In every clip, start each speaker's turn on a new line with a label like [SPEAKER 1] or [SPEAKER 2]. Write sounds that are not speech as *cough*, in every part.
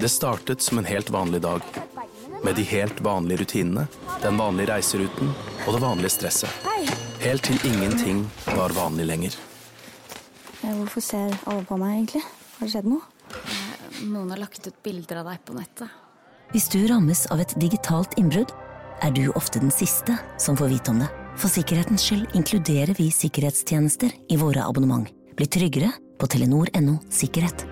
[SPEAKER 1] Det startet som en helt vanlig dag. Med de helt vanlige rutinene, den vanlige reiseruten og det vanlige stresset. Helt til ingenting var vanlig lenger.
[SPEAKER 2] Eh, Hvorfor ser alle på meg, egentlig? Har det skjedd noe?
[SPEAKER 3] Noen har lagt ut bilder av deg på nettet.
[SPEAKER 4] Hvis du rammes av et digitalt innbrudd, er du ofte den siste som får vite om det. For sikkerhetens skyld inkluderer vi sikkerhetstjenester i våre abonnement. Bli tryggere på telenor.no sikkerhet.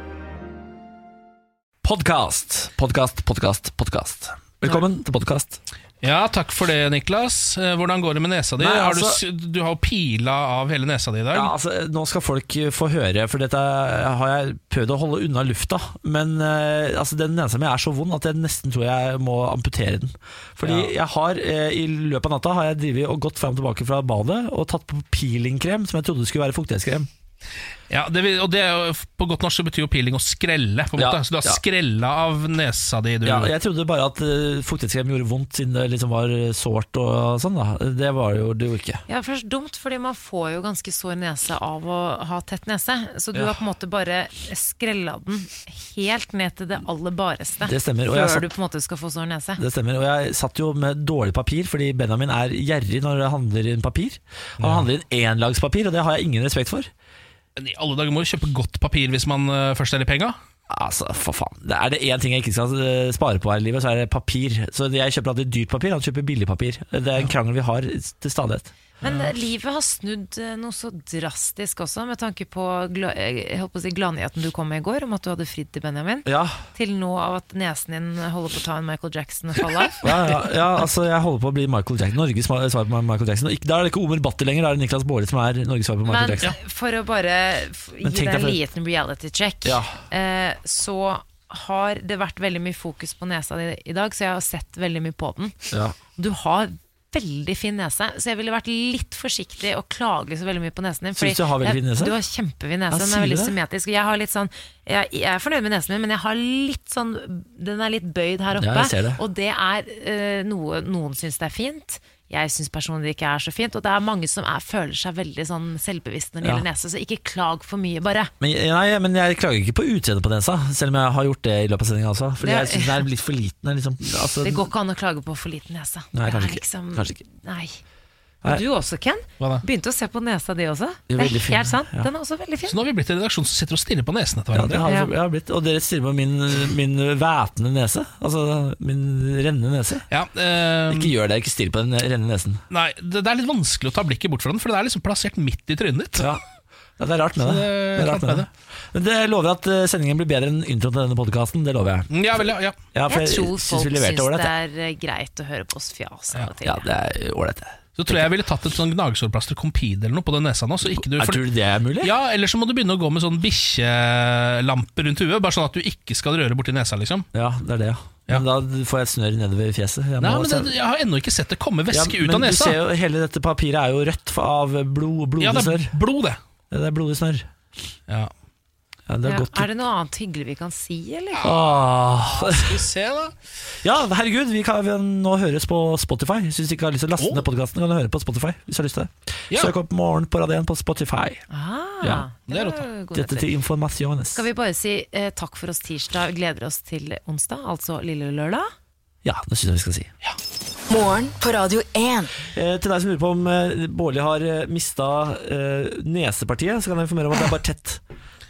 [SPEAKER 5] Podkast! Podkast, podkast, podkast. Velkommen til podkast.
[SPEAKER 6] Ja, takk for det, Niklas. Eh, Hvordan går det med nesa di?
[SPEAKER 5] Nei,
[SPEAKER 6] Har du,
[SPEAKER 5] altså-
[SPEAKER 6] s- du har jo pila av hele nesa di i dag.
[SPEAKER 5] Ja, altså, nå skal folk eh, få høre, for dette har jeg prøvd å holde unna lufta. Men eh, altså, den nesa mi er så vond at jeg nesten tror jeg må amputere den. Fordi jeg har, eh, i løpet av natta har jeg drivet og gått fram og tilbake fra badet og tatt på peelingkrem, som jeg trodde skulle være fuktighetskrem.
[SPEAKER 6] Ja, det, vil- og det er jo, på godt norsk så betyr jo peeling å skrelle, på en
[SPEAKER 5] Ja,
[SPEAKER 6] måte. Så du har
[SPEAKER 5] ja.
[SPEAKER 6] skrella av nesa di, du.
[SPEAKER 5] Ja, jeg trodde bare at eh, fuktighetskrem gjorde vondt, siden det liksom var eh, sårt og sånn. da Det var det jo, det jo ikke.
[SPEAKER 7] Ja, først dumt, fordi man får jo ganske sår nese av å ha tett nese. Så du
[SPEAKER 5] Ja.
[SPEAKER 7] har på en måte bare skrella den helt ned til det aller bareste.
[SPEAKER 5] Det stemmer, og
[SPEAKER 7] Før
[SPEAKER 5] jeg satt-
[SPEAKER 7] du på en måte skal få sår nese.
[SPEAKER 5] Det stemmer, og jeg satt jo med dårlig papir Fordi Benjamin er gjerrig når han handler inn papir Han handler inn enlagspapir, og det har jeg ingen respekt for
[SPEAKER 6] Men I alle dager må du kjøpe godt papir hvis man eh, først er i penga.
[SPEAKER 5] Altså, for faen Det Er det en ting jeg ikke skal eh, spare på her i livet, så er det papir Så jeg kjøper alltid dyrt papir, han kjøper billig papir Det er en krangel vi har til stadighet
[SPEAKER 7] Men livet har snudd eh, noe så drastisk også, med tanke på gla eh, jeg holdt på å si gladnyheten du kom med i går, om at du hadde fridd til Benjamin.
[SPEAKER 5] Ja,
[SPEAKER 7] Til nå av at nesen din holder på å ta en Michael Jackson fall av.
[SPEAKER 5] ja, ja, ja altså jeg holder på å bli Michael Jackson Norges ma- svar på Michael Jackson Og ikke- Da er det ikke Omer Batti lenger, da er det Niklas Bård som er Norges svar på Michael
[SPEAKER 7] Men
[SPEAKER 5] Jackson
[SPEAKER 7] for å bare f- gi
[SPEAKER 5] Men tenk
[SPEAKER 7] deg en
[SPEAKER 5] deg
[SPEAKER 7] liten reality check,
[SPEAKER 5] Ja.
[SPEAKER 7] eh, så har det vært veldig mye fokus på nesa di i dag, så jeg har sett veldig mye på den.
[SPEAKER 5] ja.
[SPEAKER 7] Du har veldig fin nese, så jeg ville vært litt forsiktig og klage så veldig mye på nesen din.
[SPEAKER 5] Syns du jeg har veldig fin nese?
[SPEAKER 7] Du har kjempefin nese,
[SPEAKER 5] Ja,
[SPEAKER 7] den
[SPEAKER 5] sier
[SPEAKER 7] er
[SPEAKER 5] du
[SPEAKER 7] veldig
[SPEAKER 5] det?
[SPEAKER 7] symmetrisk. Og Jeg, har litt sånn, jeg, jeg er fornøyd med nesen min, men jeg har litt sånn, den er litt bøyd her oppe.
[SPEAKER 5] Ja, jeg ser det.
[SPEAKER 7] Og det er eh, noe noen syns det er fint. Jeg syns personlig det ikke er så fint, og det er mange som er, føler seg veldig sånn selvbevisst når det
[SPEAKER 5] Ja.
[SPEAKER 7] gjelder nese, så ikke klag for mye, bare.
[SPEAKER 5] Men, nei, men jeg klager ikke på utseendet på nesa, selv om jeg har gjort det i løpet av sendinga også. Fordi jeg
[SPEAKER 7] Det-
[SPEAKER 5] syns den er litt for liten. den er Liksom, altså,
[SPEAKER 7] Det går ikke an å klage på for liten nese.
[SPEAKER 5] Nei,
[SPEAKER 7] Det er
[SPEAKER 5] kanskje ikke.
[SPEAKER 7] liksom-
[SPEAKER 5] Kanskje ikke.
[SPEAKER 7] Nei.
[SPEAKER 5] Nei.
[SPEAKER 7] Og du også, Ken.
[SPEAKER 6] Hva da?
[SPEAKER 7] Begynte å se på nesa di også.
[SPEAKER 5] Ja,
[SPEAKER 7] Det er
[SPEAKER 5] veldig fin,
[SPEAKER 7] helt sant.
[SPEAKER 5] ja.
[SPEAKER 7] Den er også veldig fin.
[SPEAKER 6] Så nå har vi blitt en redaksjon som sitter og stirrer på nesen etter
[SPEAKER 5] ja, det
[SPEAKER 6] hverandre.
[SPEAKER 5] har,
[SPEAKER 7] Ja.
[SPEAKER 5] jeg har blitt. Og dere stirrer på min, min væpnende nese. Altså min rennende nese.
[SPEAKER 6] Ja, eh,
[SPEAKER 5] Ikke gjør det, ikke stirr på den rennende nesen.
[SPEAKER 6] nei, det, det er litt vanskelig å ta blikket bort fra den, for den er liksom plassert midt i trynet ditt.
[SPEAKER 5] Ja. Ja, det er rart med
[SPEAKER 6] Så
[SPEAKER 5] det.
[SPEAKER 6] det-
[SPEAKER 5] det, er rart med det. Men det lover jeg at eh, sendingen blir bedre enn introen til denne podkasten. Det lover jeg.
[SPEAKER 6] Mm, Ja, vel, ja, ja.
[SPEAKER 5] Ja, for
[SPEAKER 7] Jeg tror
[SPEAKER 5] synes
[SPEAKER 7] folk
[SPEAKER 5] vi
[SPEAKER 7] syns
[SPEAKER 5] leverte
[SPEAKER 7] det
[SPEAKER 5] ålreit, jeg.
[SPEAKER 7] er eh, greit å høre på oss fjas av og til.
[SPEAKER 5] Ja, det er ålreit, det.
[SPEAKER 6] Så tror jeg jeg ville tatt et sånn gnagsårplaster Compede eller noe på den nesa nå. Så ikke du,
[SPEAKER 5] Er-
[SPEAKER 6] for,
[SPEAKER 5] Tror du det er mulig?
[SPEAKER 6] ja, Eller så må du begynne å gå med sånn bikkjelampe rundt huet, bare sånn at du ikke skal røre borti nesa, liksom.
[SPEAKER 5] Ja, det er det, ja.
[SPEAKER 6] Ja.
[SPEAKER 5] Men da får jeg snørr nedover i fjeset. Jeg
[SPEAKER 6] Nei,
[SPEAKER 5] må
[SPEAKER 6] men
[SPEAKER 5] sende-
[SPEAKER 6] det, Jeg har ennå ikke sett det komme væske
[SPEAKER 5] Ja,
[SPEAKER 6] ut av
[SPEAKER 5] men Du
[SPEAKER 6] nesa.
[SPEAKER 5] ser jo, hele dette papiret er jo rødt av blod,
[SPEAKER 6] Ja, det
[SPEAKER 5] blodesnørr.
[SPEAKER 6] er blod, det.
[SPEAKER 5] det er blodesnørr.
[SPEAKER 6] Ja.
[SPEAKER 5] Ja, det er
[SPEAKER 7] Ja,
[SPEAKER 5] godt.
[SPEAKER 7] er det noe annet hyggelig vi kan si, eller?
[SPEAKER 5] Åh.
[SPEAKER 6] Skal vi se, da.
[SPEAKER 5] Ja, herregud, vi kan nå høres på Spotify. Hvis du ikke har lyst til å laste
[SPEAKER 6] Åh.
[SPEAKER 5] ned podkasten, kan du høre på Spotify. Hvis du har lyst til det
[SPEAKER 6] Ja.
[SPEAKER 5] Søk opp Morgen på Radio 1 på Spotify.
[SPEAKER 7] Ah,
[SPEAKER 5] Ja,
[SPEAKER 6] det er rått,
[SPEAKER 7] var god
[SPEAKER 5] Dette
[SPEAKER 7] etter.
[SPEAKER 5] til informasjones.
[SPEAKER 7] Skal vi bare si eh, takk for oss tirsdag, gleder oss til onsdag, altså lille lørdag?
[SPEAKER 5] Ja, det syns jeg vi skal si.
[SPEAKER 8] Morgen på Radio 1.
[SPEAKER 5] Eh, til deg som lurer på om eh, Bårli har eh, mista eh, nesepartiet, så kan jeg informere om at det er bare tett.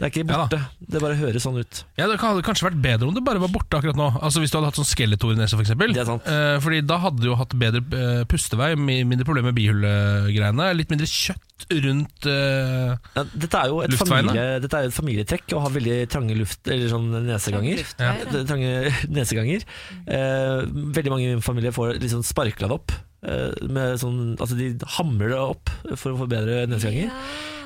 [SPEAKER 5] Det er ikke
[SPEAKER 6] Ja da.
[SPEAKER 5] borte. det bare høres sånn ut.
[SPEAKER 6] Ja, Det hadde kanskje vært bedre om det bare var borte akkurat nå. Altså Hvis du hadde hatt sånn skeletornese, f.eks.
[SPEAKER 5] Det er sant.
[SPEAKER 6] Eh, fordi da hadde du jo hatt bedre eh, pustevei, mi- mindre problemer med bihulegreiene. Litt mindre kjøtt rundt eh,
[SPEAKER 5] Ja, dette, er jo et
[SPEAKER 6] Luftveiene?
[SPEAKER 5] familie, dette er jo et familietrekk å ha veldig trange luft, eller sånn neseganger.
[SPEAKER 7] Luftveier, ja.
[SPEAKER 5] Det- Trange *laughs* neseganger. Eh, veldig mange i min familie får liksom sparkla det opp. Eh, med sånn, altså de hamrer det opp for å få bedre neseganger.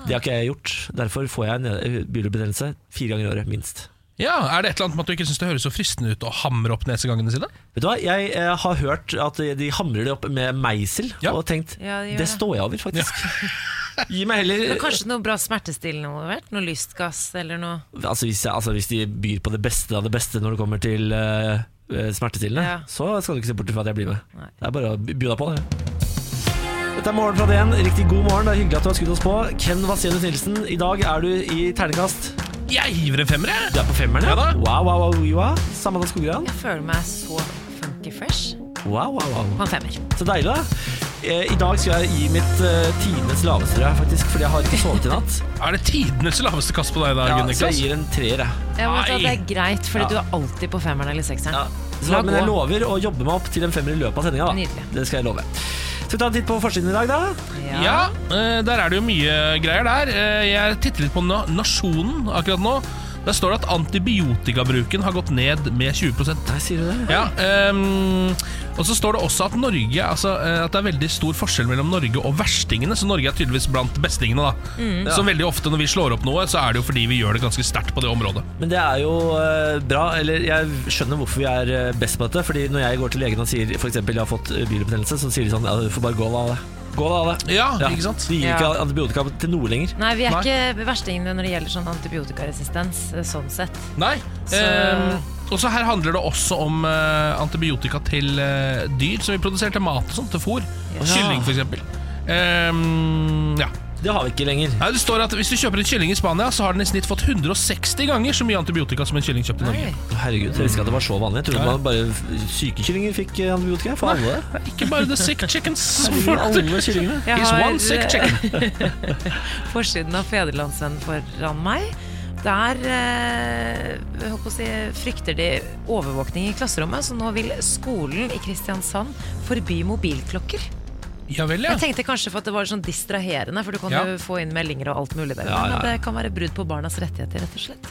[SPEAKER 5] Det har ikke jeg gjort. Derfor får jeg ne- bihulebetennelse fire ganger i året, minst.
[SPEAKER 6] Ja, Er det et eller annet med at du ikke syns det høres så fristende ut å hamre opp nesegangene sine?
[SPEAKER 5] Vet du hva, Jeg eh, har hørt at de hamrer det opp med meisel,
[SPEAKER 6] Ja.
[SPEAKER 5] og tenkt
[SPEAKER 7] Ja, de
[SPEAKER 5] det,
[SPEAKER 7] gjør det."
[SPEAKER 5] står jeg over, faktisk.
[SPEAKER 6] *laughs*
[SPEAKER 5] Gi meg heller
[SPEAKER 7] Men kanskje noe bra smertestillende involvert? Noe lystgass eller noe?
[SPEAKER 5] Altså hvis, altså hvis de byr på det beste av det beste når det kommer til eh, eh, smertestillende,
[SPEAKER 7] Ja.
[SPEAKER 5] så skal du ikke se bort fra at jeg blir med.
[SPEAKER 7] Nei.
[SPEAKER 5] Det er bare å by by deg på det. Dette er Morgen fra DN. Riktig god morgen. Det er hyggelig at du har skutt oss på. Ken Vasenus Nilsen, i dag er du i ternekast.
[SPEAKER 6] Jeg hiver en femmer, jeg!
[SPEAKER 5] Du er på femmeren,
[SPEAKER 6] Ja da.
[SPEAKER 5] Wow, wow, wow, wow. Samantha Skogran.
[SPEAKER 7] Jeg føler meg så funky fresh
[SPEAKER 5] Wow, wow, wow.
[SPEAKER 7] på en femmer.
[SPEAKER 5] Så deilig, da. Eh, I dag skal jeg gi mitt eh, times laveste, tror jeg, faktisk, fordi jeg har ikke sovet i natt.
[SPEAKER 6] *laughs* Er det tidenes laveste kast på deg i dag,
[SPEAKER 5] Ja, så jeg
[SPEAKER 6] Niklas?
[SPEAKER 5] gir en treer, jeg.
[SPEAKER 7] Jeg må si at det
[SPEAKER 6] Nei.
[SPEAKER 7] er greit, fordi
[SPEAKER 5] Ja.
[SPEAKER 7] du er alltid på femmeren eller sekseren.
[SPEAKER 5] Ja. Så,
[SPEAKER 7] La
[SPEAKER 5] men jeg
[SPEAKER 7] gå.
[SPEAKER 5] lover å jobbe meg opp til en femmer i løpet av sendinga. da.
[SPEAKER 7] Nydelig.
[SPEAKER 5] Det skal jeg love. Skal vi ta en titt på forsiden i dag, da?
[SPEAKER 6] Ja, eh, der er det jo mye greier der. Eh, Jeg titter litt på Na- Nasjonen akkurat nå. Der står det at antibiotikabruken har gått ned med 20
[SPEAKER 5] Nei, sier du det?
[SPEAKER 6] Ja, ehm, og så står det også at Norge altså, eh, At det er veldig stor forskjell mellom Norge og verstingene. Så Norge er tydeligvis blant bestingene. da Så veldig ofte når vi slår opp noe, så er det jo fordi vi gjør det ganske sterkt på det området.
[SPEAKER 5] Men det er jo eh, bra. Eller jeg skjønner hvorfor vi er eh, best på dette. Fordi når jeg går til legen og sier f.eks. jeg har fått eh, bilbetennelse, så sier de sånn ja, du får bare gå av det. Gå av det.
[SPEAKER 6] Ja, ikke sant?
[SPEAKER 5] De gir
[SPEAKER 7] Ja.
[SPEAKER 5] ikke antibiotika til noe lenger.
[SPEAKER 7] Nei, vi er
[SPEAKER 6] Nei.
[SPEAKER 7] ikke verstingene når det gjelder sånn antibiotikaresistens, eh, sånn sett.
[SPEAKER 6] Nei.
[SPEAKER 7] Så-
[SPEAKER 6] ehm, og så her handler det også om eh, antibiotika til eh, dyr som vi produserer til mat og sånt, til fôr. Kylling, f.eks. Um, ja.
[SPEAKER 5] Det har vi ikke lenger.
[SPEAKER 6] Nei, det står at Hvis du kjøper en kylling i Spania, så har den i snitt fått 160 ganger så mye antibiotika som en kylling kjøpt i Norge.
[SPEAKER 7] Oi.
[SPEAKER 5] Herregud, jeg visste ikke at det var så vanlig. Jeg trodde
[SPEAKER 6] Ja.
[SPEAKER 5] man bare f- syke kyllinger fikk eh, antibiotika. For alle.
[SPEAKER 6] Det er Ikke bare the sick chickens.
[SPEAKER 5] *laughs* For alle kyllingene.
[SPEAKER 7] Jeg
[SPEAKER 6] Is
[SPEAKER 7] har,
[SPEAKER 6] one sick
[SPEAKER 7] eh,
[SPEAKER 6] chicken.
[SPEAKER 7] forsiden av Federlandsvennen foran meg. Der eh, jeg håper å si, frykter de overvåkning i klasserommet, så nå vil skolen i Kristiansand forby mobilklokker.
[SPEAKER 6] Ja vel, ja.
[SPEAKER 7] Jeg tenkte kanskje for at det var sånn distraherende, for du kan
[SPEAKER 6] Ja.
[SPEAKER 7] jo få inn meldinger og alt mulig der.
[SPEAKER 5] Ja, ja,
[SPEAKER 7] Men at
[SPEAKER 5] ja.
[SPEAKER 7] det kan være brudd på barnas rettigheter, rett og slett.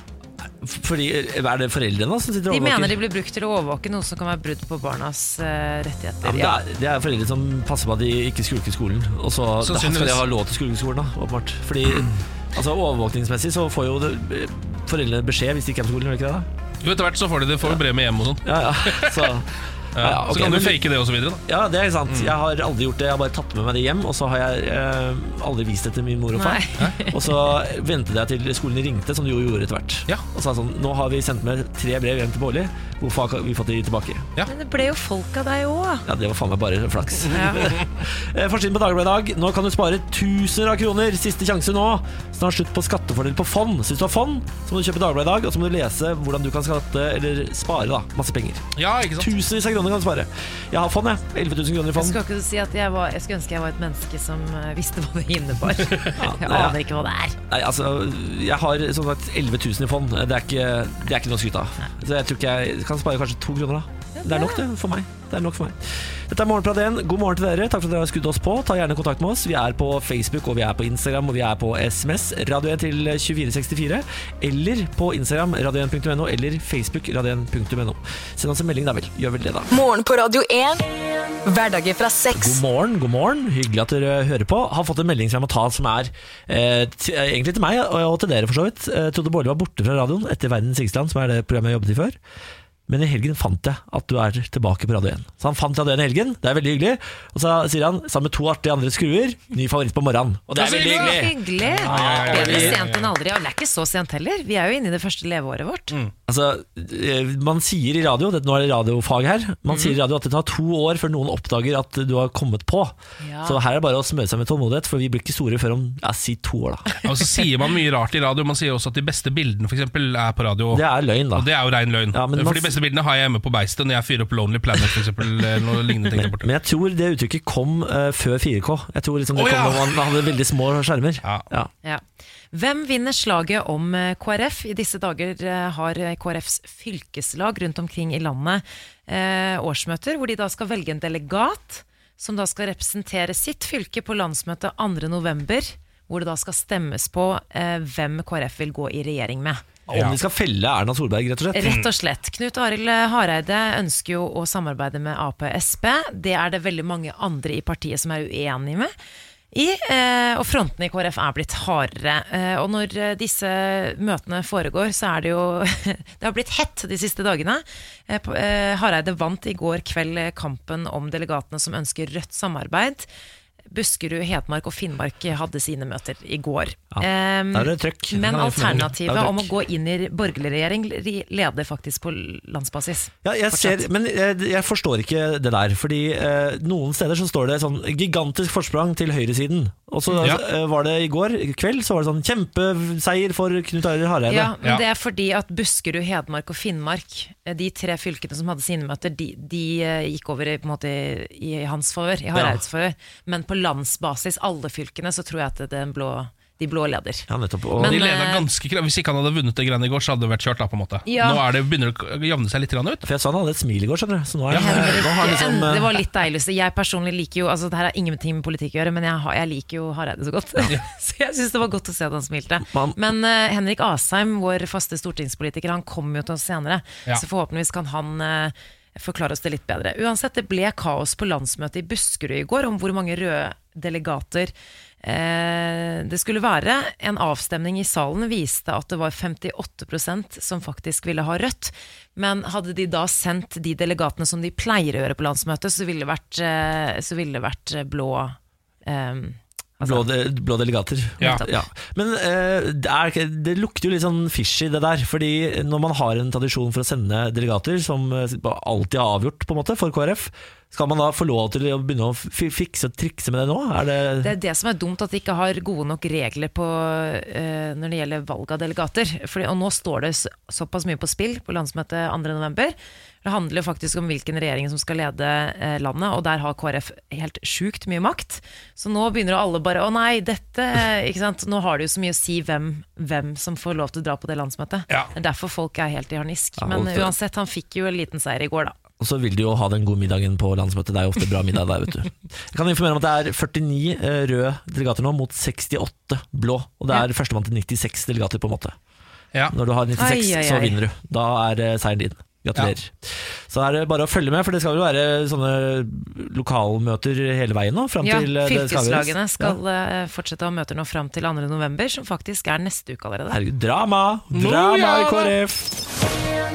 [SPEAKER 5] Fordi, eh, Er det foreldrene som sitter og
[SPEAKER 7] De mener
[SPEAKER 5] overvåker?
[SPEAKER 7] de blir brukt til å overvåke noe som kan være brudd på barnas
[SPEAKER 5] Ja,
[SPEAKER 7] eh, rettigheter.
[SPEAKER 5] men det, er, det er foreldre som passer på at de ikke skulker skolen. Og så da skal
[SPEAKER 6] Sannsynligvis.
[SPEAKER 5] de ha lov til å skulke skolen, da, åpenbart.
[SPEAKER 6] *clears throat*
[SPEAKER 5] Fordi altså, overvåkningsmessig så får jo det, foreldrene beskjed hvis de ikke er på skolen. Gjør de ikke det, da?
[SPEAKER 6] Jo, etter hvert så får de det får jo brev med hjem og sånn.
[SPEAKER 5] Ja,
[SPEAKER 6] *laughs*
[SPEAKER 5] ja. Så,
[SPEAKER 6] Ja,
[SPEAKER 5] ja, ok,
[SPEAKER 6] så kan du
[SPEAKER 5] men-
[SPEAKER 6] fake det og så videre.
[SPEAKER 5] ja, det er sant.
[SPEAKER 6] Mm.
[SPEAKER 5] Jeg har aldri gjort det. Jeg har bare tatt med meg det hjem, og så har jeg eh, aldri vist det til min mor og far.
[SPEAKER 6] *laughs*
[SPEAKER 5] Og så ventet jeg til skolen ringte, som de jo gjorde etter hvert.
[SPEAKER 6] Ja.
[SPEAKER 5] Og sa sånn Nå har vi sendt med tre brev hjem til Bårli. Hvorfor har ikke vi fått de tilbake?
[SPEAKER 7] Men det ble jo folk av deg òg.
[SPEAKER 5] Ja, det var faen meg bare flaks.
[SPEAKER 7] Ja.
[SPEAKER 5] *laughs* Eh, Forsiden på Dagbladet i dag. Nå kan du spare tusener av kroner. Siste sjanse nå. Snart slutt på skattefordel på fond. Hvis du har fond, så må du kjøpe Dagbladet i dag, og så må du lese hvordan du kan skatte, eller spare, da. Masse penger.
[SPEAKER 6] da Ja, ikke sant?
[SPEAKER 5] Tusenvis av kroner kan du spare. Jeg har fond, jeg. 11 000 kroner i
[SPEAKER 7] Jeg
[SPEAKER 5] fond.
[SPEAKER 7] skal ikke si at jeg, var, jeg skulle ønske jeg var et menneske som eh, visste hva det
[SPEAKER 5] *laughs*
[SPEAKER 7] innebar. Jeg
[SPEAKER 5] nei, ja.
[SPEAKER 7] aner ikke hva det er.
[SPEAKER 5] Nei, altså, jeg har som sagt 11 000 i fond. Det er ikke, det er ikke noe å skryte av. Så jeg tror ikke jeg kan spare kanskje to kroner, da. Det er nok det for meg. Det er nok for meg. Dette er Morgenprat 1. God morgen til dere. Takk for at dere har skudd oss på. Ta gjerne kontakt med oss. Vi er på Facebook, og vi er på Instagram, og vi er på SMS. Radio 1 til 2464. Eller på Instagram, radio1.no, eller Facebook, radio1.no. Send oss en melding, da vel. Gjør vel det, da.
[SPEAKER 8] Morgen på Radio 1. Hverdager fra
[SPEAKER 5] God
[SPEAKER 8] seks.
[SPEAKER 5] morgen, god morgen. Hyggelig at dere hører på. Har fått en melding som jeg må ta, som er eh, t eh, egentlig til meg og, og til dere, for så vidt. Eh, trodde Bårdli var borte fra radioen etter Verdens Sigsland, som er det programmet jeg jobbet i før. Men i helgen fant jeg at du er tilbake på Radio 1. Så han fant Radio 1 i helgen, det er veldig hyggelig. Og så sier han, sammen med to artige andre skruer, ny favoritt på morgenen. Og det er veldig
[SPEAKER 7] Så
[SPEAKER 5] hyggelig.
[SPEAKER 7] Altså, hyggelig. Bedre sent enn aldri. Og det er ikke så sent heller. Vi er jo inne i det første leveåret vårt.
[SPEAKER 5] Altså, eh, man sier i radio, det, nå er det radiofag her,
[SPEAKER 7] Mhm.
[SPEAKER 5] man sier i radio at det tar to år før noen oppdager at du har kommet på.
[SPEAKER 7] Ja.
[SPEAKER 5] Så her er det bare å smøre seg med tålmodighet, for vi blir ikke store før om, ja, si to år da.
[SPEAKER 6] Ja, Og så sier man mye rart i radio. Man sier også at de beste bildene for eksempel, er på radio.
[SPEAKER 5] Det er løgn, da.
[SPEAKER 6] Og det er jo rein løgn.
[SPEAKER 5] Ja, men man-
[SPEAKER 6] for de beste bildene har jeg hjemme på Beistet når jeg fyrer opp Lonely Planet for
[SPEAKER 5] *laughs*
[SPEAKER 6] eksempel, eller noe lignende ting der borte.
[SPEAKER 5] Men jeg tror det uttrykket kom eh, før 4K. Jeg tror liksom det
[SPEAKER 6] Å, ja!
[SPEAKER 5] kom når man hadde veldig små skjermer.
[SPEAKER 6] Ja.
[SPEAKER 7] Ja. Hvem vinner slaget om eh, KrF? I disse dager eh, har eh, KrFs fylkeslag rundt omkring i landet eh, årsmøter, hvor de da skal velge en delegat som da skal representere sitt fylke på landsmøtet 2.11., hvor det da skal stemmes på eh, hvem KrF vil gå i regjering med.
[SPEAKER 5] Om de skal felle Erna Solberg, rett og slett.
[SPEAKER 7] Rett og slett. Knut Arild Hareide ønsker jo å samarbeide med Ap og Sp. Det er det veldig mange andre i partiet som er uenige med. I, eh, og frontene i KrF er blitt hardere. Eh, og når eh, disse møtene foregår, så er det jo *laughs* Det har blitt hett de siste dagene. Eh, på- eh, Hareide vant i går kveld eh, kampen om delegatene som ønsker rødt samarbeid. Buskerud, Hedmark og Finnmark hadde sine møter i går.
[SPEAKER 5] Ja,
[SPEAKER 7] Ehm,
[SPEAKER 5] da er det trøkk.
[SPEAKER 7] Men
[SPEAKER 5] Da er det fornøyelig. Da
[SPEAKER 7] alternativet
[SPEAKER 5] er det
[SPEAKER 7] om å
[SPEAKER 5] trøkk.
[SPEAKER 7] gå inn i borgerlig regjering re- leder faktisk på landsbasis.
[SPEAKER 5] Ja, jeg ser,
[SPEAKER 7] Fortsatt.
[SPEAKER 5] men jeg, jeg forstår ikke det der. Fordi eh, noen steder så står det sånn gigantisk forsprang til høyresiden. Og så
[SPEAKER 6] Ja.
[SPEAKER 5] eh, var det i går kveld så var det sånn kjempeseier for Knut Arild Hareide.
[SPEAKER 7] Ja, men
[SPEAKER 6] Ja.
[SPEAKER 7] Det er fordi at Buskerud, Hedmark og Finnmark, eh, de tre fylkene som hadde sine møter, de, de eh, gikk over i, på en måte, i, i hans favør, i Hareids favør. Men på landsbasis, alle fylkene, så tror jeg at det er en blå, de blå leder.
[SPEAKER 5] Ja, nettopp. Og,
[SPEAKER 7] Men-
[SPEAKER 6] De leda
[SPEAKER 7] eh,
[SPEAKER 6] ganske kra- Hvis ikke han hadde vunnet det greiene i går, så hadde det vært kjørt. da på en måte
[SPEAKER 7] Ja.
[SPEAKER 6] Nå er det, begynner det å jevne seg litt grann ut.
[SPEAKER 5] for jeg sa han hadde et smil i går, skjønner du. Så nå er
[SPEAKER 6] Ja.
[SPEAKER 5] han, nå har han
[SPEAKER 7] Det,
[SPEAKER 5] liksom eh,
[SPEAKER 7] det var litt deilig. Så jeg personlig liker jo altså Det her har ingenting med politikk å gjøre, men jeg, har, jeg liker jo Hareide så godt. *laughs* så jeg syns det var godt å se at han smilte.
[SPEAKER 5] Man-
[SPEAKER 7] Men eh, Henrik Asheim, vår faste stortingspolitiker, han kommer jo til oss senere.
[SPEAKER 6] Ja.
[SPEAKER 7] Så forhåpentligvis kan han eh, forklare oss det litt bedre. Uansett, det ble kaos på landsmøtet i Buskerud i går om hvor mange røde delegater eh, det skulle være. En avstemning i salen viste at det var 58 som faktisk ville ha rødt. Men hadde de da sendt de delegatene som de pleier å gjøre på landsmøtet, så ville det vært, eh, så ville det vært eh, blå eh, altså-
[SPEAKER 5] Blå, de, blå delegater.
[SPEAKER 6] Ja.
[SPEAKER 5] Men eh, det, er, ikke- det lukter jo litt sånn fishy, det der. Fordi når man har en tradisjon for å sende delegater, som eh, alltid er avgjort på en måte for KrF, skal man da få lov til å begynne å fi- fikse og trikse med det nå? Er det,
[SPEAKER 7] Det er det som er dumt, at de ikke har gode nok regler på, eh, når det gjelder valg av delegater. Fordi, og nå står det så- såpass mye på spill på landsmøtet 2.11. Det handler jo faktisk om hvilken regjering som skal lede eh, landet, og der har KrF helt sjukt mye makt. Så nå begynner jo alle bare Å nei,
[SPEAKER 5] *laughs*
[SPEAKER 7] dette ikke sant? Nå har det jo så mye å si hvem, hvem som får lov til å dra på det landsmøtet.
[SPEAKER 6] Ja.
[SPEAKER 7] Det er derfor folk er helt i harnisk.
[SPEAKER 5] Ja,
[SPEAKER 7] Men
[SPEAKER 5] og det-
[SPEAKER 7] uansett, han fikk jo en liten seier i går, da.
[SPEAKER 5] Og så vil de jo ha den gode middagen på landsmøtet. Det er jo ofte bra middag der, vet du. Jeg kan informere om at det er 49 eh, røde delegater nå, mot 68 blå. Og det er førstemann til 96 delegater, på en måte.
[SPEAKER 6] Ja.
[SPEAKER 5] Når du har 96,
[SPEAKER 7] Ai, ai,
[SPEAKER 5] så
[SPEAKER 7] ai.
[SPEAKER 5] vinner du. Da er eh, seieren din. Gratulerer. Så er det bare å følge med, for det skal vel være sånne lokalmøter hele veien nå? Frem
[SPEAKER 7] Ja,
[SPEAKER 5] til eh, det skal avgjøres.
[SPEAKER 7] fylkeslagene
[SPEAKER 5] Ja.
[SPEAKER 7] skal eh, fortsette å ha møter nå fram til 2. november, som faktisk er neste uke allerede.
[SPEAKER 5] Herregud, drama! Drama i
[SPEAKER 6] ja da.
[SPEAKER 5] KrF!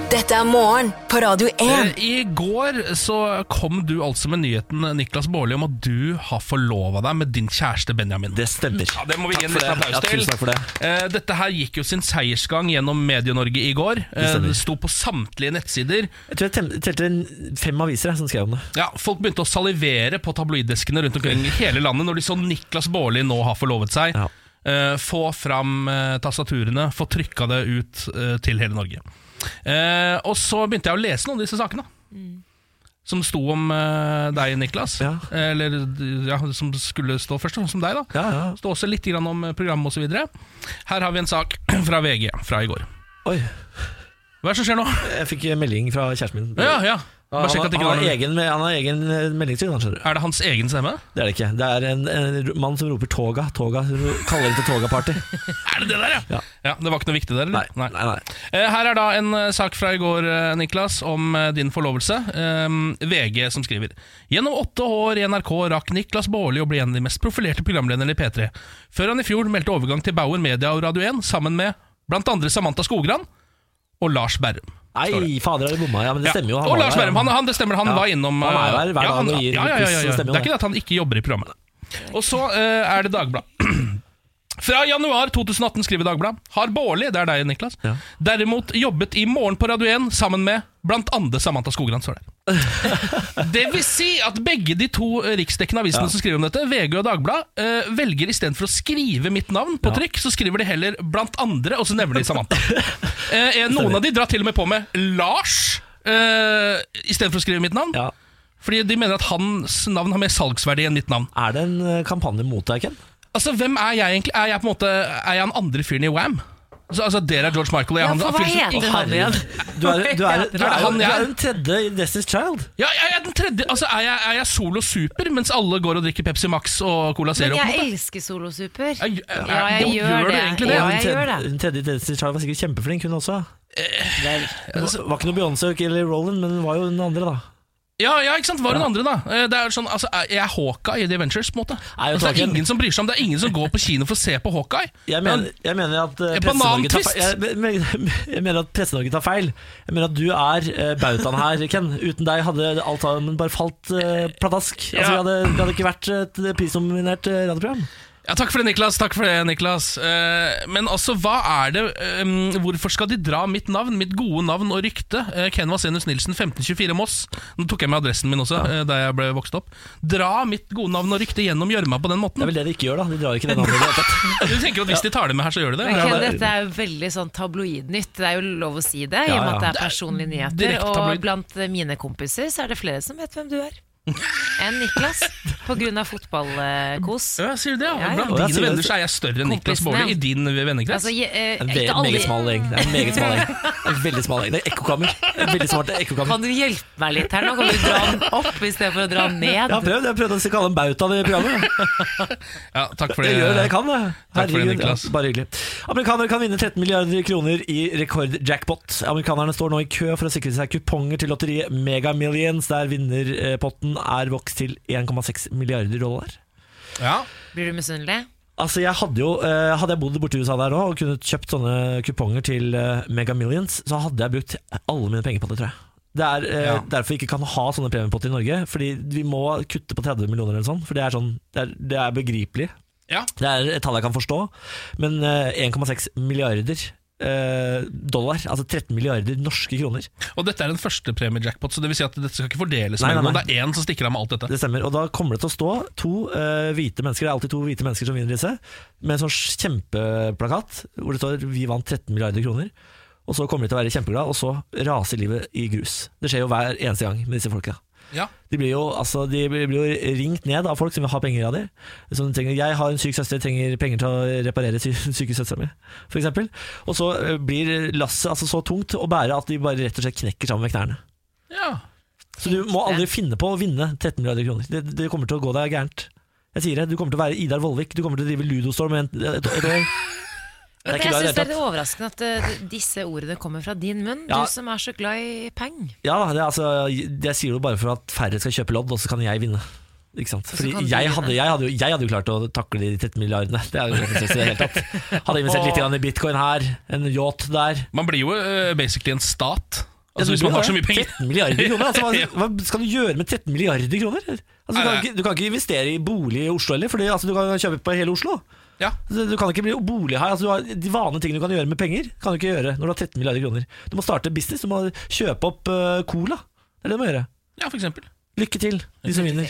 [SPEAKER 8] Dette er morgen på Radio 1.
[SPEAKER 6] Eh, I går så kom du altså med nyheten Niklas Baarli om at du har forlova deg med din kjæreste Benjamin.
[SPEAKER 5] Det stemmer.
[SPEAKER 6] Ja, det må vi gi en
[SPEAKER 5] Takk for
[SPEAKER 6] liten
[SPEAKER 5] det.
[SPEAKER 6] applaus
[SPEAKER 5] Ja,
[SPEAKER 6] til.
[SPEAKER 5] tusen takk for det.
[SPEAKER 6] Eh, Dette her gikk jo sin seiersgang gjennom Medie-Norge i går. Eh,
[SPEAKER 5] stemmer.
[SPEAKER 6] Det sto på samtlige nettsider.
[SPEAKER 5] Jeg tror jeg tel- telte en- fem aviser jeg, som skrev om det.
[SPEAKER 6] Ja, Folk begynte å salivere på tabloiddeskene rundt omkring i hele landet når de så Niklas Baarli nå har forlovet seg.
[SPEAKER 5] Ja.
[SPEAKER 6] Eh, Få fram eh, tastaturene, få trykka det ut eh, til hele Norge. Eh, Og så begynte jeg å lese noen av disse sakene. Som sto om eh, deg, Niklas.
[SPEAKER 5] Ja.
[SPEAKER 6] Eller ja, som skulle stå først, sånn som deg, da.
[SPEAKER 5] Ja, ja.
[SPEAKER 6] Det står også litt grann om eh, programmet osv. Her har vi en sak *clears throat* fra VG fra i går.
[SPEAKER 5] Oi,
[SPEAKER 6] Hva er det som skjer nå?
[SPEAKER 5] jeg fikk melding fra kjæresten min.
[SPEAKER 6] Ja, ja.
[SPEAKER 5] Han,
[SPEAKER 6] Bare sjekk at
[SPEAKER 5] har-
[SPEAKER 6] det ikke
[SPEAKER 5] han,
[SPEAKER 6] var
[SPEAKER 5] har egen, han
[SPEAKER 6] noe.
[SPEAKER 5] har egen eh, meldingstid, han skjønner du.
[SPEAKER 6] Er det hans egen stemme?
[SPEAKER 5] Det er det ikke. Det er en, en mann som roper 'toga', 'toga', kaller det til
[SPEAKER 6] *laughs*
[SPEAKER 5] 'toga-party'.
[SPEAKER 6] Er det det der, ja?
[SPEAKER 5] Ja.
[SPEAKER 6] Det var ikke noe viktig der, eller?
[SPEAKER 5] nei, nei. nei.
[SPEAKER 6] Eh, Her er da en eh, sak fra i går, eh, Niklas, om eh, din forlovelse. Eh, VG som skriver Gjennom åtte år i NRK rakk Niklas Baarli å bli en av de mest profilerte programlederne i P3, før han i fjor meldte overgang til Bauer Media og Radio 1 sammen med blant andre Samantha Skogran og Lars Berrum.
[SPEAKER 5] Nei, fader, har de bomma? Ja, men det
[SPEAKER 6] Ja.
[SPEAKER 5] stemmer jo.
[SPEAKER 6] og
[SPEAKER 5] var
[SPEAKER 6] Lars
[SPEAKER 5] der,
[SPEAKER 6] Berrum, han, han, det stemmer, han
[SPEAKER 5] Ja.
[SPEAKER 6] var innom
[SPEAKER 5] Han er
[SPEAKER 6] eh,
[SPEAKER 5] der hver dag og gir pluss, så stemmer jo
[SPEAKER 6] Det er
[SPEAKER 5] det.
[SPEAKER 6] ikke det at han ikke jobber i programmet. Og så eh, er det Dagbladet. *clears throat* Fra januar 2018 skriver Dagbladet har Baarli, det er deg, Niklas,
[SPEAKER 5] Ja.
[SPEAKER 6] derimot jobbet i Morgen på Radio 1 sammen med blant andre Samantha Skogran. står det. Det vil si at begge de to eh, riksdekkende avisene som skriver om dette, VG og Dagbladet, eh, velger istedenfor å skrive mitt navn på trykk, så skriver de heller blant andre, og så nevner de Samantha. Eh, eh, noen av de drar til og med på med Lars eh, istedenfor å skrive mitt navn.
[SPEAKER 5] Ja.
[SPEAKER 6] Fordi de mener at hans navn har mer salgsverdi enn mitt navn.
[SPEAKER 5] Er det en eh, kampanje mot deg, Ken?
[SPEAKER 6] Altså, hvem er jeg egentlig? Er jeg på en måte Er jeg han andre fyren i Wham? Altså, altså dere er George Michael og jeg er
[SPEAKER 7] Ja,
[SPEAKER 6] han
[SPEAKER 7] for hva
[SPEAKER 6] fyren som-
[SPEAKER 7] heter han
[SPEAKER 5] herregud.
[SPEAKER 7] igjen?
[SPEAKER 5] Du er, du er, du er, du er, jo-
[SPEAKER 6] han
[SPEAKER 5] du er
[SPEAKER 6] jeg er?
[SPEAKER 5] den tredje i Destiny's Child.
[SPEAKER 6] Ja, jeg er den tredje Altså, er jeg, er jeg solo super mens alle går og drikker Pepsi Max og Cola Zero?
[SPEAKER 7] Men
[SPEAKER 6] på en
[SPEAKER 7] jeg
[SPEAKER 6] måte?
[SPEAKER 7] elsker Solosuper.
[SPEAKER 6] Ja, jeg-
[SPEAKER 7] Ja, jeg
[SPEAKER 6] gjør
[SPEAKER 7] gjør
[SPEAKER 6] du
[SPEAKER 7] det.
[SPEAKER 6] egentlig det?
[SPEAKER 7] Ja,
[SPEAKER 5] Og den
[SPEAKER 7] jeg gjør
[SPEAKER 5] tredje-
[SPEAKER 7] det.
[SPEAKER 5] Den tredje i Destiny's Child var sikkert kjempeflink, hun også. Det var ikke noe Beyoncé eller Roland, men hun var jo den andre, da.
[SPEAKER 6] Ja, ja, ikke sant? Hva er hun andre, da? Eh, Det er sånn, altså, er- Jeg er Hawkeye i The Adventures. på en måte
[SPEAKER 5] Er jo
[SPEAKER 6] altså, Det er
[SPEAKER 5] taken.
[SPEAKER 6] ingen som bryr seg om Det er ingen som går på kino for å se på Hawkeye.
[SPEAKER 5] Jeg mener, jeg mener at eh,
[SPEAKER 6] En
[SPEAKER 5] Presse-Norge tar
[SPEAKER 6] banantvist!
[SPEAKER 5] feil. Jeg, men- *laughs* jeg mener at Presse-Norge tar feil. Jeg mener at du er eh, bautaen her, Ken. Uten deg hadde alt sammen bare falt eh, pladask. Altså,
[SPEAKER 6] Ja.
[SPEAKER 5] vi, hadde, vi hadde ikke vært et prisnominert eh, radioprogram.
[SPEAKER 6] Ja, takk for det, Niklas. Takk for det, Niklas. Eh, men altså, hva er det eh, Hvorfor skal de dra mitt navn, mitt gode navn og rykte? Eh, Ken Vasenus Nilsen, 1524 Moss. Nå tok jeg med adressen min også, eh, da jeg ble vokst opp. Dra mitt gode navn og rykte gjennom gjørma på
[SPEAKER 5] Det
[SPEAKER 6] den måten.
[SPEAKER 5] er vel det de ikke gjør, da. De drar ikke den andre. i det hele tatt.
[SPEAKER 6] Du tenker jo at hvis de tar det med her, så gjør de det?
[SPEAKER 7] Men
[SPEAKER 5] Ja,
[SPEAKER 7] Ken,
[SPEAKER 5] det-
[SPEAKER 7] dette er jo veldig sånn tabloidnytt. Det er jo lov å si det, i
[SPEAKER 5] Ja,
[SPEAKER 7] og med at
[SPEAKER 5] ja.
[SPEAKER 7] det er personlige
[SPEAKER 6] Det
[SPEAKER 7] nyheter.
[SPEAKER 6] er direkte tabloid.
[SPEAKER 7] Og blant mine kompiser så er det flere som vet hvem du er. Enn Niklas, pga. fotballkos.
[SPEAKER 6] Ja, sier du det? Ja,
[SPEAKER 7] Ja, ja.
[SPEAKER 6] Blant
[SPEAKER 5] Og jeg
[SPEAKER 6] dine
[SPEAKER 5] sier
[SPEAKER 6] venner
[SPEAKER 5] det-
[SPEAKER 6] så er jeg større enn Niklas
[SPEAKER 7] Kompisene,
[SPEAKER 6] Baarli
[SPEAKER 7] ja.
[SPEAKER 6] i din vennekrets.
[SPEAKER 7] Altså, je- eh,
[SPEAKER 5] En ve-
[SPEAKER 7] ikke
[SPEAKER 5] meget
[SPEAKER 7] alle
[SPEAKER 5] smal gjeng. Det er en meget smal gjeng.
[SPEAKER 6] *laughs*
[SPEAKER 5] En veldig smal gjeng. Det er ekkokammer. En Veldig smart ekkokammer.
[SPEAKER 7] Kan du hjelpe meg litt her nå? Kan du dra den opp istedenfor å dra den ned?
[SPEAKER 5] Jeg har prøvd, jeg har prøvd å kalle en bauta i
[SPEAKER 6] *laughs*
[SPEAKER 5] programmet.
[SPEAKER 6] ja, takk for det.
[SPEAKER 5] Jeg gjør det jeg kan, det.
[SPEAKER 6] Takk for det,
[SPEAKER 5] Herregud,
[SPEAKER 6] Niklas.
[SPEAKER 5] ja, bare hyggelig. Amerikanere kan vinne 13 milliarder kroner i rekordjackpot. Amerikanerne står nå i kø for å sikre seg kuponger til lotteriet Mega Millions, der vinnerpotten er vokst til 1,6 milliarder dollar.
[SPEAKER 6] Ja.
[SPEAKER 7] Blir du misunnelig?
[SPEAKER 5] Altså jeg Hadde jo eh, Hadde jeg bodd borti USA der nå og kunne kjøpt sånne kuponger til eh, Mega Millions, så hadde jeg brukt alle mine penger på det, tror jeg. Det er eh,
[SPEAKER 6] Ja.
[SPEAKER 5] derfor vi ikke kan ha sånne premiepotter i Norge. Fordi vi må kutte på 30 millioner eller sånn, for det er, sånn, det er, det er begripelig.
[SPEAKER 6] Ja.
[SPEAKER 5] Det er et tall jeg kan forstå, men eh, 1,6 milliarder eh, dollar, altså 13 milliarder norske kroner,
[SPEAKER 6] Og dette er en førstepremie-jackpot, så det vil si at dette skal ikke fordeles
[SPEAKER 5] Nei, nei,
[SPEAKER 6] mellom noen.
[SPEAKER 5] nei.
[SPEAKER 6] Det er én som stikker av med alt dette.
[SPEAKER 5] det stemmer. Og da kommer det til å stå to eh, hvite mennesker, det er alltid to hvite mennesker som vinner disse, med en sånn kjempeplakat hvor det står 'Vi vant 13 milliarder kroner'. Og så kommer de til å være kjempeglade, og så raser livet i grus. Det skjer jo hver eneste gang med disse folka.
[SPEAKER 6] Ja.
[SPEAKER 5] De blir, jo, altså, de blir blir jo ringt ned av folk som vil ha penger av dem. Som trenger, 'Jeg har en syk søster, jeg trenger penger til å reparere sy *laughs* den syke søstera mi', f.eks. Og så eh, blir lasset altså, så tungt å bære at de bare rett og slett knekker sammen med knærne.
[SPEAKER 6] ja.
[SPEAKER 5] Så du må aldri finne på å vinne 13 milliarder kroner. Det, det kommer til å gå deg gærent. Jeg sier det, Du kommer til å være Idar Vollvik, du kommer til å drive Ludostorm i en- et,
[SPEAKER 7] *laughs*
[SPEAKER 5] et år. Det
[SPEAKER 7] Men
[SPEAKER 5] ikke
[SPEAKER 7] jeg
[SPEAKER 5] bra i det
[SPEAKER 7] synes det er
[SPEAKER 5] hele
[SPEAKER 7] litt
[SPEAKER 5] tatt.
[SPEAKER 7] overraskende at eh, disse ordene kommer fra din munn,
[SPEAKER 5] Ja.
[SPEAKER 7] du som er så glad i peng.
[SPEAKER 5] Ja, da, det, er altså, jeg sier det jo bare for at færre skal kjøpe lodd, og så kan jeg vinne. Ikke sant? Fordi
[SPEAKER 7] kan du
[SPEAKER 5] jeg
[SPEAKER 7] vinne.
[SPEAKER 5] hadde, jeg, hadde jo, jeg hadde jo klart å takle de 13 milliardene. Det er jo ikke noe i det hele tatt. Hadde investert litt grann i bitcoin her, en yacht der.
[SPEAKER 6] Man blir jo eh, basically en stat.
[SPEAKER 5] Ja,
[SPEAKER 6] Altså,
[SPEAKER 5] du
[SPEAKER 6] hvis man
[SPEAKER 5] blir
[SPEAKER 6] har
[SPEAKER 5] det.
[SPEAKER 6] så mye penger.
[SPEAKER 5] 13 milliarder kroner, altså,
[SPEAKER 6] *laughs* Ja.
[SPEAKER 5] hva, hva skal du gjøre med 13 milliarder kroner? Altså, du,
[SPEAKER 6] Nei,
[SPEAKER 5] kan
[SPEAKER 6] nei.
[SPEAKER 5] ikke, du kan ikke investere i bolig i Oslo heller, for altså, du kan kjøpe på hele Oslo.
[SPEAKER 6] Ja.
[SPEAKER 5] Så Du kan ikke bli bolig her. Altså, du har de vanlige tingene du kan gjøre med penger, kan du ikke gjøre når du har 13 milliarder kroner. Du må starte business, du må kjøpe opp eh, cola. Det er det du må gjøre.
[SPEAKER 6] ja, for eksempel.
[SPEAKER 5] Lykke til, de som vinner.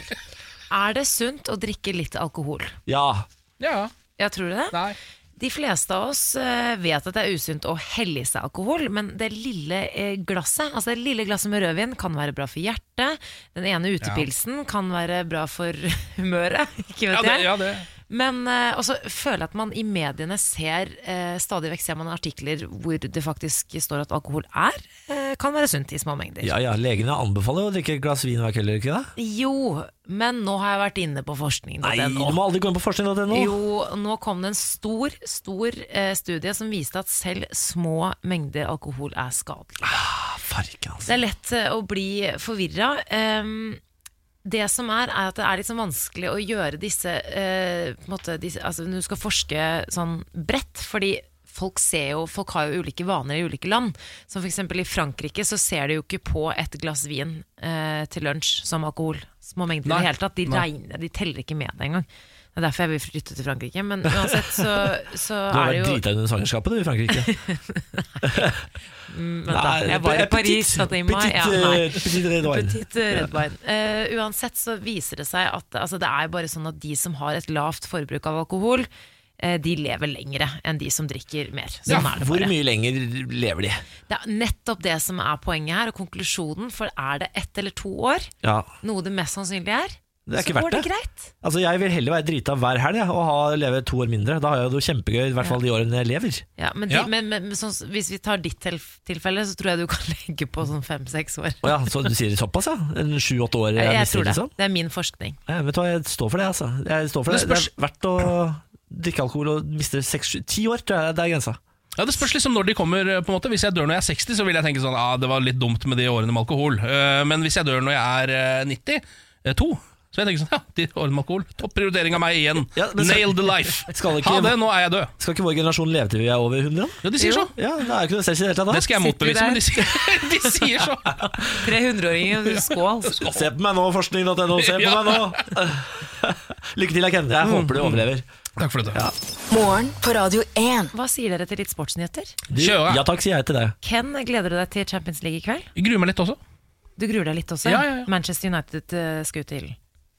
[SPEAKER 7] Er det sunt å drikke litt alkohol?
[SPEAKER 5] Ja.
[SPEAKER 6] Ja.
[SPEAKER 7] Ja, tror du det?
[SPEAKER 6] Nei.
[SPEAKER 7] De fleste av oss eh, vet at det er usunt å helle i seg alkohol, men det lille eh, glasset altså det lille glasset med rødvin kan være bra for hjertet. Den ene utepilsen kan være bra for *laughs* humøret. Ikke
[SPEAKER 6] Ja,
[SPEAKER 7] vet
[SPEAKER 6] det,
[SPEAKER 7] jeg.
[SPEAKER 6] ja, det.
[SPEAKER 7] Men eh, også føler jeg at man i mediene ser eh, stadig vekk ser man artikler hvor det faktisk står at alkohol er, eh, kan være sunt i små mengder.
[SPEAKER 5] ja, ja, legene anbefaler jo å drikke et glass vin hver kveld, gjør de ikke det?
[SPEAKER 7] Jo, men nå har jeg vært inne på
[SPEAKER 5] Nei, du
[SPEAKER 7] forskning.no.
[SPEAKER 5] må aldri gå inn på forskning.no.
[SPEAKER 7] Jo, nå kom det en stor stor eh, studie som viste at selv små mengder alkohol er skadelig.
[SPEAKER 5] Farken, altså.
[SPEAKER 7] Det er lett eh, å bli forvirra. Ehm, det som er, er at det er litt sånn vanskelig å gjøre disse, eh, på en måte, disse altså Når du skal forske sånn bredt, fordi folk, ser jo, folk har jo ulike vaner i ulike land. Som f.eks. i Frankrike så ser de jo ikke på et glass vin eh, til lunsj som alkohol. Små mengder
[SPEAKER 6] Nei.
[SPEAKER 7] i det hele tatt. De
[SPEAKER 6] Nei.
[SPEAKER 7] regner, de teller ikke med det engang. Det er derfor jeg vil flytte til Frankrike. Men uansett så, så
[SPEAKER 5] Du har
[SPEAKER 7] er
[SPEAKER 5] vært
[SPEAKER 7] det jo
[SPEAKER 5] drita under svangerskapet du, i Frankrike.
[SPEAKER 7] Vent da,
[SPEAKER 5] Nei,
[SPEAKER 7] jeg var i
[SPEAKER 5] petit-
[SPEAKER 7] Paris. satt i mai.
[SPEAKER 5] petit,
[SPEAKER 7] Ja, nei.
[SPEAKER 5] eh, petit red wine.
[SPEAKER 7] Petit eh, red wine. Eh, uansett så viser det seg at altså, det er bare sånn at de som har et lavt forbruk av alkohol, eh, de lever lengre enn de som drikker mer. Sånn er det
[SPEAKER 5] Hvor
[SPEAKER 7] bare.
[SPEAKER 5] mye lenger lever de?
[SPEAKER 7] Det er nettopp det som er poenget her, og konklusjonen. For er det ett eller to år,
[SPEAKER 5] Ja,
[SPEAKER 7] noe det mest sannsynlig er,
[SPEAKER 5] Det er ikke
[SPEAKER 7] så går
[SPEAKER 5] verdt
[SPEAKER 7] det
[SPEAKER 5] det.
[SPEAKER 7] greit.
[SPEAKER 5] altså Jeg vil heller være drita hver helg jeg, og ha, leve to år mindre. Da har jeg det jo kjempegøy, i hvert fall de årene jeg lever.
[SPEAKER 7] Ja, men de,
[SPEAKER 6] Ja.
[SPEAKER 7] men, men, men sånn, hvis vi tar ditt tilf- tilfelle, så tror jeg du kan *laughs* legge på sånn fem-seks år.
[SPEAKER 5] Å ja, så du sier såpass, ja? En Sju-åtte år?
[SPEAKER 7] Jeg,
[SPEAKER 5] mister,
[SPEAKER 7] tror det.
[SPEAKER 5] liksom?
[SPEAKER 7] Det er min forskning. *laughs*
[SPEAKER 5] Ja, vet du hva, jeg står for det, altså. Jeg står for
[SPEAKER 6] Men
[SPEAKER 5] det. det er verdt å drikke alkohol og miste seks-sju Ti år tror jeg det er grensa.
[SPEAKER 6] Ja, Det spørs liksom når de kommer. på en måte Hvis jeg dør når jeg er 60, så vil jeg tenke sånn ah, det var litt dumt med de årene med alkohol. Eh, Men hvis jeg dør når jeg er eh, 92, så vil jeg tenke sånn ja, de årene med alkohol. Topp prioritering av meg igjen.
[SPEAKER 5] Ja, men så-
[SPEAKER 6] Nail the life.
[SPEAKER 5] Skal ikke-
[SPEAKER 6] Ha det, nå er jeg død.
[SPEAKER 5] Skal ikke vår generasjon leve til vi er over 100? da?
[SPEAKER 6] Ja, de sier så.
[SPEAKER 5] Ja, det er jo ikke noe stress i det hele tatt.
[SPEAKER 6] Det
[SPEAKER 5] da.
[SPEAKER 6] skal jeg
[SPEAKER 7] Sitter du
[SPEAKER 6] motbevise,
[SPEAKER 7] der?
[SPEAKER 6] men de sier, *laughs* de sier så.
[SPEAKER 7] 300-åringen, skål.
[SPEAKER 5] Se på meg nå, forskning.no. Se på
[SPEAKER 6] *laughs* Ja. Mm.
[SPEAKER 5] meg nå! *laughs* Lykke til, Ken. Jeg håper du overlever.
[SPEAKER 6] Takk for dette.
[SPEAKER 8] Morgen på Radio 1.
[SPEAKER 7] Hva sier dere til litt sportsnyheter?
[SPEAKER 5] Du,
[SPEAKER 6] Kjøre.
[SPEAKER 5] ja takk, sier jeg til deg.
[SPEAKER 7] Ken, gleder du deg til Champions League i kveld?
[SPEAKER 6] Jeg gruer meg litt også.
[SPEAKER 7] Du gruer deg litt også?
[SPEAKER 6] Ja, ja, ja.
[SPEAKER 7] Manchester United eh, skal ut til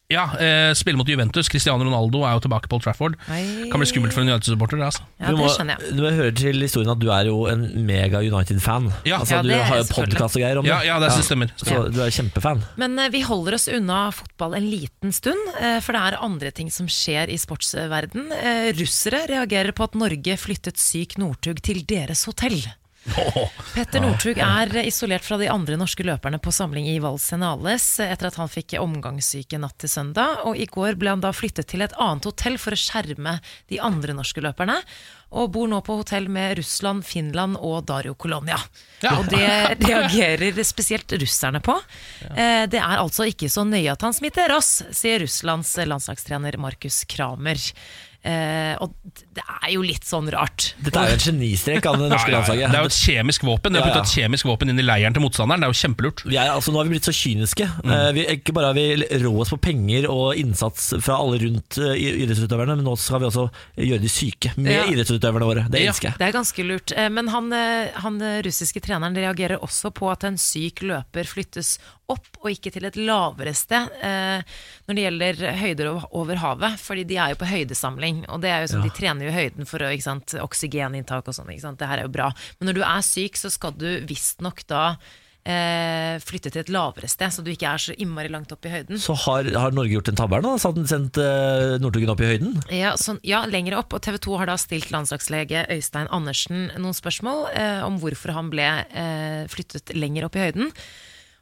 [SPEAKER 6] Ja, eh, Spille mot Juventus. Cristiano Ronaldo er jo tilbake på Old Trafford.
[SPEAKER 7] Oi.
[SPEAKER 6] Kan bli skummelt for en United-supporter. det, Altså.
[SPEAKER 7] Ja,
[SPEAKER 5] Du
[SPEAKER 7] det
[SPEAKER 5] må-
[SPEAKER 7] skjønner jeg.
[SPEAKER 5] Du må høre til historien at du er jo en mega United-fan.
[SPEAKER 6] Ja.
[SPEAKER 5] altså,
[SPEAKER 7] Ja,
[SPEAKER 5] du
[SPEAKER 7] det er
[SPEAKER 5] har jo
[SPEAKER 7] jeg selvfølgelig.
[SPEAKER 5] podkast og greier om
[SPEAKER 6] Ja, ja, det
[SPEAKER 5] Ja.
[SPEAKER 6] stemmer.
[SPEAKER 5] Så du er kjempefan.
[SPEAKER 7] Men eh, vi holder oss unna fotball en liten stund, eh, for det er andre ting som skjer i sportsverden. Eh, Russere reagerer på at Norge flyttet syk Northug til deres hotell. Petter Northug er isolert fra de andre norske løperne på samling i Valsenales etter at han fikk omgangssyke natt til søndag. Og i går ble han da flyttet til et annet hotell for å skjerme de andre norske løperne. Og bor nå på hotell med Russland, Finland og Dario Colonia. Og det reagerer spesielt russerne på. Eh, Det er altså ikke så nøye at han smitter oss, sier Russlands landslagstrener Markus Kramer. Eh, og det er jo litt sånn rart.
[SPEAKER 5] Dette er jo en genistrek av det norske
[SPEAKER 6] Ja, ja, ja.
[SPEAKER 5] landslaget.
[SPEAKER 6] Det er jo et kjemisk våpen. De
[SPEAKER 5] Ja,
[SPEAKER 6] har
[SPEAKER 5] ja.
[SPEAKER 6] puttet et kjemisk våpen inn i leiren til motstanderen. Det er jo kjempelurt.
[SPEAKER 5] Vi er, altså, nå har vi blitt så kyniske.
[SPEAKER 6] Mm.
[SPEAKER 5] Eh, vi, ikke bare har vi rå oss på penger og innsats fra alle rundt eh, i- idrettsutøverne, men nå skal vi også gjøre de syke med
[SPEAKER 7] Ja.
[SPEAKER 5] idrettsutøverne våre. Det
[SPEAKER 6] Ja.
[SPEAKER 5] elsker jeg.
[SPEAKER 7] Det er ganske lurt. Eh, Men han, eh, han eh, russiske treneren reagerer også på at en syk løper flyttes opp og ikke til et lavere sted eh, når det gjelder høyder ov- over havet. Fordi de er jo på høydesamling, og det er jo sånn, de trener jo høyden for å, ikke sant, oksygeninntak og sånn. ikke sant? Det her er jo bra. Men når du er syk, så skal du visstnok da eh, flytte til et lavere sted, så du ikke er så innmari langt opp i høyden.
[SPEAKER 5] Så har, har Norge gjort en tabbe her nå? Satt- Sendt uh, Northugen opp i høyden?
[SPEAKER 7] Ja, sånn, ja, lenger opp. Og TV 2 har da stilt landslagslege Øystein Andersen noen spørsmål eh, om hvorfor han ble eh, flyttet lenger opp i høyden.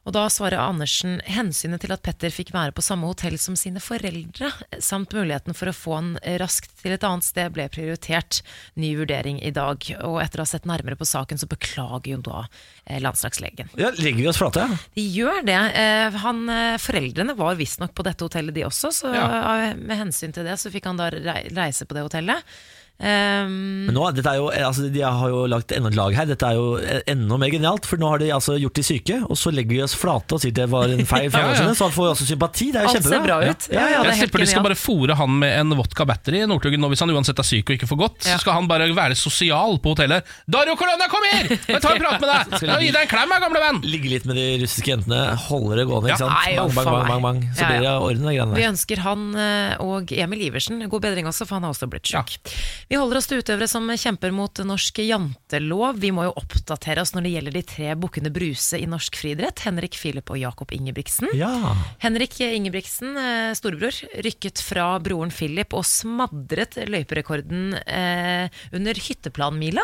[SPEAKER 7] Og da svarer Andersen hensynet til at Petter fikk være på samme hotell som sine foreldre, samt muligheten for å få han raskt til et annet sted, ble prioritert. Ny vurdering i dag. Og etter å ha sett nærmere på saken, så beklager jo da eh, landslagslegen.
[SPEAKER 5] Ja, legger vi oss flate? ja.
[SPEAKER 7] De gjør det. Eh, Han, eh, foreldrene var visstnok på dette hotellet, de også. Så eh, med hensyn til det, så fikk han da rei- reise på det hotellet. Ehm,
[SPEAKER 5] Men nå, dette er jo, altså, De har jo lagt enda et lag her. Dette er jo eh, enda mer genialt. For nå har de altså gjort de syke, og så legger de oss flate og sier det var en
[SPEAKER 7] *laughs*
[SPEAKER 5] feil. fra
[SPEAKER 6] Ja, ja.
[SPEAKER 5] våre sine, Så han får jo også sympati. Det er jo
[SPEAKER 7] Alt ser
[SPEAKER 5] kjempebra.
[SPEAKER 7] bra ut.
[SPEAKER 5] Ja, ja,
[SPEAKER 7] Ja, det er
[SPEAKER 6] jeg
[SPEAKER 7] helt
[SPEAKER 6] tipper de skal
[SPEAKER 7] genialt.
[SPEAKER 6] bare fòre han med en vodka battery. Nordtuggen, nå hvis han uansett er syk og ikke får godt,
[SPEAKER 7] Ja.
[SPEAKER 6] så skal han bare være sosial på hotellet. 'Dario Colonna, kom her! Jeg tar en prat med deg! Jeg vil gi deg en klem, her, gamle venn!'
[SPEAKER 5] Ligge litt med de russiske jentene, holde det gående.
[SPEAKER 6] Ja,
[SPEAKER 5] ikke sant?
[SPEAKER 7] nei,
[SPEAKER 5] bang,
[SPEAKER 7] uff a
[SPEAKER 5] bang, bang,
[SPEAKER 7] meg.
[SPEAKER 5] bang, bang. Så
[SPEAKER 7] Ja, ja.
[SPEAKER 5] blir det orden i de greiene
[SPEAKER 7] vi
[SPEAKER 5] der.
[SPEAKER 7] ønsker han eh, og Emil Iversen god bedring også, for han har også blitt syk. Vi holder oss til utøvere som kjemper mot norsk jantelov. Vi må jo oppdatere oss når det gjelder de tre bukkene Bruse i norsk friidrett. Henrik Filip og Jakob Ingebrigtsen.
[SPEAKER 5] Ja.
[SPEAKER 7] Henrik Ingebrigtsen, eh, storebror, rykket fra broren Philip og smadret løyperekorden eh, under hytteplanmila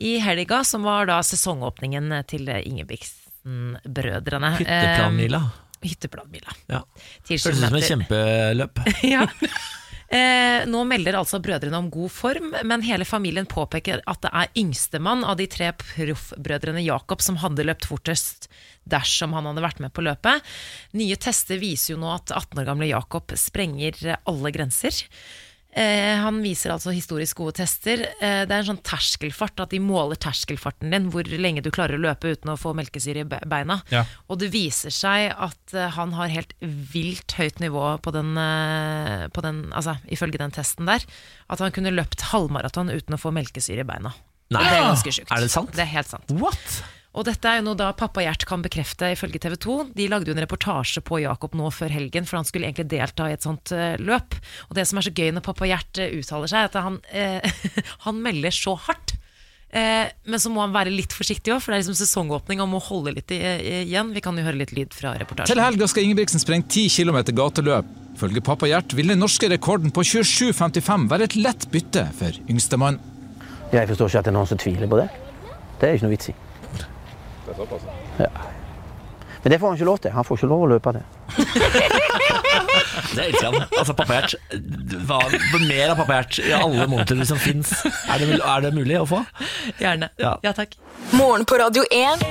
[SPEAKER 7] i helga, som var da sesongåpningen til Ingebrigtsen-brødrene.
[SPEAKER 5] Hytteplanmila.
[SPEAKER 7] Eh, hytteplanmila.
[SPEAKER 5] Ja.
[SPEAKER 7] Ti
[SPEAKER 5] Høres ut som et
[SPEAKER 7] kilometer.
[SPEAKER 5] kjempeløp.
[SPEAKER 7] *laughs* Ja. Eh, nå melder altså brødrene om god form, men hele familien påpeker at det er yngstemann av de tre proffbrødrene Jakob som hadde løpt fortest dersom han hadde vært med på løpet. Nye tester viser jo nå at 18 år gamle Jakob sprenger alle grenser. Eh, han viser altså historisk gode tester. Eh, det er en sånn terskelfart, at de måler terskelfarten din, hvor lenge du klarer å løpe uten å få melkesyre i be- beina.
[SPEAKER 6] Ja.
[SPEAKER 7] Og det viser seg at eh, han har helt vilt høyt nivå på den, eh, på den altså, ifølge den testen der. At han kunne løpt halvmaraton uten å få melkesyre i beina.
[SPEAKER 5] Nei.
[SPEAKER 7] Det er ganske sjukt.
[SPEAKER 5] Er det sant?
[SPEAKER 7] Det er helt sant.
[SPEAKER 5] What?
[SPEAKER 7] Og dette er jo noe da pappa Gjert kan bekrefte ifølge TV 2. De lagde jo en reportasje på Jakob nå før helgen, for han skulle egentlig delta i et sånt eh, løp. Og det som er så gøy når pappa Gjert eh, uttaler seg, er at han, eh, *laughs* han melder så hardt. Eh, men så må han være litt forsiktig òg, for det er liksom sesongåpning og må holde litt i, i- igjen. Vi kan jo høre litt lyd fra reportasjen.
[SPEAKER 9] Til helga skal Ingebrigtsen sprenge 10 km gateløp. Ifølge pappa Gjert vil den norske rekorden på 27,55 være et lett bytte for yngstemann.
[SPEAKER 10] Jeg forstår ikke at det er noen som tviler på det. Det er ikke noe vits i. Det er såpass? Ja. Men det får han ikke lov til. Han får ikke lov å løpe det.
[SPEAKER 5] Det elsker han. Altså, pappahjert. Hva, mer av pappahjert i alle monitorer som fins. Er, det- er det mulig å få?
[SPEAKER 7] Gjerne.
[SPEAKER 5] Ja.
[SPEAKER 7] Ja takk.
[SPEAKER 8] Morgen på Radio 1.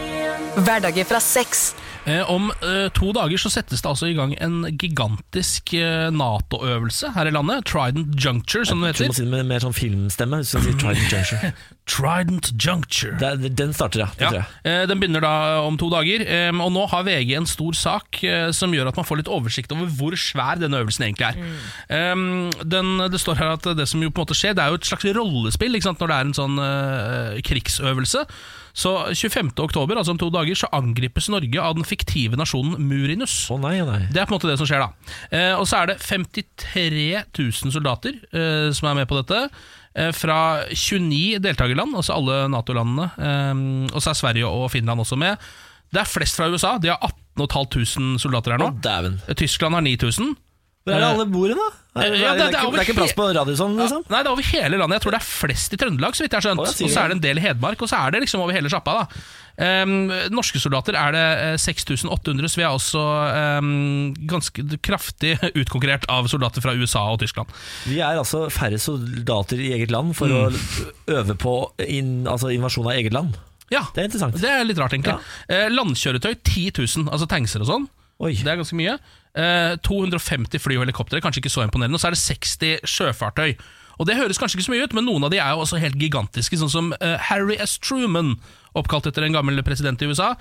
[SPEAKER 8] Hverdager fra seks.
[SPEAKER 6] Eh, om eh, to dager så settes det altså i gang en gigantisk eh, Nato-øvelse her i landet. Trident Juncture, som det
[SPEAKER 5] Du må
[SPEAKER 6] heter.
[SPEAKER 5] si det med mer sånn filmstemme. Så sier Trident
[SPEAKER 6] *laughs*
[SPEAKER 5] Juncture.
[SPEAKER 6] Trident Juncture.
[SPEAKER 5] Det er- Den starter, ja. Det
[SPEAKER 6] Ja,
[SPEAKER 5] tror jeg.
[SPEAKER 6] eh, Den begynner da om to dager, eh, og nå har VG en stor sak eh, som gjør at man får litt oversikt over hvor svær denne øvelsen egentlig er. Eh, Den, det står her at det som jo på en måte skjer, det er jo et slags rollespill ikke sant, når det er en sånn eh, krigsøvelse. Så 25. oktober, altså om to dager, så angripes Norge av den fiktive nasjonen Murinus.
[SPEAKER 5] Å nei, å nei.
[SPEAKER 6] Det er på en måte det som skjer, da. Eh, og så er det 53 000 soldater eh, som er med på dette. Eh, fra 29 deltakerland, altså alle Nato-landene. Eh, og så er Sverige og Finland også med. Det er flest fra USA. De har 18 500 soldater her nå.
[SPEAKER 5] Å, dæven.
[SPEAKER 6] Eh, Tyskland har 9000.
[SPEAKER 5] Hvor er det alle bor hen, da? Er,
[SPEAKER 6] Ja, det- det er
[SPEAKER 5] det, er ikke,
[SPEAKER 6] over
[SPEAKER 5] det er ikke plass på Radisson,
[SPEAKER 6] Ja,
[SPEAKER 5] liksom?
[SPEAKER 6] nei, det er over hele landet. Jeg tror det er flest i Trøndelag, så vidt jeg har skjønt.
[SPEAKER 5] Å, ja, sier
[SPEAKER 6] og
[SPEAKER 5] du
[SPEAKER 6] så er
[SPEAKER 5] det?
[SPEAKER 6] det en del i Hedmark, og så er det liksom over hele sjappa, da. Ehm, norske soldater er det eh, 6800, så vi er også ehm, ganske kraftig *laughs* utkonkurrert av soldater fra USA og Tyskland.
[SPEAKER 5] Vi er altså færre soldater i eget land for
[SPEAKER 6] Mm.
[SPEAKER 5] å øve på inn, altså invasjon av eget land.
[SPEAKER 6] Ja,
[SPEAKER 5] Det er interessant.
[SPEAKER 6] det er litt rart, egentlig. Eh, landkjøretøy 10 000, altså tankser og sånn.
[SPEAKER 5] Oi.
[SPEAKER 6] Det er ganske mye. Eh, 250 fly og helikoptre, kanskje ikke så imponerende. Og så er det 60 sjøfartøy. Og Det høres kanskje ikke så mye ut, men noen av de er jo også helt gigantiske, sånn som eh, Harry S. Truman, oppkalt etter en gammel president i USA.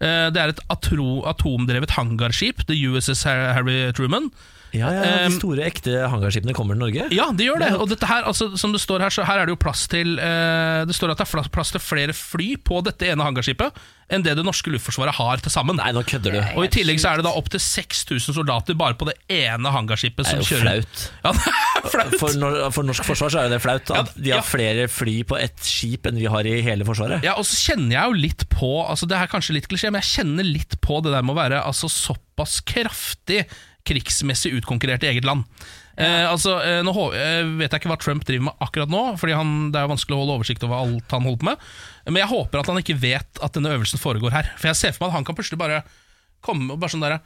[SPEAKER 6] Eh, det er et atro, atomdrevet hangarskip, The USS Har- Harry Truman.
[SPEAKER 5] Ja, ja, ja,
[SPEAKER 6] Ehm,
[SPEAKER 5] De store, ekte hangarskipene kommer til Norge.
[SPEAKER 6] Ja, det gjør det. Og dette her, altså, som det står her, så her er det jo plass til eh, Det står at det er fla- plass til flere fly på dette ene hangarskipet enn det det norske luftforsvaret har til sammen.
[SPEAKER 5] Nei, nå kødder du.
[SPEAKER 6] Og I tillegg så er det da opptil 6000 soldater bare på det ene hangarskipet som
[SPEAKER 5] Det er jo
[SPEAKER 6] kjører.
[SPEAKER 5] flaut.
[SPEAKER 6] Ja, det er flaut.
[SPEAKER 5] For, nor for norsk forsvar så er det flaut at
[SPEAKER 6] Ja,
[SPEAKER 5] de har
[SPEAKER 6] ja.
[SPEAKER 5] flere fly på ett skip enn vi har i hele Forsvaret.
[SPEAKER 6] Ja, og så kjenner jeg jo litt på Altså Det er kanskje litt klisjé, men jeg kjenner litt på det der med å være altså, såpass kraftig krigsmessig utkonkurrert i eget land. Eh, altså, eh, nå hå- eh, vet jeg ikke hva Trump driver med akkurat nå, Fordi han, det er jo vanskelig å holde oversikt over alt han holder på med. Men jeg håper at han ikke vet at denne øvelsen foregår her. For jeg ser for meg at han kan plutselig bare komme og bare sånn derre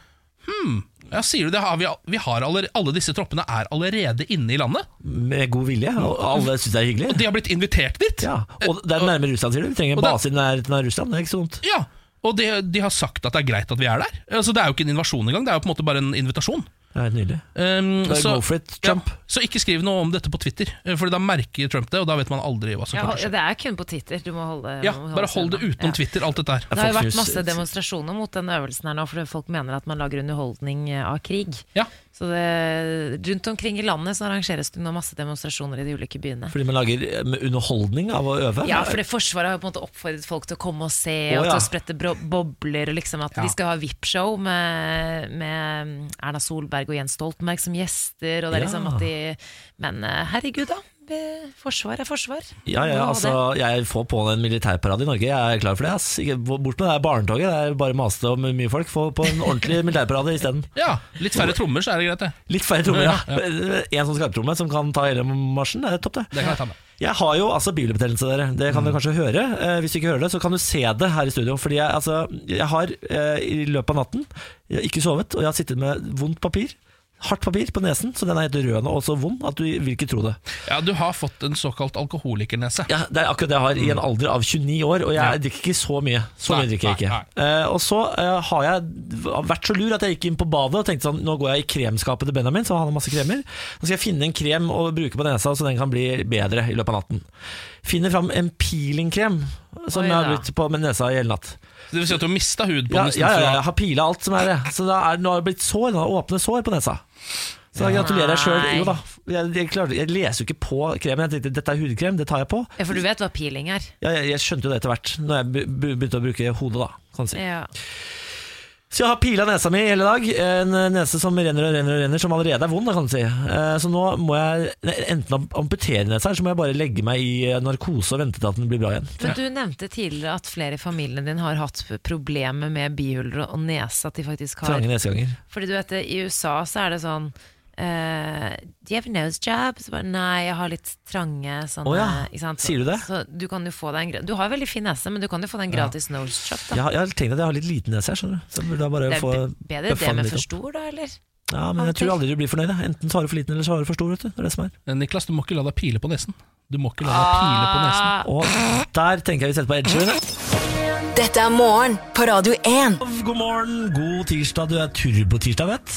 [SPEAKER 6] Hm, ja, sier du det? Har vi, vi har aller, alle disse troppene er allerede inne i landet?
[SPEAKER 5] Med god vilje, og alle syns det er hyggelig.
[SPEAKER 6] Og de har blitt invitert dit?
[SPEAKER 5] ja. og det er nærmere Russland, sier du. Vi trenger en
[SPEAKER 6] og det-
[SPEAKER 5] base i nærheten av Russland. Det er ikke så vondt.
[SPEAKER 6] Ja, og de, de har sagt at det er greit at vi er der. Altså, det er jo ikke en invasjon engang, det er jo på en måte bare en invitasjon.
[SPEAKER 5] Det er helt nydelig.
[SPEAKER 6] Um,
[SPEAKER 5] Da go for it, Trump.
[SPEAKER 6] Ja, så ikke skriv noe om dette på Twitter, for da merker Trump det, og da vet man aldri hva som
[SPEAKER 7] Ja,
[SPEAKER 6] kommer til å skje.
[SPEAKER 7] det er kun på Twitter. Du må holde
[SPEAKER 6] Ja,
[SPEAKER 7] må
[SPEAKER 6] bare hold det
[SPEAKER 7] seg unna.
[SPEAKER 6] utenom
[SPEAKER 7] Ja.
[SPEAKER 6] Twitter, alt dette her.
[SPEAKER 7] Det har jo
[SPEAKER 5] Fox
[SPEAKER 7] vært
[SPEAKER 5] News-
[SPEAKER 6] eh,
[SPEAKER 7] masse demonstrasjoner mot den øvelsen her nå, for folk mener at man lager underholdning eh, av krig.
[SPEAKER 6] Ja.
[SPEAKER 7] Så det, rundt omkring i landet så arrangeres det nå masse demonstrasjoner i de ulike byene.
[SPEAKER 5] Fordi man lager eh, med underholdning av å øve.
[SPEAKER 7] Ja, for det Forsvaret har jo på en måte oppfordret folk til å komme og se,
[SPEAKER 5] Å,
[SPEAKER 7] og
[SPEAKER 5] ja.
[SPEAKER 7] til å sprette bro bobler. og liksom At de skal ha VIP-show med, med mm, Erna Solberg og Jens Stoltenberg som gjester. Og det
[SPEAKER 5] Ja.
[SPEAKER 7] er liksom at de, men eh, herregud, da. eh, Forsvar er forsvar.
[SPEAKER 5] Ja, ja,
[SPEAKER 7] Må ha
[SPEAKER 5] altså,
[SPEAKER 7] det.
[SPEAKER 5] jeg får på en militærparade i Norge. Jeg er klar for det. Ass. Ikke, bort med det her barnetoget. Det er bare masete om mye folk. Få på en ordentlig militærparade isteden.
[SPEAKER 6] Ja, litt færre trommer, så er det greit, det.
[SPEAKER 5] Litt færre trommer, ja. *laughs* En sånn skarptromme som kan ta hele marsjen. Det er topp,
[SPEAKER 6] Det
[SPEAKER 5] det.
[SPEAKER 6] kan jeg ta med. Mm.
[SPEAKER 5] Jeg har jo altså bibelbetennelse, dere. Det kan du kanskje høre. Eh, hvis du ikke hører det, så kan du se det her i studio. Fordi jeg, altså, jeg har eh, i løpet av natten jeg har ikke sovet, og jeg har sittet med vondt papir. Hardt papir på nesen, så den er helt rød nå, og så vond at du vil ikke tro det.
[SPEAKER 6] Ja, du har fått en såkalt alkoholikernese.
[SPEAKER 5] Ja, det er akkurat det jeg har i en alder av 29 år, og jeg drikker ikke så mye. Så
[SPEAKER 6] Mm. Nei,
[SPEAKER 5] mye drikker jeg ikke.
[SPEAKER 6] nei,
[SPEAKER 5] Eh, og så eh, har jeg vært så lur at jeg gikk inn på badet og tenkte sånn Nå går jeg i kremskapet til Benjamin, så han har masse kremer. Nå skal jeg finne en krem å bruke på nesa, så den kan bli bedre i løpet av natten. Finner fram en peelingkrem som
[SPEAKER 7] Oi
[SPEAKER 5] jeg har
[SPEAKER 7] da.
[SPEAKER 5] brukt på med nesa i hele natt.
[SPEAKER 6] Det vil si at du har mista hud på
[SPEAKER 5] Ja,
[SPEAKER 6] nesten
[SPEAKER 5] ja, ja,
[SPEAKER 6] fra-
[SPEAKER 5] jeg har pila alt som er det. Så da er, nå har det blitt sår, nå har det åpne sår på nesa. Så da gratulerer jeg sjøl. Jo da. Jeg, jeg, klarte- jeg leser jo ikke på kremen. Jeg tenkte dette er hudkrem, det tar jeg på.
[SPEAKER 7] Ja, for du vet hva peeling er.
[SPEAKER 5] Ja, jeg, jeg skjønte jo det etter hvert, når jeg be- be- begynte å bruke hodet. da kan du si.
[SPEAKER 7] Ja.
[SPEAKER 5] Så jeg har pila nesa mi hele dag. En nese som renner og renner, og renner som allerede er vond. da kan du si Eh, Så nå må jeg enten am- amputere nesa, eller så må jeg bare legge meg i eh, narkose og vente til at den blir bra igjen.
[SPEAKER 7] Men du nevnte tidligere at flere i familien din har hatt problemer med bihuler og nese. At de faktisk har
[SPEAKER 5] Trange neseganger.
[SPEAKER 7] Fordi du vet, i USA så er det sånn eh, Do you have a nose job? Så bare, Nei, jeg har litt trange sånne
[SPEAKER 5] Å ja,
[SPEAKER 7] ikke sant?
[SPEAKER 5] sier du det?
[SPEAKER 7] Så du kan jo få deg en gra- Du har veldig fin nese, men du kan jo få deg en gratis nose job, da.
[SPEAKER 5] Jeg har, jeg har tenkt at jeg har litt liten nese her, skjønner du. Så jeg burde jeg bare
[SPEAKER 7] det er
[SPEAKER 5] få
[SPEAKER 7] be- bedre
[SPEAKER 5] bøffa
[SPEAKER 7] det
[SPEAKER 5] den
[SPEAKER 7] med
[SPEAKER 5] litt
[SPEAKER 7] for
[SPEAKER 5] opp.
[SPEAKER 7] stor, da, eller?
[SPEAKER 5] Ja, men jeg tror aldri du blir fornøyd. jeg. Enten så har du for liten, eller så har du for stor. Vet du. Det er det som er.
[SPEAKER 6] Eh, Niklas, du må ikke la deg pile på nesen. Du må ikke la deg pile på nesen.
[SPEAKER 7] Ah.
[SPEAKER 5] Og der tenker jeg vi setter på edgen.
[SPEAKER 8] Dette er morgen på Radio 1.
[SPEAKER 5] God morgen, god tirsdag. Du er turbotirsdag, vet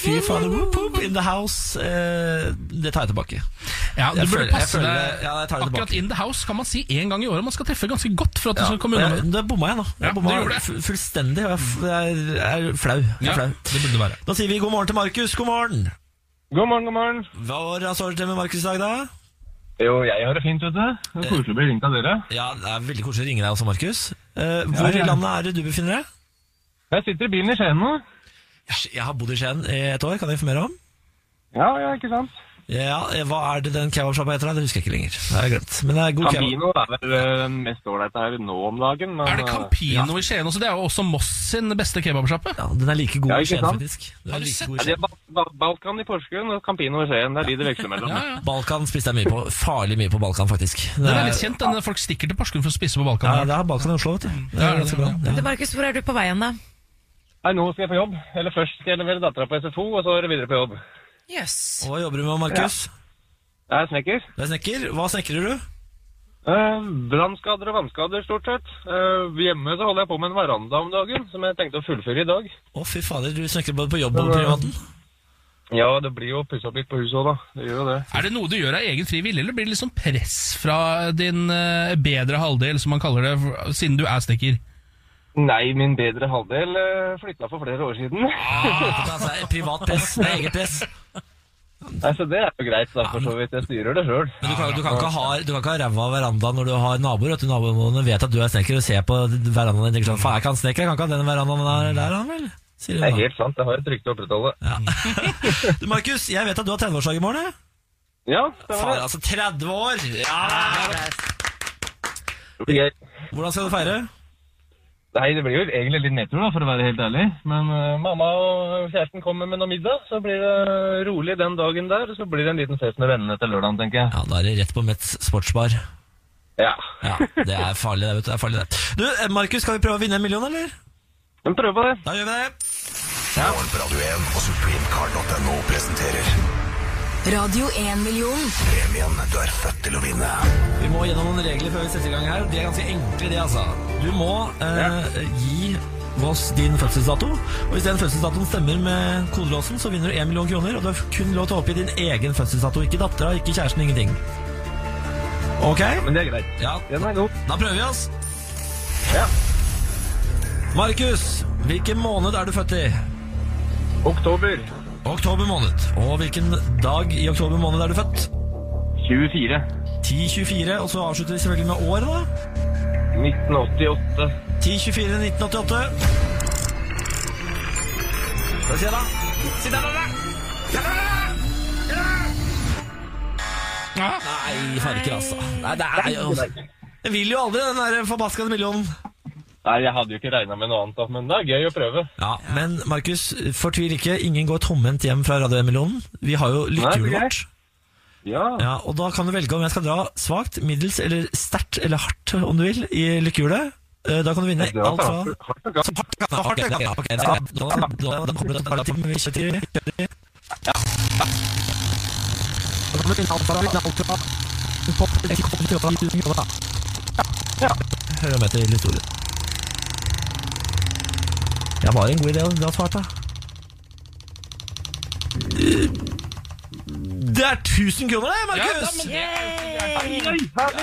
[SPEAKER 5] Fy fader, whoop, whoop, in the house. Eh, det tar jeg tilbake.
[SPEAKER 6] Ja, du
[SPEAKER 5] Jeg
[SPEAKER 6] burde
[SPEAKER 5] føler- jeg
[SPEAKER 6] passe
[SPEAKER 5] føler-
[SPEAKER 6] deg
[SPEAKER 5] ja, jeg tar det
[SPEAKER 6] Akkurat
[SPEAKER 5] tilbake.
[SPEAKER 6] in the house kan man si én gang i året. Man skal treffe ganske godt for at du skal komme unna med det.
[SPEAKER 5] Jeg- Da bomma jeg nå.
[SPEAKER 6] Ja,
[SPEAKER 5] Jeg bomma
[SPEAKER 6] du gjorde det.
[SPEAKER 5] fu- fullstendig. og Jeg f- jeg er, er flau. Jeg
[SPEAKER 6] Ja,
[SPEAKER 5] er flau.
[SPEAKER 6] det burde det være.
[SPEAKER 5] Da sier vi god morgen til Markus. God morgen.
[SPEAKER 11] God morgen, god morgen.
[SPEAKER 5] Hva har såret til med Markus i dag, da?
[SPEAKER 11] Jo, jeg har det fint, vet du. Det er Koselig å bli ringt av dere.
[SPEAKER 5] Ja, Det er veldig koselig å ringe deg også, Markus. Eh, hvor
[SPEAKER 11] ja.
[SPEAKER 5] i landet er det du befinner deg?
[SPEAKER 11] Jeg sitter i bilen i Skien nå.
[SPEAKER 5] Jeg har bodd i Skien i et år, kan jeg informere om.
[SPEAKER 11] Ja, ja, ikke sant?
[SPEAKER 5] Ja, eh, Hva er det den kebabsjappa heter? da? Det husker jeg ikke lenger. Det har jeg glemt. Men det er god kebab.
[SPEAKER 11] Campino er vel eh, den mest ålreite her nå om dagen. Men,
[SPEAKER 6] Er det Campino i Skien også? Det er jo også Moss sin beste kebabsjappe.
[SPEAKER 5] Ja, den er like god
[SPEAKER 11] Ja,
[SPEAKER 5] i
[SPEAKER 11] ikke
[SPEAKER 5] Skien,
[SPEAKER 11] sant?
[SPEAKER 5] faktisk. Den er
[SPEAKER 6] Har du
[SPEAKER 5] like
[SPEAKER 6] sett
[SPEAKER 5] god i
[SPEAKER 11] eh,
[SPEAKER 5] Skien.
[SPEAKER 11] Ja, det er ba ba Balkan i Porsgrunn og Campino i Skien. Det er de det veksler mellom.
[SPEAKER 6] Ja, ja.
[SPEAKER 5] Balkan spiste jeg mye på. Farlig mye på Balkan, faktisk. Det
[SPEAKER 6] Den
[SPEAKER 5] er-
[SPEAKER 6] er litt kjent, den folk stikker til Porsgrunn for å spise på
[SPEAKER 5] Ja,
[SPEAKER 6] Balkan.
[SPEAKER 5] det er Balkan i Oslo, vet du. Det
[SPEAKER 6] Ja,
[SPEAKER 5] er ganske bra. Ja.
[SPEAKER 7] Du, Markus, hvor er du på vei hen, da?
[SPEAKER 11] Nei, nå skal jeg på jobb. Eller først skal jeg levere dattera på SFO, og så er det videre på jobb.
[SPEAKER 7] Jøss.
[SPEAKER 5] Og Hva jobber du med, Markus?
[SPEAKER 11] Jeg er snekker.
[SPEAKER 5] Du er snekker. Hva snekrer du?
[SPEAKER 11] Eh, Brannskader og vannskader, stort sett. Eh, hjemme så holder jeg på med en veranda om dagen, som jeg tenkte å fullføre i dag.
[SPEAKER 5] Å, fy fader, du snekrer både på jobb og på privaten.
[SPEAKER 11] Ja, det blir jo pussa opp litt på huset òg, da. Det gjør jo det.
[SPEAKER 6] Er det noe du gjør av egen fri vilje, eller blir det liksom press fra din eh, bedre halvdel, som man kaller det, for- siden du er snekker?
[SPEAKER 11] Nei, min bedre halvdel eh, flytta for flere år siden.
[SPEAKER 5] Altså, privat press, det er eget press.
[SPEAKER 11] Nei, så det er jo greit, da, for så vidt. Jeg styrer det sjøl.
[SPEAKER 5] Men du kan, du kan ikke ha, du kan ikke ha ræva av verandaen når du har naboer. At naboene vet at du er snekker og ser på verandaen din og tenker sånn Faen, jeg kan snekker, jeg kan ikke ha den verandaen der, der han vel? Sier
[SPEAKER 11] Det er
[SPEAKER 5] de da.
[SPEAKER 11] helt sant. Jeg har et rykte å opprettholde. Ja,
[SPEAKER 5] *laughs* Du, Markus, jeg vet at du har 30-årsdag i morgen. jeg.
[SPEAKER 11] stemmer
[SPEAKER 5] Faen,
[SPEAKER 11] det.
[SPEAKER 5] altså 30 år! Ja.
[SPEAKER 11] Det blir gøy.
[SPEAKER 5] Hvordan skal du feire?
[SPEAKER 11] Nei, det blir jo egentlig litt nedtur, da, for å være helt ærlig. Men eh, mamma og kjæresten kommer med noe middag, så blir det rolig den dagen der. Så blir det en liten fest med vennene til lørdagen, tenker jeg.
[SPEAKER 5] Ja, Da er det rett på Mets sportsbar.
[SPEAKER 11] Ja.
[SPEAKER 5] Ja, Det er farlig, det. vet Du, det er farlig det. Du, eh, Markus, skal vi prøve å vinne en million, eller?
[SPEAKER 11] Men prøv på det.
[SPEAKER 5] Da gjør vi det.
[SPEAKER 8] Radio 1-million.
[SPEAKER 5] Vi må gjennom noen regler før vi setter i gang her. De er ganske enkle, de, altså. Du må eh, gi oss din fødselsdato. Og hvis den fødselsdatoen stemmer med kodelåsen, så vinner du 1 million kroner. Og du har kun lov til å oppgi din egen fødselsdato. Ikke dattera, ikke kjæresten, ingenting. Ok?
[SPEAKER 11] Men det er greit.
[SPEAKER 5] Ja,
[SPEAKER 11] Den er god.
[SPEAKER 5] da prøver vi oss.
[SPEAKER 11] Ja.
[SPEAKER 5] Markus, hvilken måned er du født i?
[SPEAKER 11] Oktober
[SPEAKER 5] Oktober måned. Og hvilken dag i oktober måned er du født?
[SPEAKER 11] 24.
[SPEAKER 5] 1024, og så avslutter vi selvfølgelig med år, da.
[SPEAKER 11] 1988.
[SPEAKER 5] 1024 1988. Skal vi se, da. Se der, da, da! Ja, da, da, da! Ja, da, da! Nei, farker, altså. Nei, det er jo Jeg vil jo aldri den der forbaskede millionen.
[SPEAKER 11] Nei, jeg hadde jo ikke regna med noe annet, da, men det er gøy å prøve.
[SPEAKER 5] Ja, Men Markus, fortvil ikke. Ingen går tomhendt hjem fra Radio 1-millionen. Vi har jo lykkehjulet
[SPEAKER 11] Nei, det er
[SPEAKER 5] vårt.
[SPEAKER 11] Ja.
[SPEAKER 5] Ja, og da kan du velge om jeg skal dra svakt, middels eller sterkt eller hardt, om du vil, i lykkehjulet. Eh, Da kan du vinne
[SPEAKER 11] Det var
[SPEAKER 5] alt fra
[SPEAKER 11] hardt- hardt og galt.
[SPEAKER 5] Hør om etter historien. Jeg var en god idé, du har svart, da. Det er 1000 kroner, det, Markus! Ja, ja, ja, ja, ja,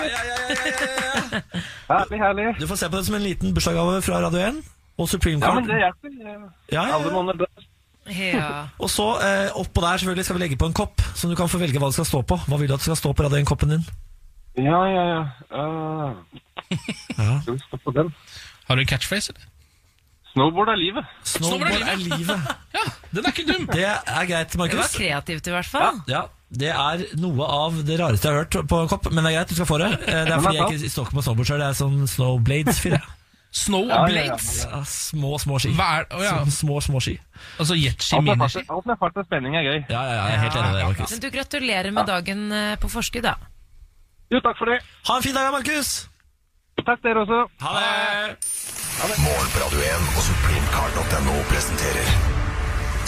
[SPEAKER 5] ja.
[SPEAKER 11] eh, Herlig, herlig.
[SPEAKER 5] Du får se på det som en liten bursdagsgave fra Radio 1 og Supreme
[SPEAKER 11] Ja,
[SPEAKER 5] Court.
[SPEAKER 11] men det hjelper.
[SPEAKER 5] Ja, ja,
[SPEAKER 11] Alle
[SPEAKER 5] ja.
[SPEAKER 11] måneder bra.
[SPEAKER 7] Ja.
[SPEAKER 5] Og så eh, oppå der selvfølgelig skal vi legge på en kopp, som du kan få velge hva det skal stå på. Hva vil du at det skal stå på Radio 1-koppen din?
[SPEAKER 11] Ja, ja, ja. Uh, Skal vi stå på den?
[SPEAKER 6] Har du en catchphrase, eller?
[SPEAKER 11] Snowboard er livet.
[SPEAKER 5] Snowboard er livet.
[SPEAKER 6] *laughs* Ja, den er ikke dum!
[SPEAKER 5] Det er greit,
[SPEAKER 7] Det var
[SPEAKER 5] Markus.
[SPEAKER 7] kreativt, i hvert fall.
[SPEAKER 5] Ja, det er noe av det rareste jeg har hørt på en kopp, men det er greit, du skal få det. Eh, Det er fordi jeg ikke står ikke på snowboard sjøl, det er sånn snowblades-fyr.
[SPEAKER 6] *laughs*
[SPEAKER 5] jeg.
[SPEAKER 6] Snow
[SPEAKER 11] Ja, ja, ja,
[SPEAKER 6] Blades.
[SPEAKER 5] Ja, små, små ski.
[SPEAKER 6] Hva er, å ja.
[SPEAKER 5] Sånn Små, små ski.
[SPEAKER 6] Altså jetski,
[SPEAKER 11] Alt er
[SPEAKER 6] miniski.
[SPEAKER 11] fart- Alt med fart og spenning er gøy.
[SPEAKER 5] Ja, ja, ja, jeg er helt enig med deg, Markus.
[SPEAKER 7] Men du gratulerer med dagen eh, på forskudd, da.
[SPEAKER 11] Jo, takk for det.
[SPEAKER 5] Ha en fin dag, da, Markus!
[SPEAKER 11] Takk dere også.
[SPEAKER 5] Ha det!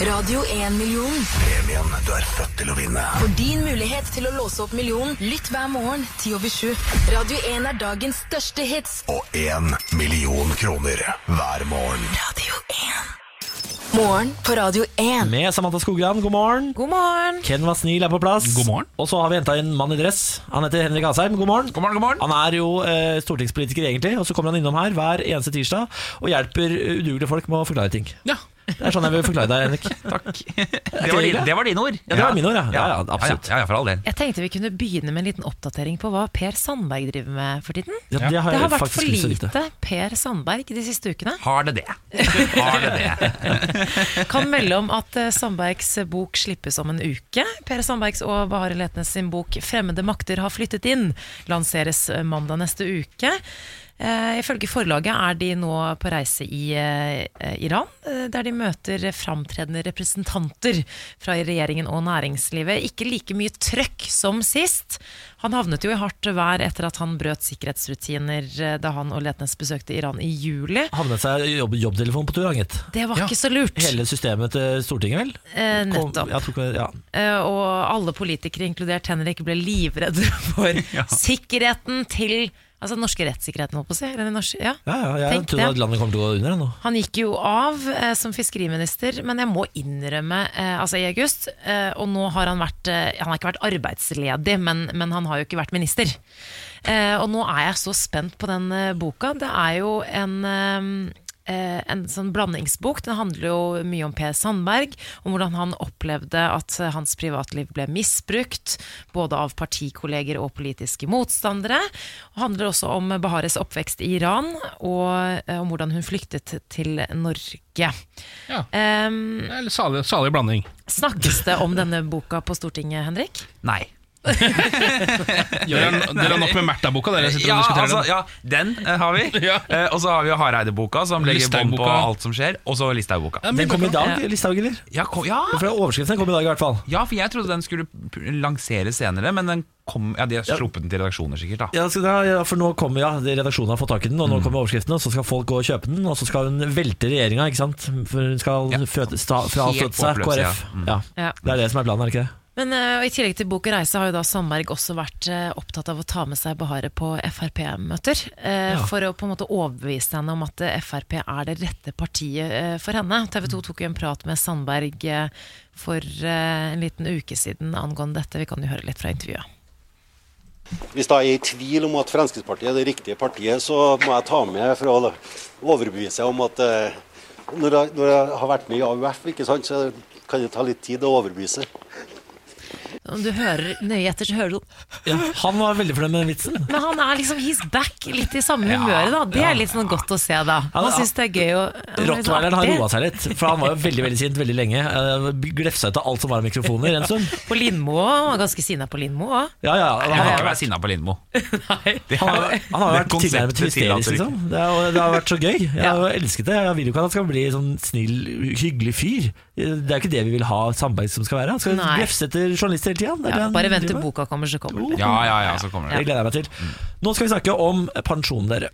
[SPEAKER 8] Radio 1-million.
[SPEAKER 12] Premien du er født til å vinne.
[SPEAKER 8] For din mulighet til å låse opp millionen, lytt hver morgen 10 over 7. Radio 1 er dagens største hits.
[SPEAKER 12] Og én million kroner hver morgen. Radio 1.
[SPEAKER 8] Morgen på Radio 1.
[SPEAKER 5] Med Samantha Skogran, god morgen.
[SPEAKER 7] God morgen.
[SPEAKER 5] Ken Vasnil er på plass. God morgen. Og så har vi henta en mann i dress. Han heter Henrik Asheim. God morgen.
[SPEAKER 6] God morgen, god morgen.
[SPEAKER 5] Han er jo eh, stortingspolitiker, egentlig, og så kommer han innom her hver eneste tirsdag og hjelper eh, udugelige folk med å forklare ting.
[SPEAKER 6] Ja.
[SPEAKER 5] Det er sånn jeg vil forklare deg,
[SPEAKER 6] *laughs*
[SPEAKER 5] Henrik. Takk.
[SPEAKER 13] Det var, din- det var dine ord.
[SPEAKER 5] Ja, det var mine ord, ja. Ja, ja, absolutt.
[SPEAKER 13] Ja, ja, ja, for all del.
[SPEAKER 7] Jeg tenkte vi kunne begynne med en liten oppdatering på hva Per Sandberg driver med for tiden.
[SPEAKER 13] Ja, det har jeg
[SPEAKER 7] vært
[SPEAKER 13] faktisk
[SPEAKER 7] for
[SPEAKER 13] lyst til å
[SPEAKER 7] lite Per Sandberg de siste ukene.
[SPEAKER 13] Har det det? Har det det?
[SPEAKER 7] Kan melde om at eh, Sandbergs bok slippes om en uke. Per Sandbergs og Bahareh Letnes sin bok 'Fremmede makter har flyttet inn' lanseres eh, mandag neste uke. Eh, ifølge forlaget er de nå på reise i eh, eh, Iran, eh, der de møter framtredende representanter fra regjeringen og næringslivet. Ikke like mye trøkk som sist. Han havnet jo i hardt vær etter at han brøt sikkerhetsrutiner eh, da han og Letnes besøkte Iran i juli.
[SPEAKER 5] Hadde med seg jobb, jobbtelefon på tur, han gitt.
[SPEAKER 7] Det var ikke så lurt.
[SPEAKER 5] Hele systemet til Stortinget, vel?
[SPEAKER 7] Eh, nettopp.
[SPEAKER 5] Kom, jeg tror ikke- ja.
[SPEAKER 7] Eh, Og alle politikere, inkludert Henrik, ble livredde *laughs* for
[SPEAKER 5] *laughs*
[SPEAKER 7] sikkerheten til Altså den norske rettssikkerheten, holdt på å si. Eller den norske, ja.
[SPEAKER 5] Ja, ja, jeg
[SPEAKER 7] Tenk
[SPEAKER 5] trodde
[SPEAKER 7] det.
[SPEAKER 5] at landet kom til å gå under jeg, nå.
[SPEAKER 7] Han gikk jo av eh, som fiskeriminister, men jeg må innrømme eh, Altså i august, eh, og nå har han vært eh, Han har ikke vært arbeidsledig, men, men han har jo ikke vært minister. Eh, og nå er jeg så spent på den eh, boka. Det er jo en eh, eh, en sånn blandingsbok. Den handler jo mye om Per Sandberg, om hvordan han opplevde at eh, hans privatliv ble misbrukt, både av partikolleger og politiske motstandere. Og handler også om Bahares oppvekst i Iran, og eh, om hvordan hun flyktet til Norge.
[SPEAKER 6] Ja.
[SPEAKER 7] Em,
[SPEAKER 6] *laughs* Det er litt salig, salig blanding.
[SPEAKER 7] snakkes det om denne boka på Stortinget, Henrik?
[SPEAKER 13] Nei.
[SPEAKER 6] Dere har- dere har nok med Märtha-boka, dere sitter og diskuterer den.
[SPEAKER 13] Ja, altså, den eh, har
[SPEAKER 6] *laughs*
[SPEAKER 13] vi. Eh, og så har vi jo Hareide-boka, som legger bånd på
[SPEAKER 6] Listhaug-boka.
[SPEAKER 13] alt som skjer. Og så Listhaug-boka.
[SPEAKER 5] Den kom i dag, Listhaug, eller?
[SPEAKER 13] Ja, kom, ja.
[SPEAKER 5] For det er overskriften den kom i dag, i hvert fall.
[SPEAKER 13] ja, for jeg trodde den skulle p- lanseres senere, men den kom, ja, de har sluppet den til redaksjoner, sikkert. da
[SPEAKER 5] Ja, så da, ja, for nå kommer ja, redaksjonen har fått tak i den, og nå
[SPEAKER 13] Mm.
[SPEAKER 5] kommer overskriften, og så skal folk gå og kjøpe den, og så skal hun velte regjeringa, ikke sant? For hun skal føte, sta, frastøtte seg
[SPEAKER 13] håpløs,
[SPEAKER 5] KrF.
[SPEAKER 13] ja. Mm.
[SPEAKER 5] Ja.
[SPEAKER 7] Ja.
[SPEAKER 5] Det er det som er planen, er det ikke det?
[SPEAKER 7] Men eh, og I tillegg til Bok og reise har jo da Sandberg også vært eh, opptatt av å ta med seg Bahareh på Frp-møter. eh,
[SPEAKER 14] Ja.
[SPEAKER 7] For å på en måte overbevise henne om at eh, Frp er det rette partiet eh, for henne. TV 2 tok jo en prat med Sandberg eh, for eh, en liten uke siden angående dette. Vi kan jo høre litt fra intervjuet.
[SPEAKER 15] Hvis da jeg er i tvil om at Fremskrittspartiet er det riktige partiet, så må jeg ta med for å overbevise om at eh, når jeg, når jeg har vært med i AUF, ikke sant, så kan det ta litt tid å overbevise.
[SPEAKER 7] Om du hører nøye etter, så hører du
[SPEAKER 5] Ja, han var veldig fornøyd med den vitsen.
[SPEAKER 7] Men han er liksom he's back, litt i samme
[SPEAKER 5] Ja,
[SPEAKER 7] humøret, da. Det
[SPEAKER 5] ja.
[SPEAKER 7] er litt sånn godt å se, da.
[SPEAKER 5] Ja,
[SPEAKER 7] Han
[SPEAKER 5] det-
[SPEAKER 7] syns det er gøy å han er litt sånn
[SPEAKER 5] Rottweileren har
[SPEAKER 7] artig.
[SPEAKER 5] roa seg litt, for han var jo veldig veldig sint veldig lenge. Eh, Glefsa ut av alt som var av mikrofoner en stund.
[SPEAKER 7] På Lindmo òg, han var ganske sinna på Lindmo òg.
[SPEAKER 5] Ja, ja,
[SPEAKER 13] Jeg kan ikke være sinna på
[SPEAKER 5] *laughs*
[SPEAKER 13] Lindmo. Det er-
[SPEAKER 5] Han har, han har
[SPEAKER 13] det
[SPEAKER 5] vært
[SPEAKER 13] konseptet
[SPEAKER 5] tilnærmet
[SPEAKER 13] tillater
[SPEAKER 5] hysterisk,
[SPEAKER 13] ikke.
[SPEAKER 5] liksom. Det, er, jo- det har vært så gøy. Jeg har jo elsket det. Jeg vil jo ikke at han skal bli sånn snill, hyggelig fyr. Det er jo ikke det vi vil ha Sandberg som skal være. Han skal
[SPEAKER 7] Nei.
[SPEAKER 5] glefse etter journalister hele tida.
[SPEAKER 7] Ja, bare vent til boka kommer, så kommer det.
[SPEAKER 13] Ja, ja, ja, så kommer det. Mm.
[SPEAKER 5] Det gleder jeg meg til. Nå skal vi snakke om pensjonen dere.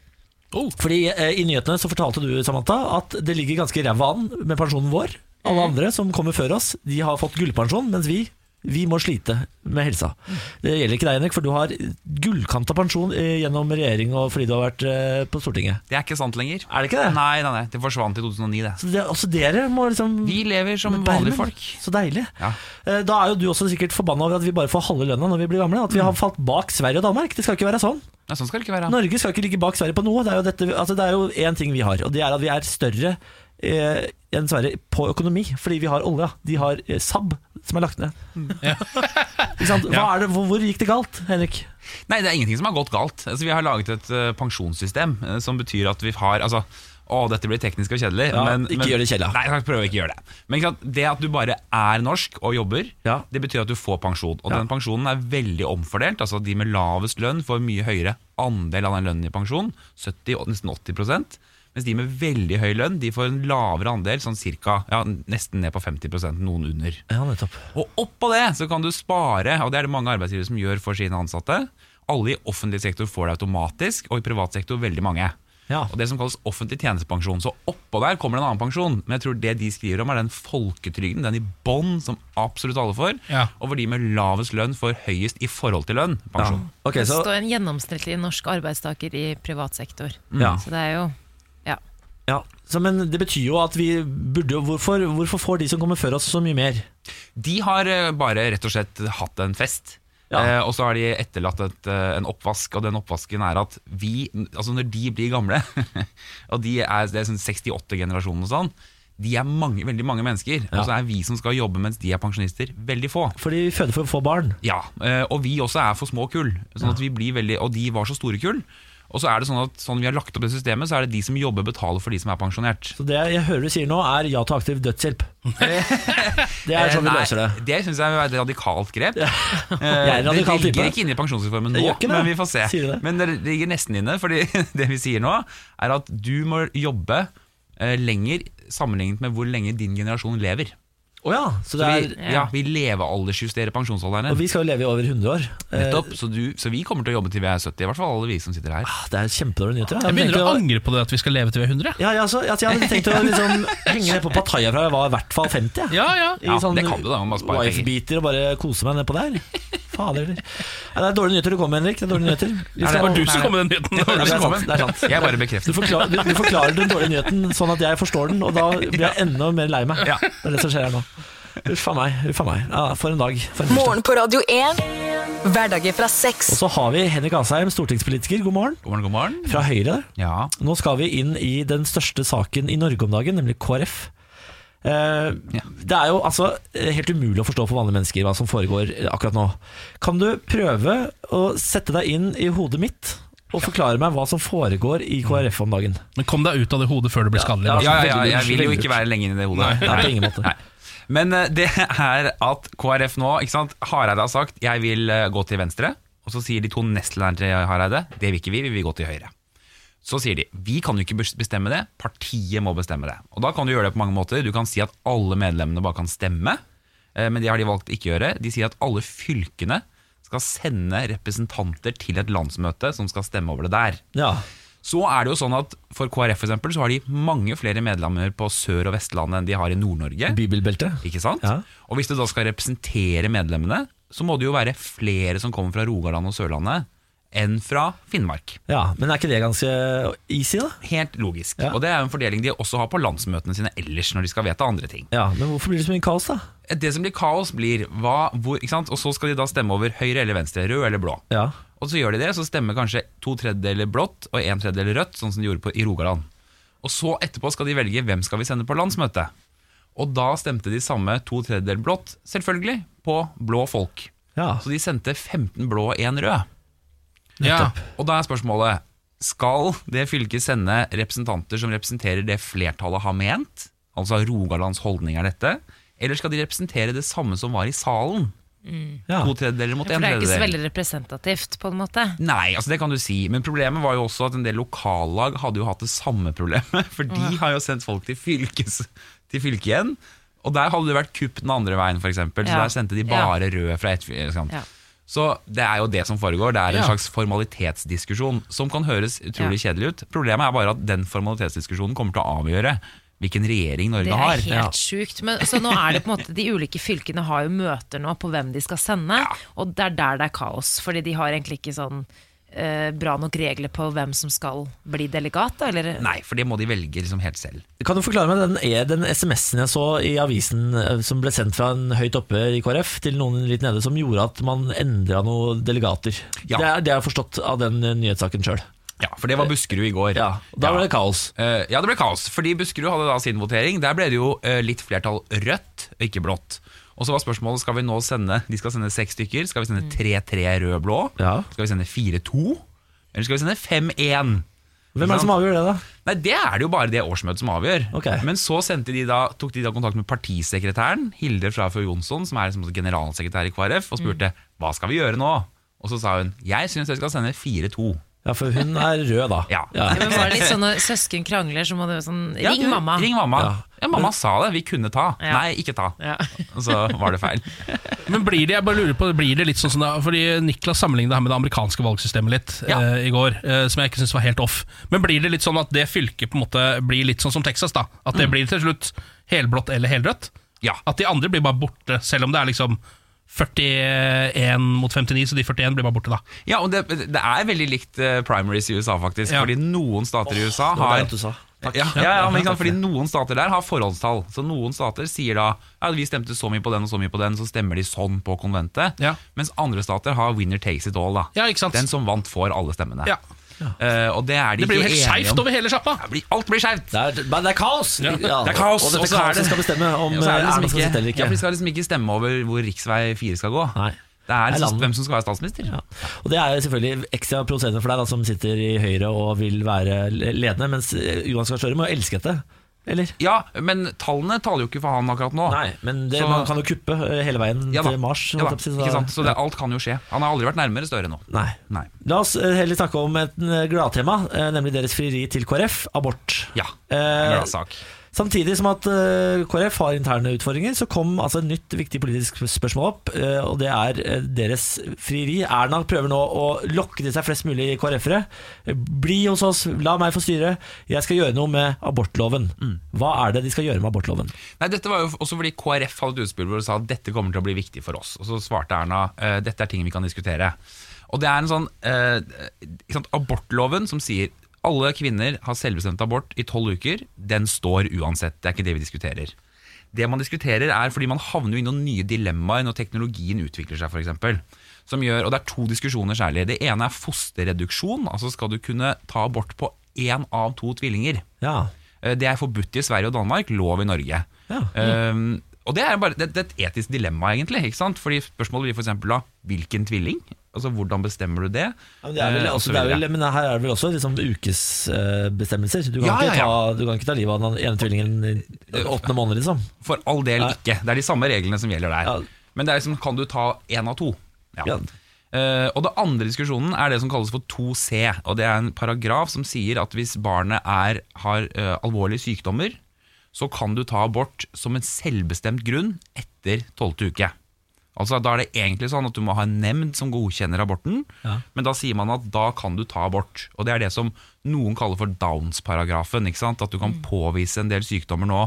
[SPEAKER 13] Oh.
[SPEAKER 5] Fordi eh, I nyhetene så fortalte du Samantha, at det ligger ganske ræva an med pensjonen vår. Alle andre som kommer før oss, de har fått gullpensjon, mens vi vi må slite med helsa.
[SPEAKER 13] Mm.
[SPEAKER 5] Det gjelder ikke deg, Henrik, for du har gullkanta pensjon eh, gjennom regjering og fordi du har vært eh, på Stortinget.
[SPEAKER 13] Det er ikke sant lenger.
[SPEAKER 5] Er det ikke det?
[SPEAKER 13] Nei, nei, nei, det forsvant i 2009, det.
[SPEAKER 5] Så det, også dere må liksom
[SPEAKER 13] Vi lever som
[SPEAKER 5] bære
[SPEAKER 13] vanlige
[SPEAKER 5] med.
[SPEAKER 13] folk.
[SPEAKER 5] Så deilig.
[SPEAKER 13] Ja.
[SPEAKER 5] Eh, Da er jo du også sikkert forbanna over at vi bare får halve lønna når vi blir gamle. At
[SPEAKER 13] Mm.
[SPEAKER 5] vi har falt bak Sverige og Danmark. Det skal ikke være sånn.
[SPEAKER 13] Nei, sånn skal det ikke være.
[SPEAKER 5] Norge skal ikke ligge bak Sverige på noe. Det er jo, dette, altså det er jo én ting vi har, og det er at vi er større eh, enn Sverige på økonomi, fordi vi har olja. De har eh, SAB, som er lagt ned. *laughs* Ikke sant? Hva er det, hvor, hvor gikk det galt, Henrik?
[SPEAKER 13] Nei, det er ingenting som har gått galt. Altså, vi har laget et eh, pensjonssystem eh, som betyr at vi har altså, å, dette blir teknisk og kjedelig.
[SPEAKER 5] Ja,
[SPEAKER 13] men,
[SPEAKER 5] ikke
[SPEAKER 13] men,
[SPEAKER 5] gjør det kjedelig.
[SPEAKER 13] Nei, jeg prøver å ikke gjøre det. Men ikke sant? det at du bare er norsk og jobber, det betyr at du får pensjon. Og
[SPEAKER 5] Ja.
[SPEAKER 13] den pensjonen er veldig omfordelt. Altså De med lavest lønn får mye høyere andel av den lønnen i pensjon. 70, og nesten 80 mens de med veldig høy lønn de får en lavere andel, sånn cirka, ja, nesten ned på 50 noen under.
[SPEAKER 5] Ja, nettopp.
[SPEAKER 13] Og oppå det så kan du spare, og det er det mange arbeidsgivere som gjør for sine ansatte. Alle i offentlig sektor får det automatisk, og i privat sektor veldig mange. Og det som kalles offentlig tjenestepensjon. Så oppå der kommer det en annen pensjon. Men jeg tror det de skriver om, er den folketrygden, den i bånn, som absolutt alle får.
[SPEAKER 6] Ja.
[SPEAKER 13] Og hvor de med lavest lønn får høyest i forhold til lønn. Pensjon.
[SPEAKER 7] det står en gjennomsnittlig norsk arbeidstaker i privat sektor.
[SPEAKER 5] Ja.
[SPEAKER 13] Mm.
[SPEAKER 7] Så det er jo Ja.
[SPEAKER 5] Ja, så, men det betyr jo at vi burde jo hvorfor, hvorfor får de som kommer før oss så mye mer?
[SPEAKER 13] De har eh, bare rett og slett hatt en fest. Eh, og så har de etterlatt et, eh, en oppvask, og den oppvasken er at vi Altså når de blir gamle, *laughs* og de er, det er sånn 68-generasjonen og sånn, de er mange, veldig mange mennesker.
[SPEAKER 5] Ja.
[SPEAKER 13] Og så er vi som skal jobbe mens de er pensjonister, veldig få.
[SPEAKER 5] Fordi vi føder for få barn.
[SPEAKER 13] Ja, eh, og vi også er for små kull Sånn at vi blir veldig, og de var så store kull Og så er det sånn at sånn vi har lagt opp det systemet Så er det de som jobber betaler for de som er pensjonert
[SPEAKER 5] Så det jeg hører du sier nå, er ja til aktiv dødshjelp. Det er sånn vi
[SPEAKER 13] Eh, nei,
[SPEAKER 5] løser det.
[SPEAKER 13] Det synes jeg er et radikalt
[SPEAKER 5] *laughs*
[SPEAKER 13] grep
[SPEAKER 5] Jeg er en
[SPEAKER 13] Eh,
[SPEAKER 5] radikal
[SPEAKER 13] Det ligger
[SPEAKER 5] type.
[SPEAKER 13] ikke inne i pensjonsreformen nå
[SPEAKER 5] Det gjør ikke det.
[SPEAKER 13] Men vi får se
[SPEAKER 5] Sier du det?
[SPEAKER 13] Men det ligger nesten inne Fordi *laughs* det vi sier nå Er at du må jobbe eh, lenger Sammenlignet med hvor lenge din generasjon lever
[SPEAKER 5] Åja, så det
[SPEAKER 13] vi,
[SPEAKER 5] er-
[SPEAKER 13] ja, vi levealdersjusterer pensjonsalderen
[SPEAKER 5] Og vi skal jo leve i over 100 år. Eh,
[SPEAKER 13] Nettopp, så, du, så vi kommer til å jobbe til vi er 70 I hvert fall alle vi som sitter her
[SPEAKER 5] Eh, ah, Det er kjempedårlige nyheter da.
[SPEAKER 6] Jeg begynner å
[SPEAKER 5] tenkte-
[SPEAKER 6] angre på det at vi skal leve til vi er 100.
[SPEAKER 5] Ja, ja, så, altså, jeg hadde tenkt å liksom henge ned på Pattaya fra jeg var i hvert fall 50. jeg.
[SPEAKER 6] Ja, ja.
[SPEAKER 5] I sånn
[SPEAKER 13] det kan du da, man bare sparer penger.
[SPEAKER 5] Wife-biter og bare kose meg nedpå der. Fader heller. Nei, Det er dårlige nyheter du kommer med, Henrik. Det er dårlige nyheter. Vi
[SPEAKER 6] Er det
[SPEAKER 5] skal-
[SPEAKER 6] bare du som
[SPEAKER 5] Nei,
[SPEAKER 6] kom med den nyheten?
[SPEAKER 5] Det var du som kom med den. Det er sant.
[SPEAKER 13] Jeg bare bekrefter.
[SPEAKER 5] Du forklarer, du, du forklarer den dårlige nyheten sånn at jeg forstår den, og da blir jeg enda mer lei meg.
[SPEAKER 13] Ja.
[SPEAKER 5] Det er det som skjer her nå. Uff a meg. Uff a meg. Ja, for en dag. For en tirsdag.
[SPEAKER 8] Morgen på Radio 1. Hverdager fra seks.
[SPEAKER 5] Og så har vi Henrik Asheim, stortingspolitiker. God morgen.
[SPEAKER 13] God morgen, god morgen
[SPEAKER 5] Fra Høyre.
[SPEAKER 13] Ja
[SPEAKER 5] Nå skal vi inn i den største saken i Norge om dagen, nemlig KrF. Eh, Det er jo altså eh, helt umulig å forstå for vanlige mennesker hva som foregår eh, akkurat nå. Kan du prøve å sette deg inn i hodet mitt og forklare meg hva som foregår i KrF om dagen?
[SPEAKER 6] Men kom deg ut av det hodet før det blir skadelig.
[SPEAKER 13] Ja,
[SPEAKER 6] da.
[SPEAKER 13] ja, ja, jeg vil jo ikke være lenge inne i det hodet.
[SPEAKER 6] Nei, nei, på ingen
[SPEAKER 5] måte.
[SPEAKER 13] Men eh, det er at KrF nå ikke sant, Hareide har sagt 'jeg vil eh, gå til venstre', og så sier de to nestlederne til Hareide 'det vil ikke vi, vi vil gå til høyre'. Så sier de 'vi kan jo ikke bes- bestemme det, partiet må bestemme det'. Og da kan du gjøre det på mange måter. Du kan si at alle medlemmene bare kan stemme, eh, men det har de valgt ikke å gjøre. De sier at alle fylkene skal sende representanter til et landsmøte som skal stemme over det der.
[SPEAKER 5] Ja.
[SPEAKER 13] Så er det jo sånn at For KrF for eksempel, så har de mange flere medlemmer på Sør- og Vestlandet enn de har i Nord-Norge.
[SPEAKER 5] Bibelbeltet.
[SPEAKER 13] Ikke sant? Og hvis du da skal representere medlemmene, så må det jo være flere som kommer fra Rogaland og Sørlandet enn fra Finnmark.
[SPEAKER 5] Ja, Men er ikke det ganske easy, da?
[SPEAKER 13] Helt logisk. Og det er jo en fordeling de også har på landsmøtene sine ellers når de skal vedta andre ting.
[SPEAKER 5] Ja, Men hvorfor blir det så mye kaos, da?
[SPEAKER 13] Det som blir kaos, blir hva, hvor, ikke sant? Og så skal de da stemme over høyre eller venstre, rød eller blå.
[SPEAKER 5] Ja.
[SPEAKER 13] Og så gjør de det, så stemmer kanskje to tredjedeler blått og en tredjedel rødt, sånn som de gjorde på, i Rogaland. Og så etterpå skal de velge hvem skal vi sende på landsmøte. Og da stemte de samme to tredjedeler blått, selvfølgelig, på blå folk. Så de sendte 15 blå og én rød.
[SPEAKER 6] Ja.
[SPEAKER 13] Og da er spørsmålet Skal det fylket sende representanter som representerer det flertallet har ment? Altså Rogalands holdning er dette? Eller skal de representere det samme som var i salen?
[SPEAKER 7] Mm.
[SPEAKER 13] To tredjedeler mot
[SPEAKER 7] For
[SPEAKER 13] en
[SPEAKER 7] det er jo ikke så
[SPEAKER 13] tredjedel.
[SPEAKER 7] veldig representativt, på en måte.
[SPEAKER 13] Nei, altså det kan du si. Men problemet var jo også at en del lokallag hadde jo hatt det samme problemet. *laughs* For de har jo sendt folk til, fylkes, til fylket igjen. Og der hadde det vært kupp den andre veien, f.eks. eksempel Så
[SPEAKER 6] Ja.
[SPEAKER 13] der sendte de
[SPEAKER 6] Ja.
[SPEAKER 13] bare røde fra ett fylke. ikke sant?
[SPEAKER 6] Ja.
[SPEAKER 13] Så det er jo det som foregår. Det er en
[SPEAKER 6] Ja.
[SPEAKER 13] slags formalitetsdiskusjon som kan høres utrolig kjedelig ut. Problemet er bare at den formalitetsdiskusjonen kommer til å avgjøre hvilken regjering Norge
[SPEAKER 7] Det er
[SPEAKER 13] har.
[SPEAKER 7] helt sjukt. Men, så nå er det på en måte, de ulike fylkene har jo møter nå på hvem de skal sende, og det er der det er kaos. Fordi de har egentlig ikke sånn eh, bra nok regler på hvem som skal bli delegat, da, eller?
[SPEAKER 13] Nei, for det må de velge liksom helt selv.
[SPEAKER 5] Kan du forklare meg den, e- den SMS-en jeg så i avisen eh, som ble sendt fra en høyt oppe i KrF til noen litt nede, som gjorde at man endra noen delegater? Det er det jeg har forstått av den eh, nyhetssaken sjøl.
[SPEAKER 13] Ja, for det var Buskerud i går.
[SPEAKER 5] Ja, Da ble det kaos.
[SPEAKER 13] Eh, ja, det ble kaos, fordi Buskerud hadde da sin votering. Der ble det jo eh, litt flertall rødt, ikke blått. Og så var spørsmålet skal vi nå sende De skal sende seks stykker. Skal vi sende 3-3 rød-blå? Skal vi sende 4-2? Eller skal vi sende 5-1?
[SPEAKER 5] Hvem er det som avgjør det, da?
[SPEAKER 13] Nei, Det er det jo bare det årsmøtet som avgjør.
[SPEAKER 5] Ok.
[SPEAKER 13] Men så sendte de da, tok de da kontakt med partisekretæren, Hilde Frafjord Jonsson, som er liksom generalsekretær i KrF, og spurte hva skal vi gjøre nå? Og så sa hun jeg syns dere skal sende 4-2.
[SPEAKER 5] Ja, for hun er rød, da. Ja.
[SPEAKER 7] Men var det litt sånn når søsken krangler, så må du sånn
[SPEAKER 13] Ja,
[SPEAKER 7] Ring
[SPEAKER 13] du,
[SPEAKER 7] mamma!
[SPEAKER 13] Ring mamma.
[SPEAKER 5] Ja.
[SPEAKER 13] Ja. mamma sa det. Vi kunne ta. Nei, ikke ta.
[SPEAKER 7] Ja.
[SPEAKER 13] Og Så var det feil.
[SPEAKER 6] Men blir det, jeg bare lurer på, blir det litt sånn som da, fordi Niklas sammenlignet det her med det amerikanske valgsystemet litt eh, i går, eh, som jeg ikke synes var helt off. Men blir det litt sånn at det fylket på en måte blir litt sånn som Texas, da? At det blir til slutt helblått eller helrødt? At de andre blir bare borte, selv om det er liksom 41 mot 59, så de 41 blir bare borte, da.
[SPEAKER 13] Ja, og det, det er veldig likt eh, primaries i USA, faktisk. Fordi noen stater i USA
[SPEAKER 6] det var
[SPEAKER 13] har
[SPEAKER 6] det du sa. Takk.
[SPEAKER 13] Ja, ja, ja, men
[SPEAKER 6] Takk
[SPEAKER 13] ikke sant?
[SPEAKER 6] for
[SPEAKER 13] Fordi Noen stater der har forholdstall. Så Noen stater sier da ja, vi stemte så mye på den og så mye på den, så stemmer de sånn på konventet. Mens andre stater har winner takes it all. da Den som vant, får alle stemmene.
[SPEAKER 6] Ja.
[SPEAKER 13] Eh, og det er
[SPEAKER 6] Det
[SPEAKER 13] de
[SPEAKER 6] blir jo
[SPEAKER 13] ikke
[SPEAKER 6] helt
[SPEAKER 13] enige
[SPEAKER 6] skeivt
[SPEAKER 13] om.
[SPEAKER 6] over hele sjappa!
[SPEAKER 13] Det blir- Alt blir skeivt!
[SPEAKER 5] Men det er kaos!
[SPEAKER 13] Ja. Det er kaos,
[SPEAKER 5] Og dette
[SPEAKER 13] så er
[SPEAKER 5] kaoset
[SPEAKER 13] det-
[SPEAKER 5] skal bestemme om eh,
[SPEAKER 13] Og så er det
[SPEAKER 5] Erna
[SPEAKER 13] liksom
[SPEAKER 5] skal
[SPEAKER 13] ikke-
[SPEAKER 5] sitte eller ikke.
[SPEAKER 13] Ja, for de skal liksom ikke stemme over hvor riksvei 4 skal gå. Det er
[SPEAKER 5] Det er
[SPEAKER 13] liksom
[SPEAKER 5] landet.
[SPEAKER 13] hvem som skal være statsminister.
[SPEAKER 5] Og det er jo selvfølgelig ekstra produsenter for deg da, som sitter i Høyre og vil være ledende, mens eh, Johan Gahr Støre må jo elske dette. Eller?
[SPEAKER 13] Ja, men tallene taler jo ikke for han akkurat nå.
[SPEAKER 5] Nei, men det,
[SPEAKER 13] Ah, Så-
[SPEAKER 5] man kan jo kuppe eh, hele veien
[SPEAKER 13] Ja da,
[SPEAKER 5] til Mars.
[SPEAKER 13] ja da,
[SPEAKER 5] holdt jeg på å si, så-
[SPEAKER 13] ikke sant? Så det, alt kan jo skje. Han har aldri vært nærmere Støre nå.
[SPEAKER 5] Nei.
[SPEAKER 13] Nei.
[SPEAKER 5] La oss eh, heller snakke om et eh, gladtema, eh, nemlig deres frieri til KrF, abort.
[SPEAKER 13] Ja,
[SPEAKER 5] Eh,
[SPEAKER 13] glad sak.
[SPEAKER 5] Samtidig som at eh, KrF har interne utfordringer, så kom altså et nytt viktig politisk spørsmål opp, eh, og det er eh, deres frieri. Erna prøver nå å lokke til seg flest mulig KrF-ere. Bli hos oss, la meg få styre. Jeg skal gjøre noe med abortloven.
[SPEAKER 13] Mm.
[SPEAKER 5] Hva er det de skal gjøre med abortloven?
[SPEAKER 13] Nei, dette var jo også fordi KrF hadde et utspill hvor de sa at dette kommer til å bli viktig for oss. Og så svarte Erna eh, dette er ting vi kan diskutere. Og det er en sånn eh, ikke sant, abortloven som sier alle kvinner har selvbestemt abort i tolv uker. Den står uansett. Det er ikke det vi diskuterer. Det man diskuterer er fordi man havner jo i noen nye dilemmaer når teknologien utvikler seg, f.eks. Som gjør, og det er to diskusjoner særlig. Det ene er fosterreduksjon. Altså skal du kunne ta abort på én av to tvillinger. Eh, Det er forbudt i Sverige og Danmark, lov i Norge. Um, og det er, bare, det, det er et etisk dilemma, egentlig. ikke sant? Fordi Spørsmålet blir f.eks. da hvilken tvilling? Altså Hvordan bestemmer du det?
[SPEAKER 5] Ja, men, det er vel,
[SPEAKER 13] Eh, og
[SPEAKER 5] altså,
[SPEAKER 13] så
[SPEAKER 5] det er
[SPEAKER 13] videre.
[SPEAKER 5] vel, men her er det vel også liksom ukesbestemmelser. Du, kan
[SPEAKER 13] Ja, ja,
[SPEAKER 5] ikke ta- du kan ikke ta livet av den ene tvillingen i åttende måned, liksom.
[SPEAKER 13] For all del ikke. Det er de samme reglene som gjelder der. Men det er liksom, kan du ta én av to? Ja. Eh, og det andre diskusjonen er det som kalles for 2C. Og det er en paragraf som sier at hvis barnet er, har eh, alvorlige sykdommer, så kan du ta abort som en selvbestemt grunn etter tolvte uke. Altså Da er det egentlig sånn at du må ha en nemnd som godkjenner aborten,
[SPEAKER 5] Ja.
[SPEAKER 13] men da sier man at da kan du ta abort. Og det er det som noen kaller for Downs-paragrafen. ikke sant? At du kan påvise en del sykdommer nå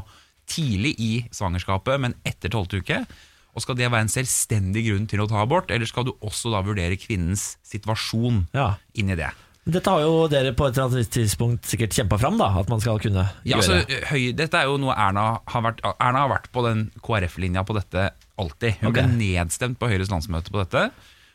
[SPEAKER 13] tidlig i svangerskapet, men etter tolvte uke. Og skal det være en selvstendig grunn til å ta abort, eller skal du også da vurdere kvinnens situasjon
[SPEAKER 5] Ja.
[SPEAKER 13] inn i det?
[SPEAKER 5] Dette har jo dere på et eller annet tidspunkt sikkert kjempa fram, da, at man skal kunne
[SPEAKER 13] Ja,
[SPEAKER 5] gjøre.
[SPEAKER 13] altså, Høy, dette er jo noe Erna har vært Erna har vært på den KrF-linja på dette alltid. Hun
[SPEAKER 5] Ok.
[SPEAKER 13] ble nedstemt på Høyres landsmøte på dette.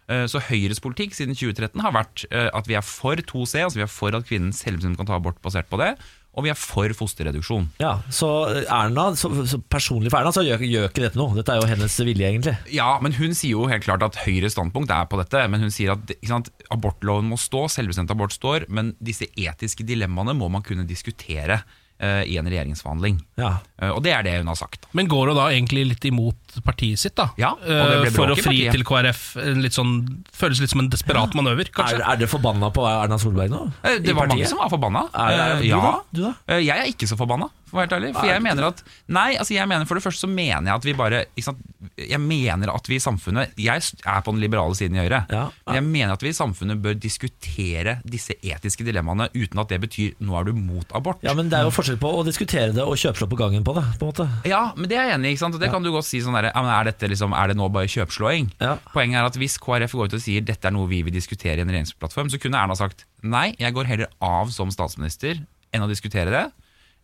[SPEAKER 13] Eh, Så Høyres politikk siden 2013 har vært eh, at vi er for 2C, altså vi er for at kvinnen selvbestemt kan ta abort basert på det, og vi er for fosterreduksjon.
[SPEAKER 5] Ja, så Erna, så, så personlig for Erna, så gjør, gjør ikke dette noe. Dette er jo hennes vilje, egentlig.
[SPEAKER 13] Ja, men hun sier jo helt klart at Høyres standpunkt er på dette. Men hun sier at ikke sant, abortloven må stå, selvbestemt abort står, men disse etiske dilemmaene må man kunne diskutere eh, i en regjeringsforhandling. Eh, og det er det hun har sagt.
[SPEAKER 6] Men går hun da egentlig litt imot partiet sitt, da?
[SPEAKER 13] Ja, og det ble
[SPEAKER 6] Eh, For å
[SPEAKER 13] bråk i
[SPEAKER 6] fri
[SPEAKER 13] partiet.
[SPEAKER 6] til KrF. eh, Litt sånn, føles litt som en desperat manøver, kanskje?
[SPEAKER 5] Er, er dere forbanna på Erna Solberg nå?
[SPEAKER 13] Eh,
[SPEAKER 5] I
[SPEAKER 13] Det var mange
[SPEAKER 5] partiet?
[SPEAKER 13] som var forbanna.
[SPEAKER 5] Er, er,
[SPEAKER 13] Eh,
[SPEAKER 5] du
[SPEAKER 13] ja.
[SPEAKER 5] da? Du da?
[SPEAKER 13] Eh, Jeg er ikke så forbanna, for å være helt ærlig. For
[SPEAKER 5] Er
[SPEAKER 13] jeg
[SPEAKER 5] du
[SPEAKER 13] mener at Nei, altså jeg mener for det første så mener jeg at vi bare ikke sant? Jeg mener at vi i samfunnet Jeg er på den liberale siden i Høyre. Men jeg mener at vi i samfunnet bør diskutere disse etiske dilemmaene uten at det betyr nå er du mot abort.
[SPEAKER 5] Ja, men Det er jo forskjell på å diskutere det og kjøpslå på gangen på det. på en måte
[SPEAKER 13] Ja, men det er jeg enig i. ikke sant? Og det kan du godt si sånn der, ja, men er, dette liksom, er det nå bare kjøpslåing? Poenget er at hvis KrF går ut og sier dette er noe vi vil diskutere i en regjeringsplattform, så kunne Erna sagt nei, jeg går heller av som statsminister enn å diskutere det.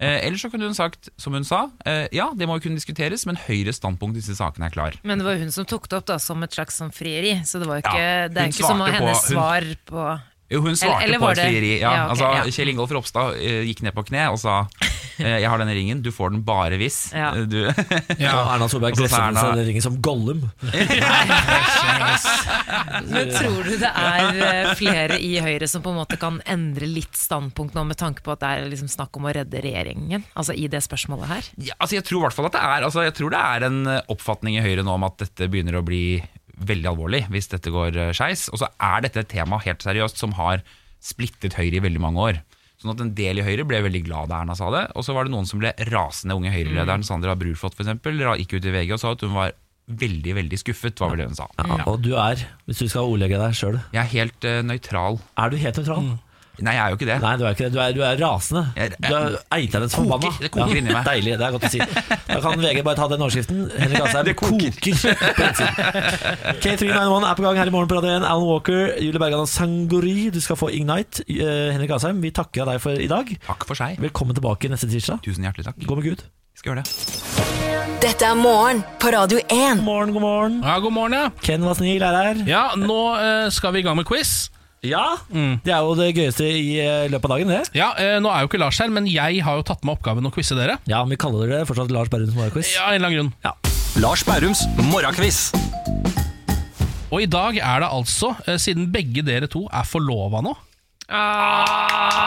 [SPEAKER 13] Eh, eller så kunne hun sagt, som hun sa, eh, ja, det må jo kunne diskuteres, men Høyres standpunkt i disse sakene er klar.
[SPEAKER 7] Men det var hun som tok det opp da som et slags sånn frieri, så det, var jo ikke,
[SPEAKER 13] Ja,
[SPEAKER 7] det er
[SPEAKER 13] hun
[SPEAKER 7] ikke som å
[SPEAKER 13] svarte på-
[SPEAKER 7] hennes
[SPEAKER 13] hun-
[SPEAKER 7] svar på
[SPEAKER 13] Jo, hun
[SPEAKER 7] Eller-
[SPEAKER 13] svarte
[SPEAKER 7] eller
[SPEAKER 13] på
[SPEAKER 7] var
[SPEAKER 13] et
[SPEAKER 7] det-
[SPEAKER 13] frieri. Ja,
[SPEAKER 7] ja, ok,
[SPEAKER 13] altså,
[SPEAKER 7] ja.
[SPEAKER 13] Kjell Ingolf Ropstad eh, gikk ned på kne og sa eh, jeg har denne ringen, du får den bare hvis.
[SPEAKER 7] Ja.
[SPEAKER 13] eh, Du. *laughs*
[SPEAKER 5] Og Erna Solberg
[SPEAKER 13] Og så
[SPEAKER 5] gresser
[SPEAKER 13] sa Erna-
[SPEAKER 5] seg den ringen som Gollum.
[SPEAKER 7] Men tror du det er eh, flere i Høyre som på en måte kan endre litt standpunkt nå, med tanke på at det er liksom snakk om å redde regjeringen? Altså i det spørsmålet her?
[SPEAKER 13] Ja, altså jeg tror i hvert fall at det er altså Jeg tror det er en eh, oppfatning i Høyre nå om at dette begynner å bli veldig alvorlig hvis dette går eh, skeis. Og så er dette et tema helt seriøst som har splittet Høyre i veldig mange år. Sånn at En del i Høyre ble veldig glad da Erna sa det, og så var det noen som ble rasende. Unge
[SPEAKER 5] Mm.
[SPEAKER 13] Høyre-lederen Sandra Brurflot for eksempel, ra- gikk ut i VG og sa at hun var veldig veldig skuffet. var vel det hun sa. Ja.
[SPEAKER 5] Og du er, hvis du skal ordlegge deg sjøl
[SPEAKER 13] Jeg er helt eh, nøytral.
[SPEAKER 5] Er du helt nøytral?
[SPEAKER 13] Nei, jeg er jo ikke det.
[SPEAKER 5] Nei, Du er ikke det, du er, du er rasende. Du er eiternes forbanna.
[SPEAKER 13] det koker inni meg.
[SPEAKER 5] Deilig, det er godt å si. Da kan VG bare ta den overskriften. Henrik Asheim *laughs* det koker. på innsiden. K391 er på gang her i morgen på Radio 1. Alan Walker, Julie Bergan og Sangori. Du skal få Ignite. Eh, Henrik Asheim, vi takker deg for i dag.
[SPEAKER 13] Takk for seg.
[SPEAKER 5] Velkommen tilbake neste tirsdag.
[SPEAKER 13] Tusen hjertelig takk.
[SPEAKER 5] Gå med Gud.
[SPEAKER 13] Skal gjøre det.
[SPEAKER 8] Dette er Morgen på Radio 1. God
[SPEAKER 5] morgen, god morgen.
[SPEAKER 6] Ja, god morgen, ja.
[SPEAKER 5] Ken var snill, er her.
[SPEAKER 6] Ja, nå eh, skal vi i gang med quiz.
[SPEAKER 5] Ja, det er jo det gøyeste i eh, løpet av dagen, det.
[SPEAKER 6] Ja, eh, Nå er jo ikke Lars her, men jeg har jo tatt med oppgaven å quize dere.
[SPEAKER 5] Ja, men vi kaller det fortsatt Lars Berrums morgenquiz.
[SPEAKER 6] Ja, av en eller annen grunn.
[SPEAKER 14] Lars Bærums morgenquiz.
[SPEAKER 6] Og i dag er det altså, eh, siden begge dere to er forlova nå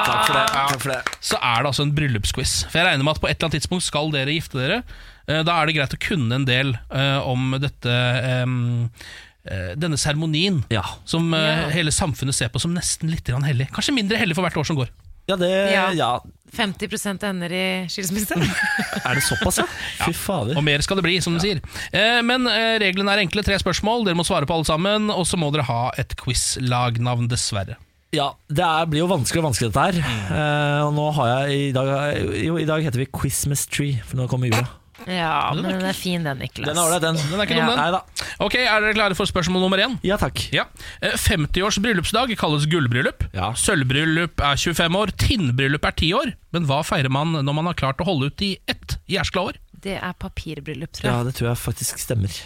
[SPEAKER 7] Takk
[SPEAKER 5] for det. Takk for det.
[SPEAKER 6] så er det altså en bryllupsquiz. For jeg regner med at på et eller annet tidspunkt skal dere gifte dere. Eh, Da er det greit å kunne en del eh, om dette em, eh, denne seremonien som eh,
[SPEAKER 7] Ja.
[SPEAKER 6] hele samfunnet ser på som nesten litt grann hellig. Kanskje mindre hellig for hvert år som går.
[SPEAKER 5] Ja, det
[SPEAKER 7] Ja. 50 ender i skilsmisse.
[SPEAKER 5] *laughs* Er det såpass, *laughs* ja? Fy fader.
[SPEAKER 6] Og mer skal det bli, som de sier. Eh, Men eh, reglene er enkle. Tre spørsmål, dere må svare på alle sammen. Og så må dere ha et quiz-lagnavn, dessverre.
[SPEAKER 5] Ja, det er, blir jo vanskeligere og vanskeligere dette her. Eh, og nå har jeg i dag, jo, I dag heter vi Quizmas Tree, for nå kommer jula.
[SPEAKER 7] Ja, men den er fin, den, Niklas.
[SPEAKER 5] Den er ålreit, den.
[SPEAKER 6] Den er ikke dum, den.
[SPEAKER 5] Nei da.
[SPEAKER 6] Ok, Er dere klare for spørsmål nummer én?
[SPEAKER 5] Ja, takk.
[SPEAKER 6] Eh, 50 års bryllupsdag kalles gullbryllup. Sølvbryllup er 25 år. Tinnbryllup er 10 år. Men hva feirer man når man har klart å holde ut i ett jæskla år?
[SPEAKER 7] Det er papirbryllup, tror
[SPEAKER 5] Ja,
[SPEAKER 7] jeg.
[SPEAKER 5] det tror jeg faktisk stemmer.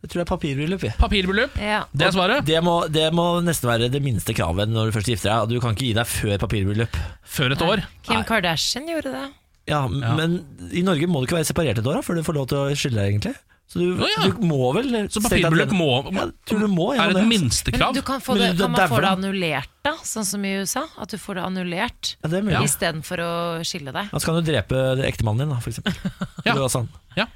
[SPEAKER 5] Det tror jeg er papirbryllup. vi.
[SPEAKER 6] Papirbryllup.
[SPEAKER 7] Ja.
[SPEAKER 6] Det er svaret.
[SPEAKER 5] Det må, det må nesten være det minste kravet når du først gifter deg. og Du kan ikke gi deg før papirbryllup.
[SPEAKER 6] Før et år?
[SPEAKER 7] Kim Kardashian gjorde det.
[SPEAKER 5] Ja, m- Men i Norge må du ikke være separert et år da, før du får lov til å skille deg, egentlig. Så du,
[SPEAKER 6] Å, ja.
[SPEAKER 5] du må vel
[SPEAKER 6] Så papirbryllup må-
[SPEAKER 5] ja, tror du må
[SPEAKER 6] er det et
[SPEAKER 7] Men
[SPEAKER 6] minstekrav?
[SPEAKER 7] du kan, få
[SPEAKER 5] Men
[SPEAKER 7] det,
[SPEAKER 5] du
[SPEAKER 7] kan man få
[SPEAKER 5] dauer
[SPEAKER 7] det
[SPEAKER 5] da.
[SPEAKER 7] annullert, da? Sånn som i USA? At du får det annullert
[SPEAKER 5] Ja, det er mulig.
[SPEAKER 7] istedenfor å skille deg?
[SPEAKER 5] Ja, så kan du drepe ektemannen din, da, for eksempel.
[SPEAKER 6] *laughs* Ja.
[SPEAKER 5] Det var sånn.
[SPEAKER 6] Ja.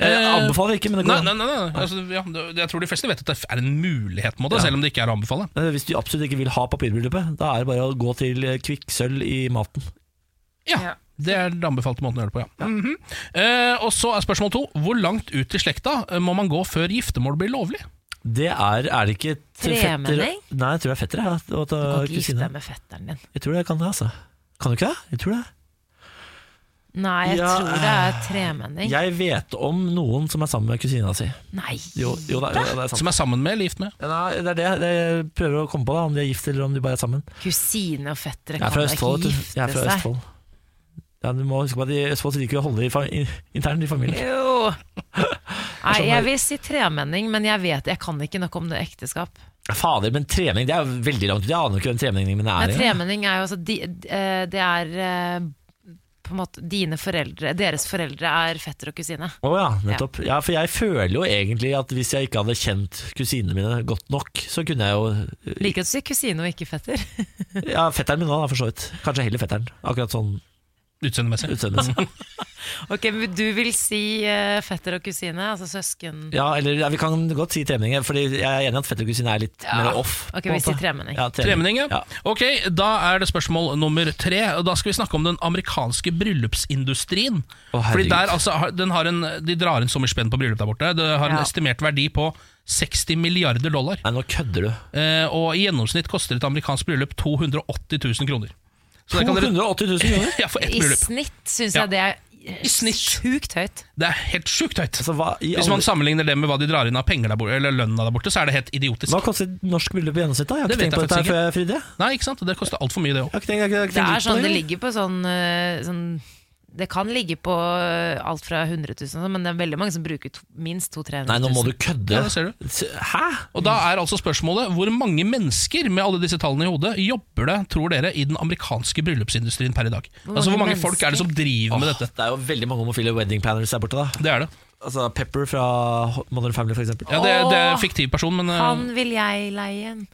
[SPEAKER 5] Jeg anbefaler ikke, men det
[SPEAKER 6] Nei,
[SPEAKER 5] går
[SPEAKER 6] nei,
[SPEAKER 5] an.
[SPEAKER 6] nei, nei. Altså, ja, det- Jeg tror de fleste vet at det er en mulighet, på en måte,
[SPEAKER 5] Ja.
[SPEAKER 6] selv om det ikke er å anbefale.
[SPEAKER 5] Eh, Hvis du absolutt ikke vil ha papirbryllupet, da er det bare å gå til eh, kvikksølv i maten.
[SPEAKER 6] Ja, Det er den anbefalte måten å gjøre det på, ja. Mhm. eh, og så er spørsmål to. Hvor langt ut i slekta eh, må man gå før giftermål blir lovlig?
[SPEAKER 5] Det er Er det ikke til
[SPEAKER 7] Tremenning?
[SPEAKER 5] fetter Nei, jeg tror det er fettere. Ja, og til
[SPEAKER 7] Du kan ikke gifte
[SPEAKER 5] kusine.
[SPEAKER 7] deg med fetteren din.
[SPEAKER 5] Jeg tror det kan det, altså. Kan du ikke det? Jeg tror det.
[SPEAKER 7] Nei, jeg
[SPEAKER 5] Ja,
[SPEAKER 7] tror det er tremenning.
[SPEAKER 5] Jeg vet om noen som er sammen med kusina si.
[SPEAKER 7] Nei.
[SPEAKER 5] Jo, jo, det, er- jo, det er sant.
[SPEAKER 6] Som er sammen med eller gift med?
[SPEAKER 5] Ja, Nei, det er det, det jeg prøver å komme på, da om de er gift eller om de bare er sammen.
[SPEAKER 7] Kusine og
[SPEAKER 5] Jeg
[SPEAKER 7] fettere
[SPEAKER 5] er
[SPEAKER 7] kan
[SPEAKER 5] fra
[SPEAKER 7] da ikke
[SPEAKER 5] Østfold. vet du.
[SPEAKER 7] gifte
[SPEAKER 5] Jeg er fra
[SPEAKER 7] seg.
[SPEAKER 5] Østfold. Ja, du må huske på at I Østfold så liker vi å holde det i fa- i- internt i familien. *laughs*
[SPEAKER 7] Jo.
[SPEAKER 5] sånn
[SPEAKER 7] Nei, jeg vil si tremenning, men jeg vet jeg kan ikke nok om det ekteskap.
[SPEAKER 5] Fader, men tremenning det er jo veldig langt ut. Jeg aner jo ikke hvem tremenningen min er.
[SPEAKER 7] Nei,
[SPEAKER 5] engang.
[SPEAKER 7] tremenning er jo altså de, eh, Det er eh, på en måte dine foreldre Deres foreldre er fetter og kusine.
[SPEAKER 5] Å ja, nettopp. Ja. for jeg føler jo egentlig at hvis jeg ikke hadde kjent kusinene mine godt nok, så kunne jeg jo
[SPEAKER 7] Liker at du sier kusine og ikke fetter. *laughs*
[SPEAKER 5] Ja, fetteren min òg, for så vidt. Kanskje heller fetteren. Akkurat sånn
[SPEAKER 6] Utseendemessig.
[SPEAKER 7] Ok, men Du vil si eh, fetter og kusine, altså søsken
[SPEAKER 5] Ja, eller ja, vi kan godt si tremenning, Fordi jeg er enig i at fetter og kusine er litt mer off.
[SPEAKER 7] Ok,
[SPEAKER 5] på en
[SPEAKER 7] vi sier
[SPEAKER 5] måte.
[SPEAKER 7] tremenning.
[SPEAKER 5] Ja,
[SPEAKER 6] Tremenning, ja. Ok, Da er det spørsmål nummer tre. Og Da skal vi snakke om den amerikanske bryllupsindustrien. Fordi
[SPEAKER 5] herregud.
[SPEAKER 6] der altså, har- den har en, De drar inn så mye spenn på bryllup der borte. Det har en
[SPEAKER 5] Ja.
[SPEAKER 6] estimert verdi på 60 milliarder dollar.
[SPEAKER 5] Nei, nå kødder du.
[SPEAKER 6] Eh, og i gjennomsnitt koster et amerikansk bryllup 280 000 kroner. Så det kan dere-
[SPEAKER 5] 280 000 kroner?
[SPEAKER 6] *laughs* ja, for ett
[SPEAKER 7] I
[SPEAKER 6] bryllup.
[SPEAKER 7] snitt syns
[SPEAKER 6] Ja.
[SPEAKER 7] jeg det er eh, sjukt høyt.
[SPEAKER 6] Det er helt sjukt høyt.
[SPEAKER 5] Altså, i
[SPEAKER 6] Hvis
[SPEAKER 5] alle-
[SPEAKER 6] man sammenligner det med hva de drar inn av penger der borte, eller lønna der borte, så er det helt idiotisk.
[SPEAKER 5] Hva koster et norsk bryllup i gjennomsnitt? da? Jeg har
[SPEAKER 6] Det
[SPEAKER 5] ikke
[SPEAKER 6] vet
[SPEAKER 5] tenkt på
[SPEAKER 6] jeg
[SPEAKER 5] dette her
[SPEAKER 6] faktisk
[SPEAKER 5] før, Fride.
[SPEAKER 6] Nei, ikke sant? Det koster altfor mye, det òg.
[SPEAKER 7] Det er sånn det ligger på sånn, eh, sånn Det kan ligge på eh, alt fra 100 000, og sånn, men det er veldig mange som bruker to, minst 200 000-300 000.
[SPEAKER 5] Nei, nå må du kødde.
[SPEAKER 6] Ja, det ser du.
[SPEAKER 5] Hæ?
[SPEAKER 6] Og da er altså spørsmålet hvor mange mennesker med alle disse tallene i hodet jobber det, tror dere, i den amerikanske bryllupsindustrien per i dag?
[SPEAKER 5] Hvor
[SPEAKER 6] altså Hvor
[SPEAKER 5] mange
[SPEAKER 6] mange folk er det som driver med
[SPEAKER 5] Åh,
[SPEAKER 6] dette?
[SPEAKER 5] Det er jo veldig mange homofile wedding planners der borte, da.
[SPEAKER 6] Det er det.
[SPEAKER 5] Altså Pepper fra Modern Family, for eksempel.
[SPEAKER 6] Ja, det, det er
[SPEAKER 7] Åh,
[SPEAKER 6] en fiktiv person, men eh,
[SPEAKER 7] Han vil jeg leie en.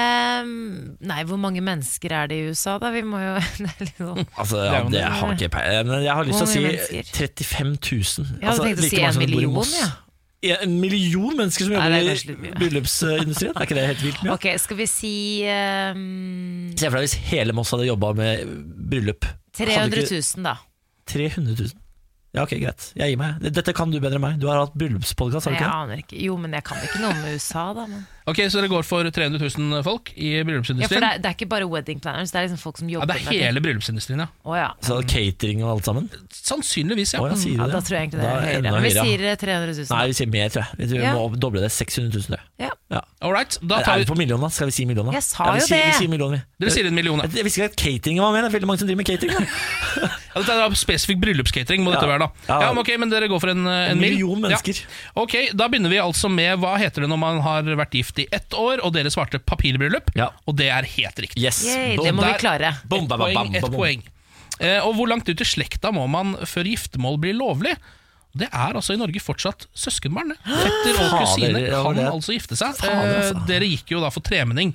[SPEAKER 7] Ehm, nei, hvor mange mennesker er det i USA, da? Vi må jo *laughs* det er litt sånn.
[SPEAKER 5] Altså, ja, det har ikke jeg peiling Men jeg har lyst til å
[SPEAKER 7] Hvor
[SPEAKER 5] si
[SPEAKER 7] mange
[SPEAKER 5] 35 000.
[SPEAKER 7] Jeg hadde tenkt å si en million, ja.
[SPEAKER 5] en million mennesker som
[SPEAKER 7] Nei, det er
[SPEAKER 5] jobber
[SPEAKER 7] kanskje litt
[SPEAKER 5] i
[SPEAKER 7] mye.
[SPEAKER 5] bryllupsindustrien. Er ikke det helt vilt mye?
[SPEAKER 7] Ok, skal vi si ehm,
[SPEAKER 5] Se for deg hvis hele Moss hadde jobba med bryllup. Hadde
[SPEAKER 7] 300
[SPEAKER 5] ikke-
[SPEAKER 7] 000, da.
[SPEAKER 5] 300 000? Ja, ok, greit. Jeg gir meg. Dette kan du bedre enn meg. Du har hatt bryllupspodkast, har du
[SPEAKER 7] Jeg
[SPEAKER 5] ikke det?
[SPEAKER 7] aner ikke. Jo, men jeg kan ikke noe om USA, da. Men.
[SPEAKER 6] Ok, Så dere går for 300 000 folk i
[SPEAKER 7] Ja, for
[SPEAKER 6] bryllupsindustrien?
[SPEAKER 7] det er, det er ikke bare wedding planners, det er liksom folk som
[SPEAKER 6] Ja,
[SPEAKER 7] jobber
[SPEAKER 6] det er hele bryllupsindustrien, ja.
[SPEAKER 7] Å ja.
[SPEAKER 5] Så catering og alt sammen?
[SPEAKER 6] Sannsynligvis, ja.
[SPEAKER 5] Å, ja, sier du
[SPEAKER 7] ja.
[SPEAKER 5] det?
[SPEAKER 7] Da tror jeg egentlig det
[SPEAKER 5] Da
[SPEAKER 7] er høyere.
[SPEAKER 5] enda
[SPEAKER 7] Men vi
[SPEAKER 5] høyere, ja.
[SPEAKER 7] sier eh, 300 000.
[SPEAKER 5] Nei, vi sier mer, tror jeg. Vi tror
[SPEAKER 7] Ja.
[SPEAKER 5] Vi må doble det. 600 000, det.
[SPEAKER 7] Ja.
[SPEAKER 6] All right, da
[SPEAKER 5] er
[SPEAKER 6] tar
[SPEAKER 5] vi på millionen, da? Skal vi si millionen? da?
[SPEAKER 7] Jeg sa
[SPEAKER 5] ja, vi
[SPEAKER 7] jo
[SPEAKER 5] sier,
[SPEAKER 7] det.
[SPEAKER 5] Vi sier millionen, vi.
[SPEAKER 6] Dere sier en million, da.
[SPEAKER 5] Jeg, jeg visste ikke at catering var med. Det er veldig mange som driver med catering.
[SPEAKER 6] *laughs*
[SPEAKER 5] da.
[SPEAKER 6] Ja, dette er da spesifikk bryllupscatering, må dette
[SPEAKER 5] Ja.
[SPEAKER 6] være, da. Ja,
[SPEAKER 5] Ja.
[SPEAKER 6] men ok, men dere går for en, eh, en,
[SPEAKER 5] En
[SPEAKER 6] mil?
[SPEAKER 5] million mennesker.
[SPEAKER 6] Ja. Ok, Da begynner vi altså med hva heter det når man har vært gift i ett år, og dere svarte papirbryllup, og det er helt riktig.
[SPEAKER 5] Yes.
[SPEAKER 7] Yay, det må vi klare.
[SPEAKER 5] Bom,
[SPEAKER 6] Ett
[SPEAKER 5] bam, bam,
[SPEAKER 6] poeng,
[SPEAKER 5] bam,
[SPEAKER 6] ett
[SPEAKER 5] bam.
[SPEAKER 6] poeng. Eh, og hvor langt ut i slekta må man før giftermål blir lovlig? Det er altså i Norge fortsatt søskenbarn. det. Fetter og
[SPEAKER 5] Fader,
[SPEAKER 6] kusine
[SPEAKER 5] ja,
[SPEAKER 6] kan
[SPEAKER 5] det-
[SPEAKER 6] altså gifte seg.
[SPEAKER 5] Fader, altså.
[SPEAKER 6] Eh, Dere gikk jo da for tremenning.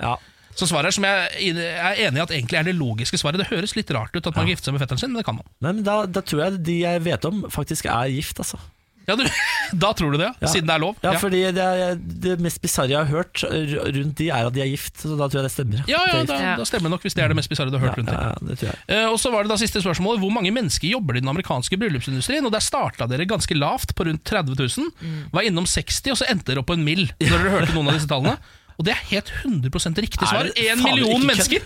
[SPEAKER 6] Så svaret er som jeg er enig i at egentlig er det logiske svaret. Det høres litt rart ut at man gifter seg med fetteren sin, men det kan man.
[SPEAKER 5] Nei, men da, da tror jeg de jeg vet om, faktisk er gift, altså.
[SPEAKER 6] Ja, du, *laughs* da tror du det,
[SPEAKER 5] Ja.
[SPEAKER 6] siden det er lov?
[SPEAKER 5] Ja,
[SPEAKER 6] Ja.
[SPEAKER 5] fordi det, er, det mest bisarre jeg har hørt r- rundt de, er at de er gift. Så da tror jeg det stemmer. At de
[SPEAKER 6] Ja, ja,
[SPEAKER 5] er gift.
[SPEAKER 6] da, da stemmer det nok, hvis det er det mest bisarre du har hørt rundt det.
[SPEAKER 5] Ja, ja, det tror jeg.
[SPEAKER 6] Eh, Og så var det da siste spørsmålet Hvor mange mennesker jobber i den amerikanske bryllupsindustrien? Og Der starta dere ganske lavt, på rundt 30 000.
[SPEAKER 7] Mm.
[SPEAKER 6] Var innom 60, og så endte dere opp på en mill. Når dere hørte noen av
[SPEAKER 5] *laughs*
[SPEAKER 6] disse tallene Og det er helt 100
[SPEAKER 5] Er
[SPEAKER 6] riktig svar.
[SPEAKER 5] det
[SPEAKER 6] Én
[SPEAKER 5] faen ikke
[SPEAKER 6] million
[SPEAKER 5] kødd?
[SPEAKER 6] mennesker!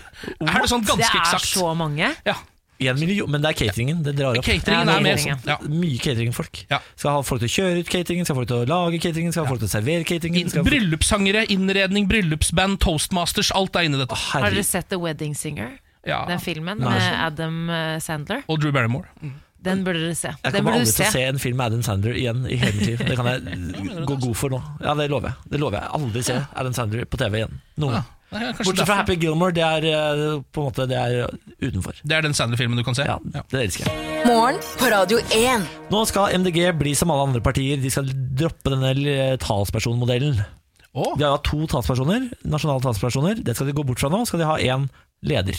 [SPEAKER 6] Er det sånn ganske
[SPEAKER 7] det er
[SPEAKER 6] eksakt?
[SPEAKER 7] så mange.
[SPEAKER 6] Ja.
[SPEAKER 5] En million, men det er cateringen. Det drar opp.
[SPEAKER 6] Cateringen
[SPEAKER 7] Ja,
[SPEAKER 6] er med.
[SPEAKER 7] cateringen.
[SPEAKER 6] Ja.
[SPEAKER 5] Mye cateringfolk. Skal ha folk til å kjøre ut cateringen, skal ha folk til å lage cateringen, skal ha folk til å servere cateringen. Skal ha folk...
[SPEAKER 6] Bryllupssangere, innredning, bryllupsband, toastmasters. Alt er inni dette.
[SPEAKER 7] Har dere sett The Wedding Singer?
[SPEAKER 6] Ja.
[SPEAKER 7] Den filmen
[SPEAKER 5] Nei.
[SPEAKER 7] med Adam eh, Sandler?
[SPEAKER 6] Og Drew Barrymore.
[SPEAKER 7] Den burde dere se.
[SPEAKER 5] Jeg
[SPEAKER 7] Den
[SPEAKER 5] kommer
[SPEAKER 7] burde
[SPEAKER 5] aldri
[SPEAKER 7] du
[SPEAKER 5] til
[SPEAKER 7] se.
[SPEAKER 5] å se en film med Adam Sandler igjen i hele mitt liv. Det kan jeg gå god for nå. Ja, Det lover jeg. Det lover jeg Aldri se Adam Sandler på TV igjen. Noen gang.
[SPEAKER 6] Nei, kanskje
[SPEAKER 5] Bortsett
[SPEAKER 6] derfor.
[SPEAKER 5] fra Happy Gilmore, det er eh, på en måte Det er utenfor.
[SPEAKER 6] Det er den Sandler-filmen du kan se?
[SPEAKER 5] Ja, det elsker jeg.
[SPEAKER 8] Morgen på Radio 1.
[SPEAKER 5] Nå skal MDG bli som alle andre partier. De skal droppe denne l- talspersonmodellen. De har hatt to talspersoner, nasjonale talspersoner. Det skal de gå bort fra nå. Skal de ha én leder.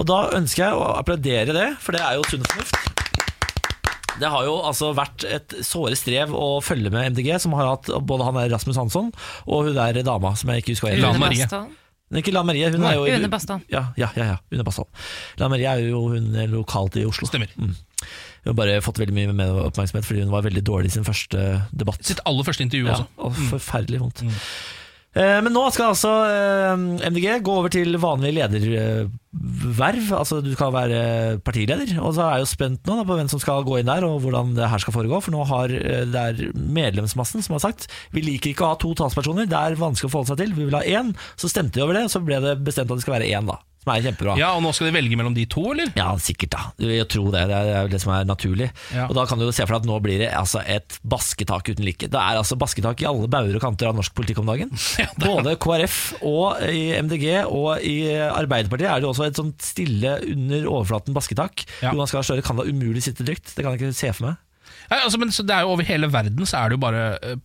[SPEAKER 5] Og da ønsker jeg å applaudere det, for det er jo sunn fornuft. Det har jo altså vært et såre strev å følge med MDG, som har hatt både han der Rasmus Hansson og hun der dama som jeg ikke husker hva heter.
[SPEAKER 7] Une Bastholm.
[SPEAKER 5] Nei, ikke Lan Marie. Hun
[SPEAKER 7] Nei,
[SPEAKER 5] er jo i-
[SPEAKER 7] Une Bastholm.
[SPEAKER 5] Ja, ja, ja, ja Une Bastholm. Lan Marie er jo hun lokalt i Oslo.
[SPEAKER 6] Stemmer.
[SPEAKER 5] Mm. Hun har bare fått veldig mye mer oppmerksomhet fordi hun var veldig dårlig i sin første debatt.
[SPEAKER 6] Sitt aller første intervju
[SPEAKER 5] ja,
[SPEAKER 6] også.
[SPEAKER 5] Og forferdelig vondt. Eh, Men nå skal altså eh, MDG gå over til vanlig lederverv. Altså du skal være partileder. Og så er jeg jo spent nå da, på hvem som skal gå inn der, og hvordan det her skal foregå. For nå har eh, det er medlemsmassen som har sagt vi liker ikke å ha to talspersoner, det er vanskelig å forholde seg til, vi vil ha én. Så stemte de over det, og så ble det bestemt at det skal være én, da. Som er kjempebra.
[SPEAKER 6] Ja, Og nå skal de velge mellom de to, eller?
[SPEAKER 5] Ja, sikkert da. Jeg tror det. Det er jo det som er naturlig.
[SPEAKER 6] Ja.
[SPEAKER 5] Og da kan du jo se for deg at nå blir det altså et basketak uten like. Det er altså basketak i alle bauger og kanter av norsk politikk om
[SPEAKER 6] *laughs*
[SPEAKER 5] dagen. Både KrF og i MDG og i Arbeiderpartiet er det også et sånt stille under overflaten basketak. Jonas Gahr Støre kan da umulig sitte trygt. Det kan jeg ikke se for meg.
[SPEAKER 6] Nei, altså, men så det er jo Over hele verden så er det jo bare eh,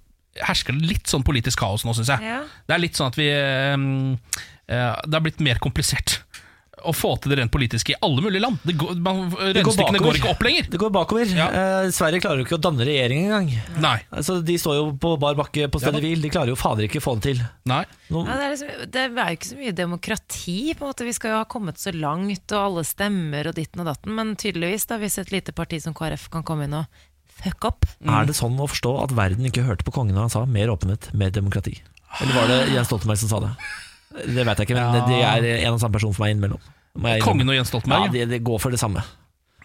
[SPEAKER 6] hersker det litt sånn politisk kaos nå, syns jeg.
[SPEAKER 7] Ja.
[SPEAKER 6] Det er litt sånn at vi eh, eh, Det har blitt mer komplisert å få til det rent politiske i alle mulige land. Det går, man, Regnestykkene går, ikke opp lenger.
[SPEAKER 5] Det går bakover. Eh, Sverige klarer jo ikke å danne regjering engang.
[SPEAKER 6] Nei.
[SPEAKER 5] Altså, de står jo på bar bakke på stedet
[SPEAKER 6] Ja da.
[SPEAKER 5] hvil. De klarer jo fader ikke å få det til.
[SPEAKER 6] Nei.
[SPEAKER 5] Nå,
[SPEAKER 7] Ja, det, er liksom, det er jo ikke så mye demokrati. på en måte Vi skal jo ha kommet så langt, og alle stemmer og ditten og datten. Men tydeligvis, da, hvis et lite parti som KrF kan komme inn og fuck opp
[SPEAKER 6] Mm.
[SPEAKER 5] Er det sånn å forstå at verden ikke hørte på kongen da han sa mer åpenhet, mer demokrati? Eller var det Jens Stoltenberg som sa det? Det vet jeg ikke, men
[SPEAKER 6] Ah. Ja.
[SPEAKER 5] det de er en og samme person for meg innimellom. Må jeg innrømme.
[SPEAKER 6] Kongen og Jens Stoltenberg,
[SPEAKER 5] Ja, det de går for det samme.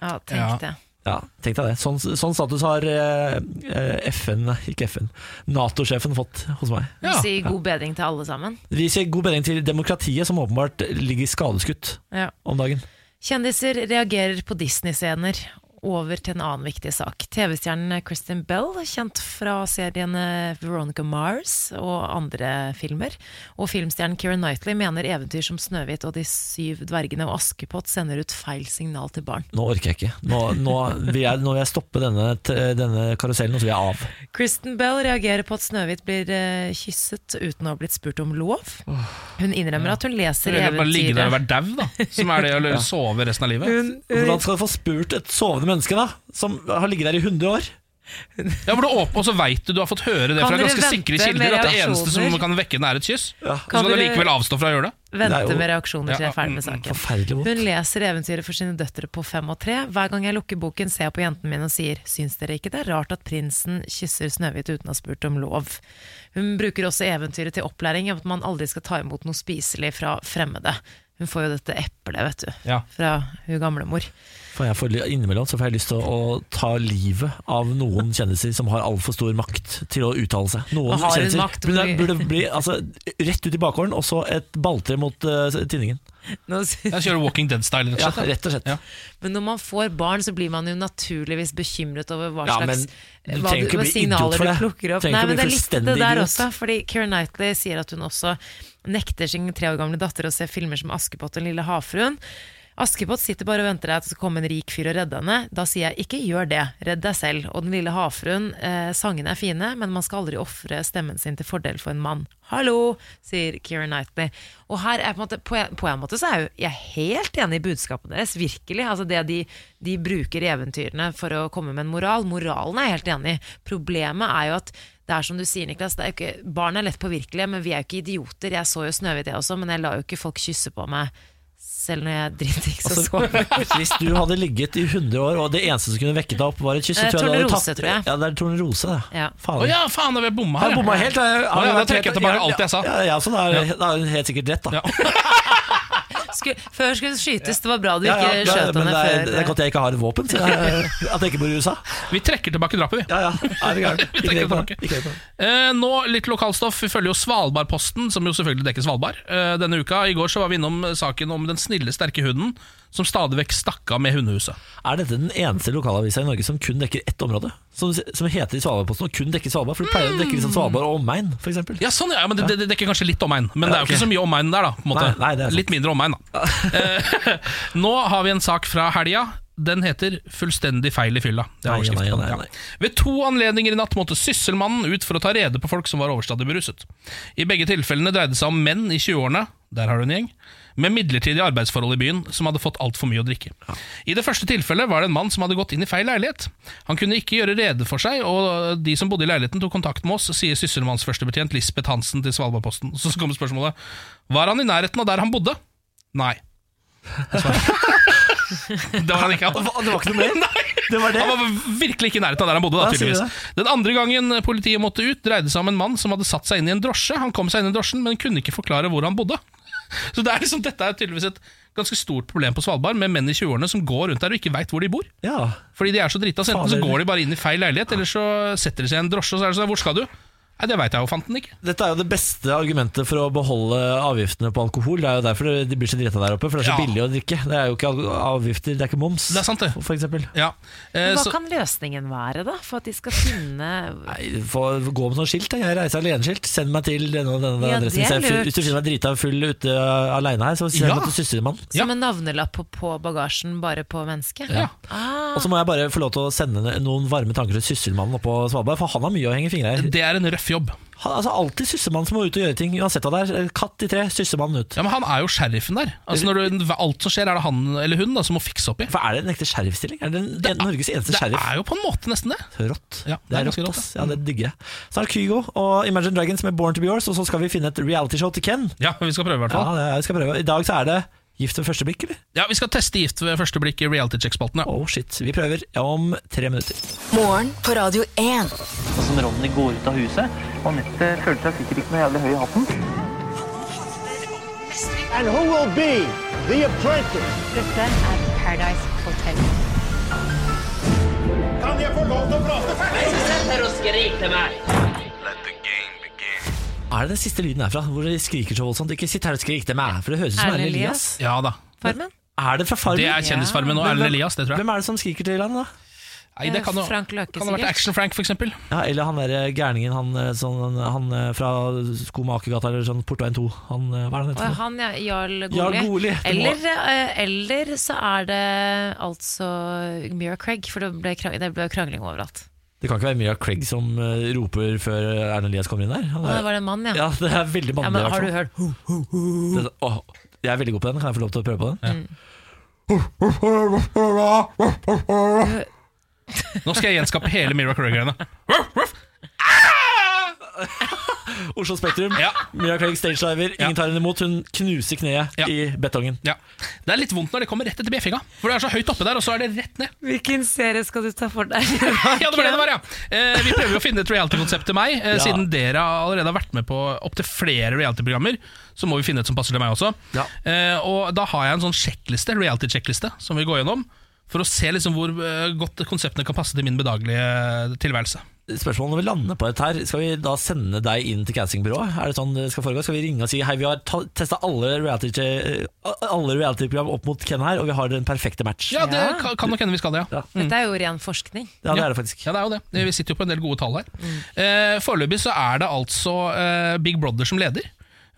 [SPEAKER 7] Ja,
[SPEAKER 6] Ja.
[SPEAKER 7] tenk det.
[SPEAKER 5] Ja, tenk deg det. Sånn, sånn status har eh, eh, FN, nei, ikke FN, Nato-sjefen fått hos meg.
[SPEAKER 7] Si god bedring til alle sammen.
[SPEAKER 5] Vi sier god bedring til demokratiet, som åpenbart ligger skadeskutt
[SPEAKER 7] Ja.
[SPEAKER 5] om dagen.
[SPEAKER 7] Kjendiser reagerer på Disney-scener. Over til en annen viktig sak. TV-stjernen Kristin Bell, kjent fra seriene Veronica Mars og andre filmer, og filmstjernen Keira Knightley mener eventyr som Snøhvit og De syv dvergene og Askepott sender ut feil signal til barn.
[SPEAKER 5] Nå orker jeg ikke. Nå, nå, vil, jeg, nå vil jeg stoppe denne, t- denne karusellen, og så vil jeg av.
[SPEAKER 7] Kristen Bell reagerer på at Snøhvit blir eh, kysset uten å ha blitt spurt om lov. Hun innrømmer at hun leser
[SPEAKER 6] Eller bare ligge der og være
[SPEAKER 7] eventyret.
[SPEAKER 6] dau, da. Som
[SPEAKER 7] *laughs*
[SPEAKER 6] er det å
[SPEAKER 5] Ja.
[SPEAKER 6] sove resten av livet.
[SPEAKER 5] Hvordan skal du få spurt et sovende menneske da som har ligget der i 100 år?
[SPEAKER 6] Ja, for du åpner, og så veit du du har fått høre det
[SPEAKER 7] Kan
[SPEAKER 6] fra
[SPEAKER 7] dere
[SPEAKER 6] ganske sikre
[SPEAKER 7] vente med
[SPEAKER 6] kilder at det eneste som
[SPEAKER 7] reaksjoner?
[SPEAKER 6] kan vekke den, er et kyss. Og så
[SPEAKER 7] Kan
[SPEAKER 6] kan du
[SPEAKER 7] dere
[SPEAKER 6] likevel avstå fra å
[SPEAKER 7] *laughs*
[SPEAKER 6] gjøre det.
[SPEAKER 7] Vente med reaksjoner til jeg er ferdig med
[SPEAKER 6] mm, mm,
[SPEAKER 7] saken.
[SPEAKER 5] forferdelig vondt.
[SPEAKER 7] Hun leser eventyret for sine døtre på fem og tre. Hver gang jeg lukker boken, ser jeg på jentene mine og sier Syns dere ikke det er rart at prinsen kysser Snøhvit uten å ha spurt om lov? Hun bruker også eventyret til opplæring om at man aldri skal ta imot noe spiselig fra fremmede. Hun får jo dette eplet, vet du,
[SPEAKER 5] Ja.
[SPEAKER 7] fra hun
[SPEAKER 5] *laughs*
[SPEAKER 7] gamlemor.
[SPEAKER 5] For jeg får, innimellom så får jeg lyst til å ta livet av noen kjendiser som har altfor stor makt til å uttale seg. Noen
[SPEAKER 7] Og har en
[SPEAKER 5] kjendiser
[SPEAKER 7] makt hvor
[SPEAKER 5] burde,
[SPEAKER 7] de-
[SPEAKER 5] burde bli altså, rett ut i bakgården, og så et balltre mot eh, tinningen.
[SPEAKER 7] Nå
[SPEAKER 6] Jeg kjører Walking Dead-style.
[SPEAKER 5] Ja, rett og slett.
[SPEAKER 7] Men når man får barn, så blir man jo naturligvis bekymret over hva
[SPEAKER 5] Ja,
[SPEAKER 7] slags
[SPEAKER 5] men du
[SPEAKER 7] hva
[SPEAKER 5] trenger ikke
[SPEAKER 7] hva
[SPEAKER 5] bli idiot
[SPEAKER 7] signaler
[SPEAKER 5] for
[SPEAKER 7] du
[SPEAKER 5] det.
[SPEAKER 7] plukker opp.
[SPEAKER 5] Trenger
[SPEAKER 7] Nei,
[SPEAKER 5] ikke
[SPEAKER 7] men
[SPEAKER 5] bli
[SPEAKER 7] det er litt det
[SPEAKER 5] fullstendig
[SPEAKER 7] der
[SPEAKER 5] idiot.
[SPEAKER 7] også, fordi Keira Knightley sier at hun også nekter sin tre år gamle datter å se filmer som Askepott og Den lille havfruen. Askepott sitter bare og venter deg at det skal komme en rik fyr og redde henne. Da sier jeg ikke gjør det, redd deg selv. Og Den lille havfruen, eh, sangene er fine, men man skal aldri ofre stemmen sin til fordel for en mann. Hallo, sier Keira Knightley. Og her er på en måte, på en, på en måte så er jo jeg helt enig i budskapet deres, virkelig. Altså det de, de bruker eventyrene for å komme med en moral. Moralen er jeg helt enig i. Problemet er jo at det er som du sier, Niklas, det er jo ikke, barn er lett påvirkelige, men vi er jo ikke idioter. Jeg så jo Snøhvit, jeg også, men jeg lar jo ikke folk kysse på meg selv når jeg driter ikke så
[SPEAKER 5] Altså, hvis du hadde ligget i 100 år, og det eneste som kunne vekket deg opp, var et kyss så
[SPEAKER 7] Eh,
[SPEAKER 5] du hadde
[SPEAKER 7] tornerose, tror jeg.
[SPEAKER 5] Ja, det er tornerose, det.
[SPEAKER 7] Ja.
[SPEAKER 5] Faen.
[SPEAKER 6] Å ja, faen, da vil jeg bomma her.
[SPEAKER 5] Jeg
[SPEAKER 6] ja.
[SPEAKER 5] bomma helt. Jeg,
[SPEAKER 6] Å ja, da trekker jeg tilbake alt jeg sa.
[SPEAKER 5] Ja, ja, så da er
[SPEAKER 6] Ja.
[SPEAKER 5] da er hun helt sikkert rett, da.
[SPEAKER 7] Skulle, før skulle det skytes, det var bra du ikke
[SPEAKER 5] Ja, ja, det-
[SPEAKER 7] skjøt
[SPEAKER 5] men
[SPEAKER 7] henne
[SPEAKER 5] det er,
[SPEAKER 7] før.
[SPEAKER 5] det er godt jeg ikke har et våpen, så
[SPEAKER 7] *laughs*
[SPEAKER 5] jeg, at jeg ikke bor i USA.
[SPEAKER 6] Vi trekker tilbake drapet, vi.
[SPEAKER 5] Ja, ja, er
[SPEAKER 7] *laughs*
[SPEAKER 5] det gærent.
[SPEAKER 6] Vi
[SPEAKER 5] Ikke tenk
[SPEAKER 6] trekker
[SPEAKER 5] på
[SPEAKER 6] tilbake.
[SPEAKER 5] det. Ikke tenk på det.
[SPEAKER 6] Eh, nå litt lokalstoff. Vi følger jo Svalbardposten, som jo selvfølgelig dekker Svalbard. Eh, denne uka, I går så var vi innom eh, saken om den snille, sterke hunden som stadig vekk stakk av med hundehuset.
[SPEAKER 5] Er dette den eneste lokalavisa i Norge som kun dekker ett område? Som, som heter i Svalbardposten og kun dekker Svalbard? For det pleier å dekke liksom Svalbard og omegn, f.eks.
[SPEAKER 6] Ja, sånn, ja, men det,
[SPEAKER 5] Ja.
[SPEAKER 6] det, det dekker kanskje litt omegn. Men
[SPEAKER 5] Ja,
[SPEAKER 6] det er jo ikke
[SPEAKER 5] ok.
[SPEAKER 6] så mye omegn der, da. På en måte.
[SPEAKER 5] Nei, nei, det er sant.
[SPEAKER 6] litt mindre omegn, da. *laughs* Eh, nå har vi en sak fra helga. Den heter 'Fullstendig feil i fylla'. Det er
[SPEAKER 5] Nei,
[SPEAKER 6] overskriften
[SPEAKER 5] nei,
[SPEAKER 6] på den,
[SPEAKER 5] nei,
[SPEAKER 6] ja.
[SPEAKER 5] nei.
[SPEAKER 6] Ved to anledninger i natt måtte sysselmannen ut for å ta rede på folk som var overstadig beruset. I begge tilfellene dreide det seg om menn i 20-årene der har du en gjeng, med midlertidige arbeidsforhold i byen som hadde fått altfor mye å drikke. I det første tilfellet var det en mann som hadde gått inn i feil leilighet. Han kunne ikke gjøre rede for seg, og de som bodde i leiligheten tok kontakt med oss, sier sysselmannsførstebetjent Lisbeth Hansen til Svalbardposten. Så kommer spørsmålet Var han i nærheten av der han bodde? *laughs* Nei. *laughs* Det var han ikke.
[SPEAKER 5] Hva, det var ikke noe
[SPEAKER 7] *laughs*
[SPEAKER 5] mer?
[SPEAKER 6] Nei.
[SPEAKER 5] Det var det.
[SPEAKER 6] Han var virkelig ikke i nærheten av der han bodde.
[SPEAKER 5] Ja,
[SPEAKER 6] Da,
[SPEAKER 5] sier du
[SPEAKER 6] tydeligvis. Den andre gangen politiet måtte ut, dreide seg om en mann som hadde satt seg inn i en drosje. Han kom seg inn i drosjen, men kunne ikke forklare hvor han bodde. *laughs* Så det er liksom, dette er tydeligvis et ganske stort problem på Svalbard, med menn i 20-årene som går rundt der og ikke veit hvor de bor.
[SPEAKER 5] Ja.
[SPEAKER 6] Fordi de er så drita, så enten så
[SPEAKER 5] Fader.
[SPEAKER 6] går de bare inn i feil leilighet, eller så setter de seg i en drosje, og så er det sånn Hvor skal du? Nei, det veit jeg jo, fant den ikke.
[SPEAKER 5] Dette er jo det beste argumentet for å beholde avgiftene på alkohol. Det er jo derfor de blir så drita der oppe, for det er så
[SPEAKER 6] Ja.
[SPEAKER 5] billig å drikke. Det er jo ikke al- avgifter, det er ikke moms.
[SPEAKER 6] Det er sant, det.
[SPEAKER 5] For eksempel.
[SPEAKER 6] Ja. Eh,
[SPEAKER 7] Men Hva kan løsningen være, da? For at de skal finne
[SPEAKER 5] Nei, få gå med sånn skilt. da. Jeg reiser alene-skilt. Send meg til denne og denne
[SPEAKER 7] Ja, det
[SPEAKER 5] adressen. Så
[SPEAKER 7] er
[SPEAKER 5] jeg er
[SPEAKER 7] lurt.
[SPEAKER 5] full, hvis du finner meg drita full ute uh, alene her, så send
[SPEAKER 6] Ja.
[SPEAKER 5] meg til søstermannen.
[SPEAKER 7] Som en navnelapp på- på bagasjen, bare på mennesket?
[SPEAKER 5] Ja. Og
[SPEAKER 7] Ah.
[SPEAKER 5] så må jeg bare få lov til å sende noen varme tanker til sysselmannen oppe på Svalbard, for han har mye å henge i fingre i.
[SPEAKER 6] Det er en røff jobb.
[SPEAKER 5] Han, altså alltid sysselmann som må ut og gjøre ting, uansett hva det er. Katt i tre, sysselmannen ut.
[SPEAKER 6] Ja, Men han er jo sheriffen der. Altså når du, Alt som skjer, er det han eller hun da, som må fikse opp i.
[SPEAKER 5] For er det en ekte sheriffstilling? Er det, en, en, Norges eneste
[SPEAKER 6] Det
[SPEAKER 5] sheriff?
[SPEAKER 6] er jo på en måte nesten det.
[SPEAKER 5] Rått.
[SPEAKER 6] Ja,
[SPEAKER 5] Det er rått,
[SPEAKER 6] ganske
[SPEAKER 5] ass. Ja, det digger jeg. Så er det Kygo og Imagine Dragons med Born to be yours, og så skal vi finne et realityshow til Ken.
[SPEAKER 6] Ja, men vi skal prøve i hvert
[SPEAKER 5] Ja,
[SPEAKER 6] fall.
[SPEAKER 5] det er, vi skal prøve. I dag så er det Gift ved første blikk, eller?
[SPEAKER 6] Ja, Vi skal teste gift ved første blikk i reality check-spalten.
[SPEAKER 5] Oh shit, vi prøver om tre minutter.
[SPEAKER 8] Morgen på Radio 1.
[SPEAKER 16] Og som Ronny går ut av huset. Anette føler seg sikkert ikke noe jævlig høy i hatten.
[SPEAKER 17] And who will be the apprentice? Dette er Paradise Hotel. Kan jeg få lov til å prate
[SPEAKER 5] Er det den siste lyden herfra, hvor de skriker så voldsomt? Ikke sitt her og skrik, det er meg, for det høres ut som
[SPEAKER 7] Erlend
[SPEAKER 5] Erlend Elias.
[SPEAKER 6] Ja da.
[SPEAKER 7] Farmen?
[SPEAKER 5] Er det fra Farmen?
[SPEAKER 6] Det er Kjendisfarmen og
[SPEAKER 5] Men
[SPEAKER 6] Erlend
[SPEAKER 5] hvem-
[SPEAKER 6] Elias, det tror jeg.
[SPEAKER 5] Hvem er det som skriker til han, da?
[SPEAKER 6] Nei, det kan jo,
[SPEAKER 7] Eh, Frank Løke,
[SPEAKER 6] kan ha vært
[SPEAKER 7] sikkert.
[SPEAKER 6] Action-Frank, for eksempel.
[SPEAKER 5] Ja, eller han der gærningen, han, eh, sånn, han eh, fra Skomakergata eller sånn Portveien 2. Han, eh, hva er det han
[SPEAKER 7] Og
[SPEAKER 5] heter? for noe?
[SPEAKER 7] han ja, Jarl Goli.
[SPEAKER 5] Jarl Goli, det må-
[SPEAKER 7] Eller, eh, eller så er det altså Mira Craig, for det ble, krang det ble krangling overalt.
[SPEAKER 5] Det kan ikke være Mira Craig som eh, roper før Erlend Elias kommer inn der. Han
[SPEAKER 7] Å, det var det en mann, ja.
[SPEAKER 5] Ja, det er sånn. veldig
[SPEAKER 7] Ja,
[SPEAKER 5] mannlig.
[SPEAKER 7] men
[SPEAKER 5] i hvert
[SPEAKER 7] har
[SPEAKER 5] fall.
[SPEAKER 7] du hørt ho, ho, ho?
[SPEAKER 5] Det, er- sånn, åh, jeg er veldig god på den. Kan jeg få lov til å prøve på den?
[SPEAKER 7] Mm.
[SPEAKER 6] Nå skal jeg gjenskape hele Mira Craig-greiene.
[SPEAKER 5] Oslo Spektrum. Mira Craig stagediver. Ingen tar henne imot. Hun knuser kneet i betongen.
[SPEAKER 6] Det er litt vondt når det kommer rett etter bjeffinga. For det er så høyt oppe der, og så er det rett ned.
[SPEAKER 7] Hvilken serie skal du ta for deg?
[SPEAKER 6] *laughs* Ja, det var det det var, ja. Eh, vi prøver jo å finne et reality-konsept til meg. Eh,
[SPEAKER 7] Ja.
[SPEAKER 6] Siden dere allerede har vært med på opptil flere reality-programmer, så må vi finne et som passer til meg også. Eh, og da har jeg en sånn sjekkliste, reality-sjekkliste som vi går gjennom. For å se liksom hvor eh, godt konseptene kan passe til min bedagelige tilværelse.
[SPEAKER 5] Spørsmålet når vi lander på dette her Skal vi da sende deg inn til castingbyrået? Er det sånn det skal foregå? Skal vi ringe og si Hei, vi har ta- testet alle reality eh, Alle reality-program opp mot Ken her Og vi har den perfekte match
[SPEAKER 6] Ja, det Kan, kan nok hende vi skal det, ja.
[SPEAKER 7] Dette er jo ren forskning.
[SPEAKER 5] Ja, det er det faktisk
[SPEAKER 6] Ja, det er jo det. Vi sitter jo på en del gode tall her. Eh, Foreløpig så er det altså eh, Big Brother som leder.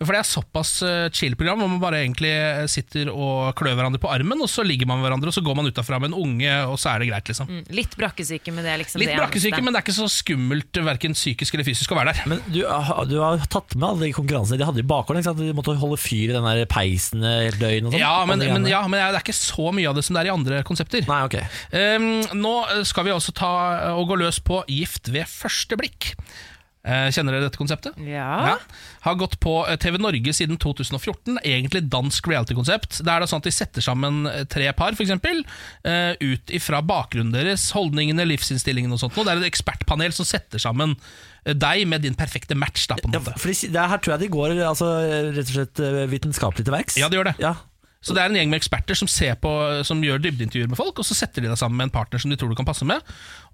[SPEAKER 6] For det er såpass eh, chill program hvor man bare egentlig eh, sitter og klør hverandre på armen, og så ligger man med hverandre, og så går man utafra med en unge, og så er det greit, liksom.
[SPEAKER 7] Mm, Litt brakkesyke, men det er liksom
[SPEAKER 6] Litt
[SPEAKER 7] det
[SPEAKER 6] brakkesyke, men det er ikke så skummelt verken psykisk eller fysisk å være der.
[SPEAKER 5] Men du, har- du har tatt med alle de konkurransene de hadde i bakhånd ikke sant? De måtte holde fyr i den der peisen helt døgn og sånn
[SPEAKER 6] Ja men,
[SPEAKER 5] Og det
[SPEAKER 6] men,
[SPEAKER 5] greiene.
[SPEAKER 6] ja, men det er ikke så mye av det som det er i andre konsepter.
[SPEAKER 5] Nei, ok
[SPEAKER 6] Ehm, nå skal vi også ta og gå løs på Gift ved første blikk. Eh, kjenner dere dette konseptet?
[SPEAKER 7] Ja.
[SPEAKER 6] Har gått på eh, TV Norge siden 2014. Egentlig dansk reality-konsept. Det er da sånn at De setter sammen eh, tre par, f.eks. Uh, ut ifra bakgrunnen deres, holdningene, livsinnstillingen og sånt. Og det er et ekspertpanel som setter sammen eh, deg med din perfekte match. Da, på en måte.
[SPEAKER 5] For de, det her tror jeg de går altså, rett og slett eh, vitenskapelig til verks
[SPEAKER 6] Ja, det gjør det. Så det er en gjeng med eksperter som, ser på, som gjør dybdeintervjuer med folk, og så setter de deg sammen med en partner som de tror du kan passe med.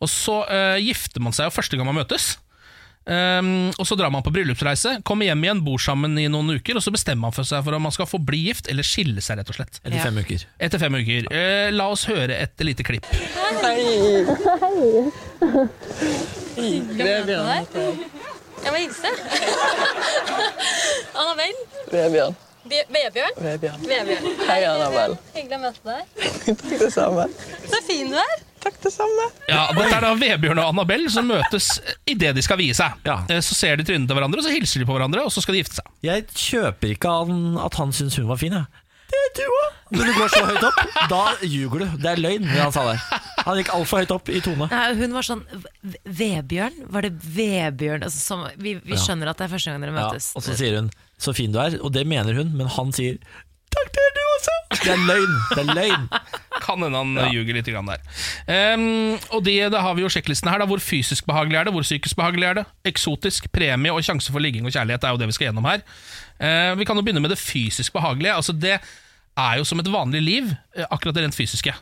[SPEAKER 6] Og så eh, gifter man seg jo første gang man møtes. Ehm, og så drar man på bryllupsreise, kommer hjem igjen, bor sammen i noen uker, og så bestemmer man for seg for om man skal få bli gift eller skille seg, rett og slett.
[SPEAKER 5] Etter fem uker.
[SPEAKER 6] Etter fem uker. Eh, la oss høre et lite klipp.
[SPEAKER 18] Skal vi møte deg? Jeg må hilse. Annabel.
[SPEAKER 19] Vebjørn.
[SPEAKER 18] Be- Vebjørn.
[SPEAKER 19] Vebjørn.
[SPEAKER 18] Vebjørn.
[SPEAKER 19] Hei, Annabel.
[SPEAKER 18] Hyggelig å møte deg.
[SPEAKER 19] *laughs* Takk det samme.
[SPEAKER 18] Så fin du er.
[SPEAKER 6] Ja, Dette er da Vebjørn og Annabelle som møtes idet de skal vie seg. Eh, så ser de trynene til hverandre, og så hilser de på hverandre, og så skal de gifte seg.
[SPEAKER 5] Jeg kjøper ikke han, at han syns hun var fin, jeg. Det er du òg! Når du går så høyt opp, da ljuger du. Det er løgn, det han sa der. Han gikk altfor høyt opp i tone.
[SPEAKER 7] Nei, hun var sånn "V- Vebjørn? Var det Vebjørn? Altså, som, vi vi
[SPEAKER 5] Ja.
[SPEAKER 7] skjønner at det er første gang dere
[SPEAKER 5] Ja,
[SPEAKER 7] møtes.
[SPEAKER 5] og så sier hun 'så fin du er', og det mener hun, men han sier 'takk, det er du også'. Det er løgn. Det er løgn.
[SPEAKER 6] Kan hende han eh, ljuger litt grann der. Ehm, og det, da har vi jo sjekklisten her. Da. Hvor fysisk behagelig er det? Hvor psykisk behagelig er det? Eksotisk, premie og sjanse for ligging og kjærlighet er jo det vi skal gjennom her. Eh, vi kan jo begynne med det fysisk behagelige. Altså Det er jo som et vanlig liv, eh, akkurat det rent fysiske.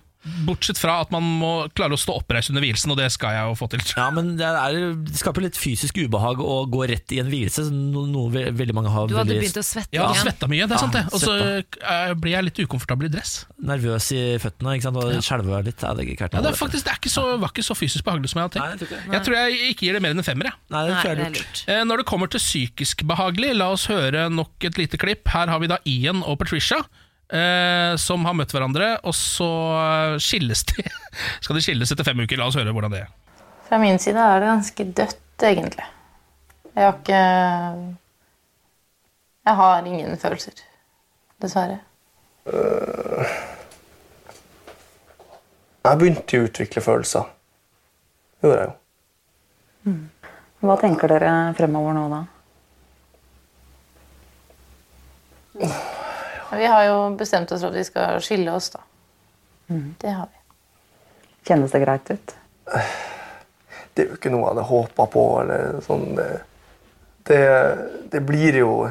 [SPEAKER 6] Bortsett fra at man må klare å stå oppreist under vielsen, og det skal jeg jo få til.
[SPEAKER 5] Ja, men det, er, det skaper litt fysisk ubehag å gå rett i en hvilelse, som no- noe ve veldig mange har
[SPEAKER 7] Du hadde
[SPEAKER 5] veldig-
[SPEAKER 7] begynt å svette
[SPEAKER 6] Ja,
[SPEAKER 7] igjen.
[SPEAKER 6] du svetta mye, det er sant det. Og så
[SPEAKER 5] svetta.
[SPEAKER 6] eh, blir jeg litt ukomfortabel i dress.
[SPEAKER 5] Nervøs i føttene ikke sant? og skjelver litt. Ja, det, er ikke hvert
[SPEAKER 6] Ja, det, er
[SPEAKER 5] fall.
[SPEAKER 6] faktisk, det er ikke så, var ikke så fysisk behagelig som jeg hadde tenkt.
[SPEAKER 5] jeg.
[SPEAKER 6] jeg tror jeg ikke gir det mer enn en femmer. Jeg.
[SPEAKER 5] Nei, det tror jeg er Nei, det er lurt.
[SPEAKER 6] Eh, Når det kommer til psykisk behagelig, la oss høre nok et lite klipp. Her har vi da Ian og Patricia. eh, som har møtt hverandre, og så eh, skilles de. *laughs* Skal de skilles etter fem uker? La oss høre hvordan det er.
[SPEAKER 20] Fra min side er det ganske dødt, egentlig. Jeg har ikke Jeg har ingen følelser, dessverre.
[SPEAKER 21] Eh, Jeg begynte jo å utvikle følelser. Det gjorde jeg jo.
[SPEAKER 22] Hva tenker dere fremover nå, da?
[SPEAKER 20] Vi har jo bestemt oss for at vi skal skille oss, da. Det har vi.
[SPEAKER 22] Kjennes det greit ut?
[SPEAKER 21] Det er jo ikke noe jeg hadde håpa på. eller sånn. Det- Det, det blir jo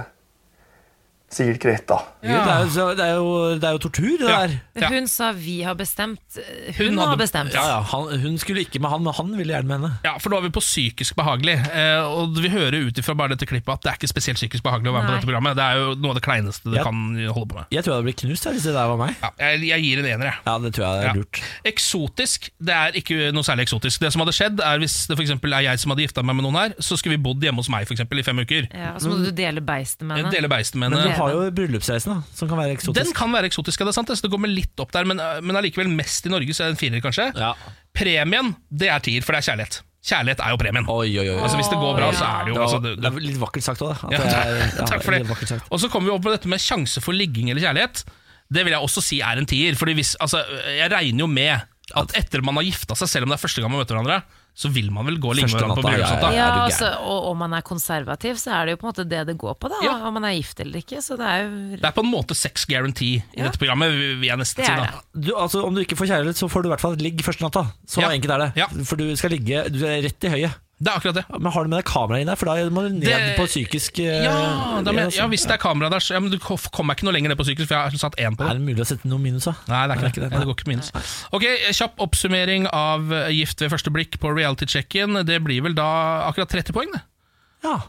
[SPEAKER 21] sikkert greit, da.
[SPEAKER 5] Gud, det, er jo, det, er jo, det er jo tortur, det der.
[SPEAKER 7] Hun sa 'vi har bestemt'. Hun, har bestemt.
[SPEAKER 5] Ja, ja, han, hun skulle ikke med han, men han ville gjerne med henne.
[SPEAKER 6] Ja, for nå er vi på psykisk behagelig, eh, og vi hører ut ifra bare dette klippet at det er ikke spesielt psykisk behagelig å være med
[SPEAKER 5] Nei.
[SPEAKER 6] på dette programmet. Det er jo noe av det kleineste du
[SPEAKER 5] Ja.
[SPEAKER 6] kan holde på med.
[SPEAKER 5] Jeg tror jeg hadde blitt knust her, hvis det der var meg.
[SPEAKER 6] Ja, jeg, jeg gir en ener, jeg.
[SPEAKER 5] Ja, det tror jeg er lurt.
[SPEAKER 6] Eksotisk det er ikke noe særlig eksotisk. Det som hadde skjedd er Hvis det for eksempel er jeg som hadde gifta meg med noen her, så skulle vi bodd hjemme hos meg for eksempel, i fem uker.
[SPEAKER 7] Ja, og så må du dele beistet med henne.
[SPEAKER 6] Dele beistet med
[SPEAKER 5] Men
[SPEAKER 6] henne.
[SPEAKER 5] du har jo bryllupsreisen, da, som kan være eksotisk.
[SPEAKER 6] Den kan være eksotisk, ja, det er sant, altså, det, så det går med litt opp der, men, øh, men allikevel mest i Norge, så er det en firer, kanskje. Premien, det er tier, for det er kjærlighet. Kjærlighet er jo premien. Altså Hvis det går bra, så er det jo altså, det,
[SPEAKER 5] det er litt vakkert sagt òg, da. At
[SPEAKER 6] Ja,
[SPEAKER 5] det er,
[SPEAKER 6] *laughs*
[SPEAKER 5] ja,
[SPEAKER 6] takk for
[SPEAKER 5] litt vakkert
[SPEAKER 6] det.
[SPEAKER 5] sagt.
[SPEAKER 6] Og så kommer vi opp på dette med sjanse for ligging eller kjærlighet. Det vil jeg også si er en tier. Fordi hvis, altså, jeg regner jo med At etter man har gifta seg, selv om det er første gang man møter hverandre, så vil man vel gå og ligge med
[SPEAKER 5] Første
[SPEAKER 6] hverandre på
[SPEAKER 5] natta, ja,
[SPEAKER 6] bryllupsnatta.
[SPEAKER 7] Ja, altså, og om man er konservativ, så er det jo på en måte det det går på, da. Om man er gift eller ikke. Så det er jo
[SPEAKER 6] Det er på en måte sex guarantee i dette programmet, vil- vil jeg nesten
[SPEAKER 7] Det
[SPEAKER 6] si.
[SPEAKER 7] er
[SPEAKER 6] da
[SPEAKER 7] det.
[SPEAKER 5] Du, altså, om du ikke får kjærlighet, så får du i hvert fall et ligg første natta. Så
[SPEAKER 6] Ja.
[SPEAKER 5] enkelt er det. For du skal ligge du er rett i høyet.
[SPEAKER 6] Det er akkurat det
[SPEAKER 5] Men har du med deg kamera inn der, for da må du ned
[SPEAKER 6] Det-
[SPEAKER 5] på psykisk eh,
[SPEAKER 6] Ja, da, men,
[SPEAKER 5] altså.
[SPEAKER 6] ja, hvis det er kamera der, så ja, men du kom- kommer jeg ikke noe lenger ned på sykkel, for jeg har satt én på det.
[SPEAKER 5] Er det mulig å sette noen minus, da?
[SPEAKER 6] Nei, det er ikke det. Nei, det går ikke minus. Ok, Kjapp oppsummering av eh, Gift ved første blikk på reality-checken. Det blir vel da akkurat 30 poeng, det.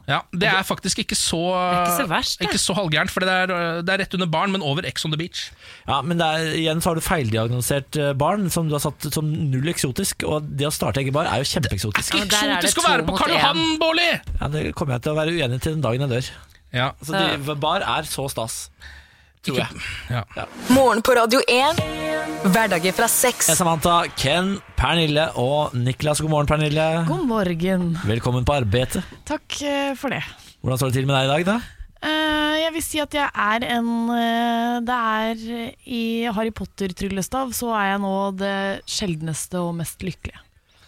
[SPEAKER 5] Ja.
[SPEAKER 6] det er faktisk ikke så
[SPEAKER 7] ikke så verst, det.
[SPEAKER 6] Ikke så halvgærent, for det er, eh, det er rett under barn, men over Ex on the beach.
[SPEAKER 5] Ja, men det er, igjen så har du feildiagnosert eh, barn som du har satt som null eksotisk, og det å starte egen bar er jo kjempeeksotisk.
[SPEAKER 7] Og der er det
[SPEAKER 6] Eksotisk å
[SPEAKER 7] to
[SPEAKER 6] være på
[SPEAKER 7] mot
[SPEAKER 6] Karl
[SPEAKER 7] en.
[SPEAKER 6] Johan, Bårli!
[SPEAKER 5] Ja, det kommer jeg til å være uenig til den dagen jeg dør.
[SPEAKER 6] Ja.
[SPEAKER 5] Så de, bar er så stas, Altså, tror jeg.
[SPEAKER 8] Morgen på Radio 1. Hverdager fra seks.
[SPEAKER 5] Jeg er Samantha, Ken, Pernille og Niklas. God morgen, Pernille.
[SPEAKER 1] God morgen.
[SPEAKER 5] Velkommen på arbeidet.
[SPEAKER 1] Takk eh, for det.
[SPEAKER 5] Hvordan står det til med deg i dag, da?
[SPEAKER 1] Eh, jeg vil si at jeg er en eh, Det er i Harry Potter-tryllestav, så er jeg nå det sjeldneste og mest lykkelige.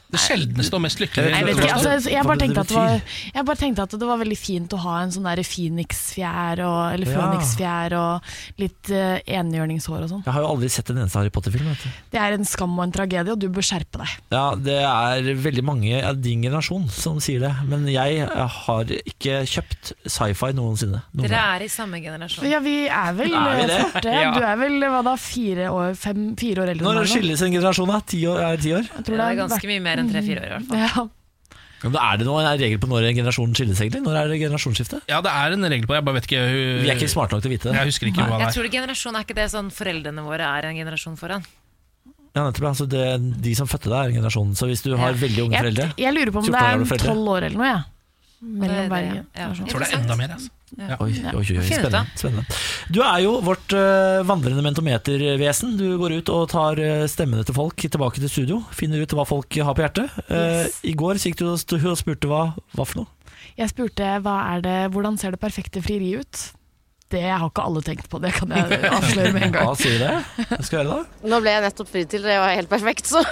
[SPEAKER 6] Det sjeldneste og mest lykkelige.
[SPEAKER 1] Jeg, vet ikke, altså, jeg, jeg, bare
[SPEAKER 6] Hva det
[SPEAKER 1] tenkte at det
[SPEAKER 6] betyr.
[SPEAKER 1] var, jeg bare tenkte at det var veldig fint å ha en sånn der Phoenix-fjær og, eller
[SPEAKER 5] Ja.
[SPEAKER 1] Phoenix-fjær og litt uh, enhjørningshår og sånn.
[SPEAKER 5] Jeg har jo aldri sett en eneste Harry Potter-film. vet du.
[SPEAKER 1] Det er en skam og en tragedie, og du bør skjerpe deg.
[SPEAKER 5] Ja, Det er veldig mange av din generasjon som sier det, men jeg har ikke kjøpt sci-fi noensinne. Noen
[SPEAKER 7] Dere
[SPEAKER 5] gang.
[SPEAKER 7] er i samme generasjon.
[SPEAKER 1] Ja, vi er vel
[SPEAKER 5] Er vi
[SPEAKER 1] eh,
[SPEAKER 5] det?
[SPEAKER 1] fort det.
[SPEAKER 5] Ja.
[SPEAKER 1] Du er vel hva da, fire år, fem, fire år eldre enn
[SPEAKER 5] Når
[SPEAKER 1] meg nå?
[SPEAKER 5] skilles en generasjon, da? Ti år? Er det ti år?
[SPEAKER 1] Jeg tror
[SPEAKER 7] Det er
[SPEAKER 1] har
[SPEAKER 7] ganske
[SPEAKER 1] vært-
[SPEAKER 7] mye mer enn tre-fire år, i hvert fall.
[SPEAKER 1] Mm, Ja.
[SPEAKER 5] Ja, men er det noen regel på når en generasjon skilles, egentlig? Når er det generasjonsskifte?
[SPEAKER 6] Ja, det er en regel på det. Jeg bare vet ikke hun-
[SPEAKER 5] Vi er ikke smarte nok til å vite det.
[SPEAKER 6] Jeg husker ikke hva det
[SPEAKER 7] Jeg
[SPEAKER 6] er.
[SPEAKER 7] tror det generasjon er ikke det sånn foreldrene våre er en generasjon foran.
[SPEAKER 5] Ja, nettopp, ja. Så det, de som fødte deg, er en generasjon. Så hvis du har veldig unge foreldre
[SPEAKER 1] Jeg, jeg lurer på om det
[SPEAKER 5] 14
[SPEAKER 1] er
[SPEAKER 5] gamle
[SPEAKER 1] en
[SPEAKER 5] foreldre.
[SPEAKER 1] tolv år eller noe, jeg. Mellom hver
[SPEAKER 6] Jeg tror det er enda mer. Altså. Ja.
[SPEAKER 5] Oi, oi, oi, oi,
[SPEAKER 1] Finn ut
[SPEAKER 5] spennende,
[SPEAKER 1] av.
[SPEAKER 5] spennende. Du er jo vårt eh, vandrende mentometervesen. Du går ut og tar eh, stemmene til folk tilbake til studio. Finner ut hva folk har på hjertet. Eh, I går så gikk du og st- og spurte hva, hva for noe.
[SPEAKER 1] Jeg spurte hva er det, hvordan ser det perfekte frieriet ut? Det har ikke alle tenkt på, det kan jeg avsløre med en gang.
[SPEAKER 5] Hva sier du det? Hva skal jeg gjøre da?
[SPEAKER 2] Nå ble jeg nettopp fridd til, det var helt perfekt, så.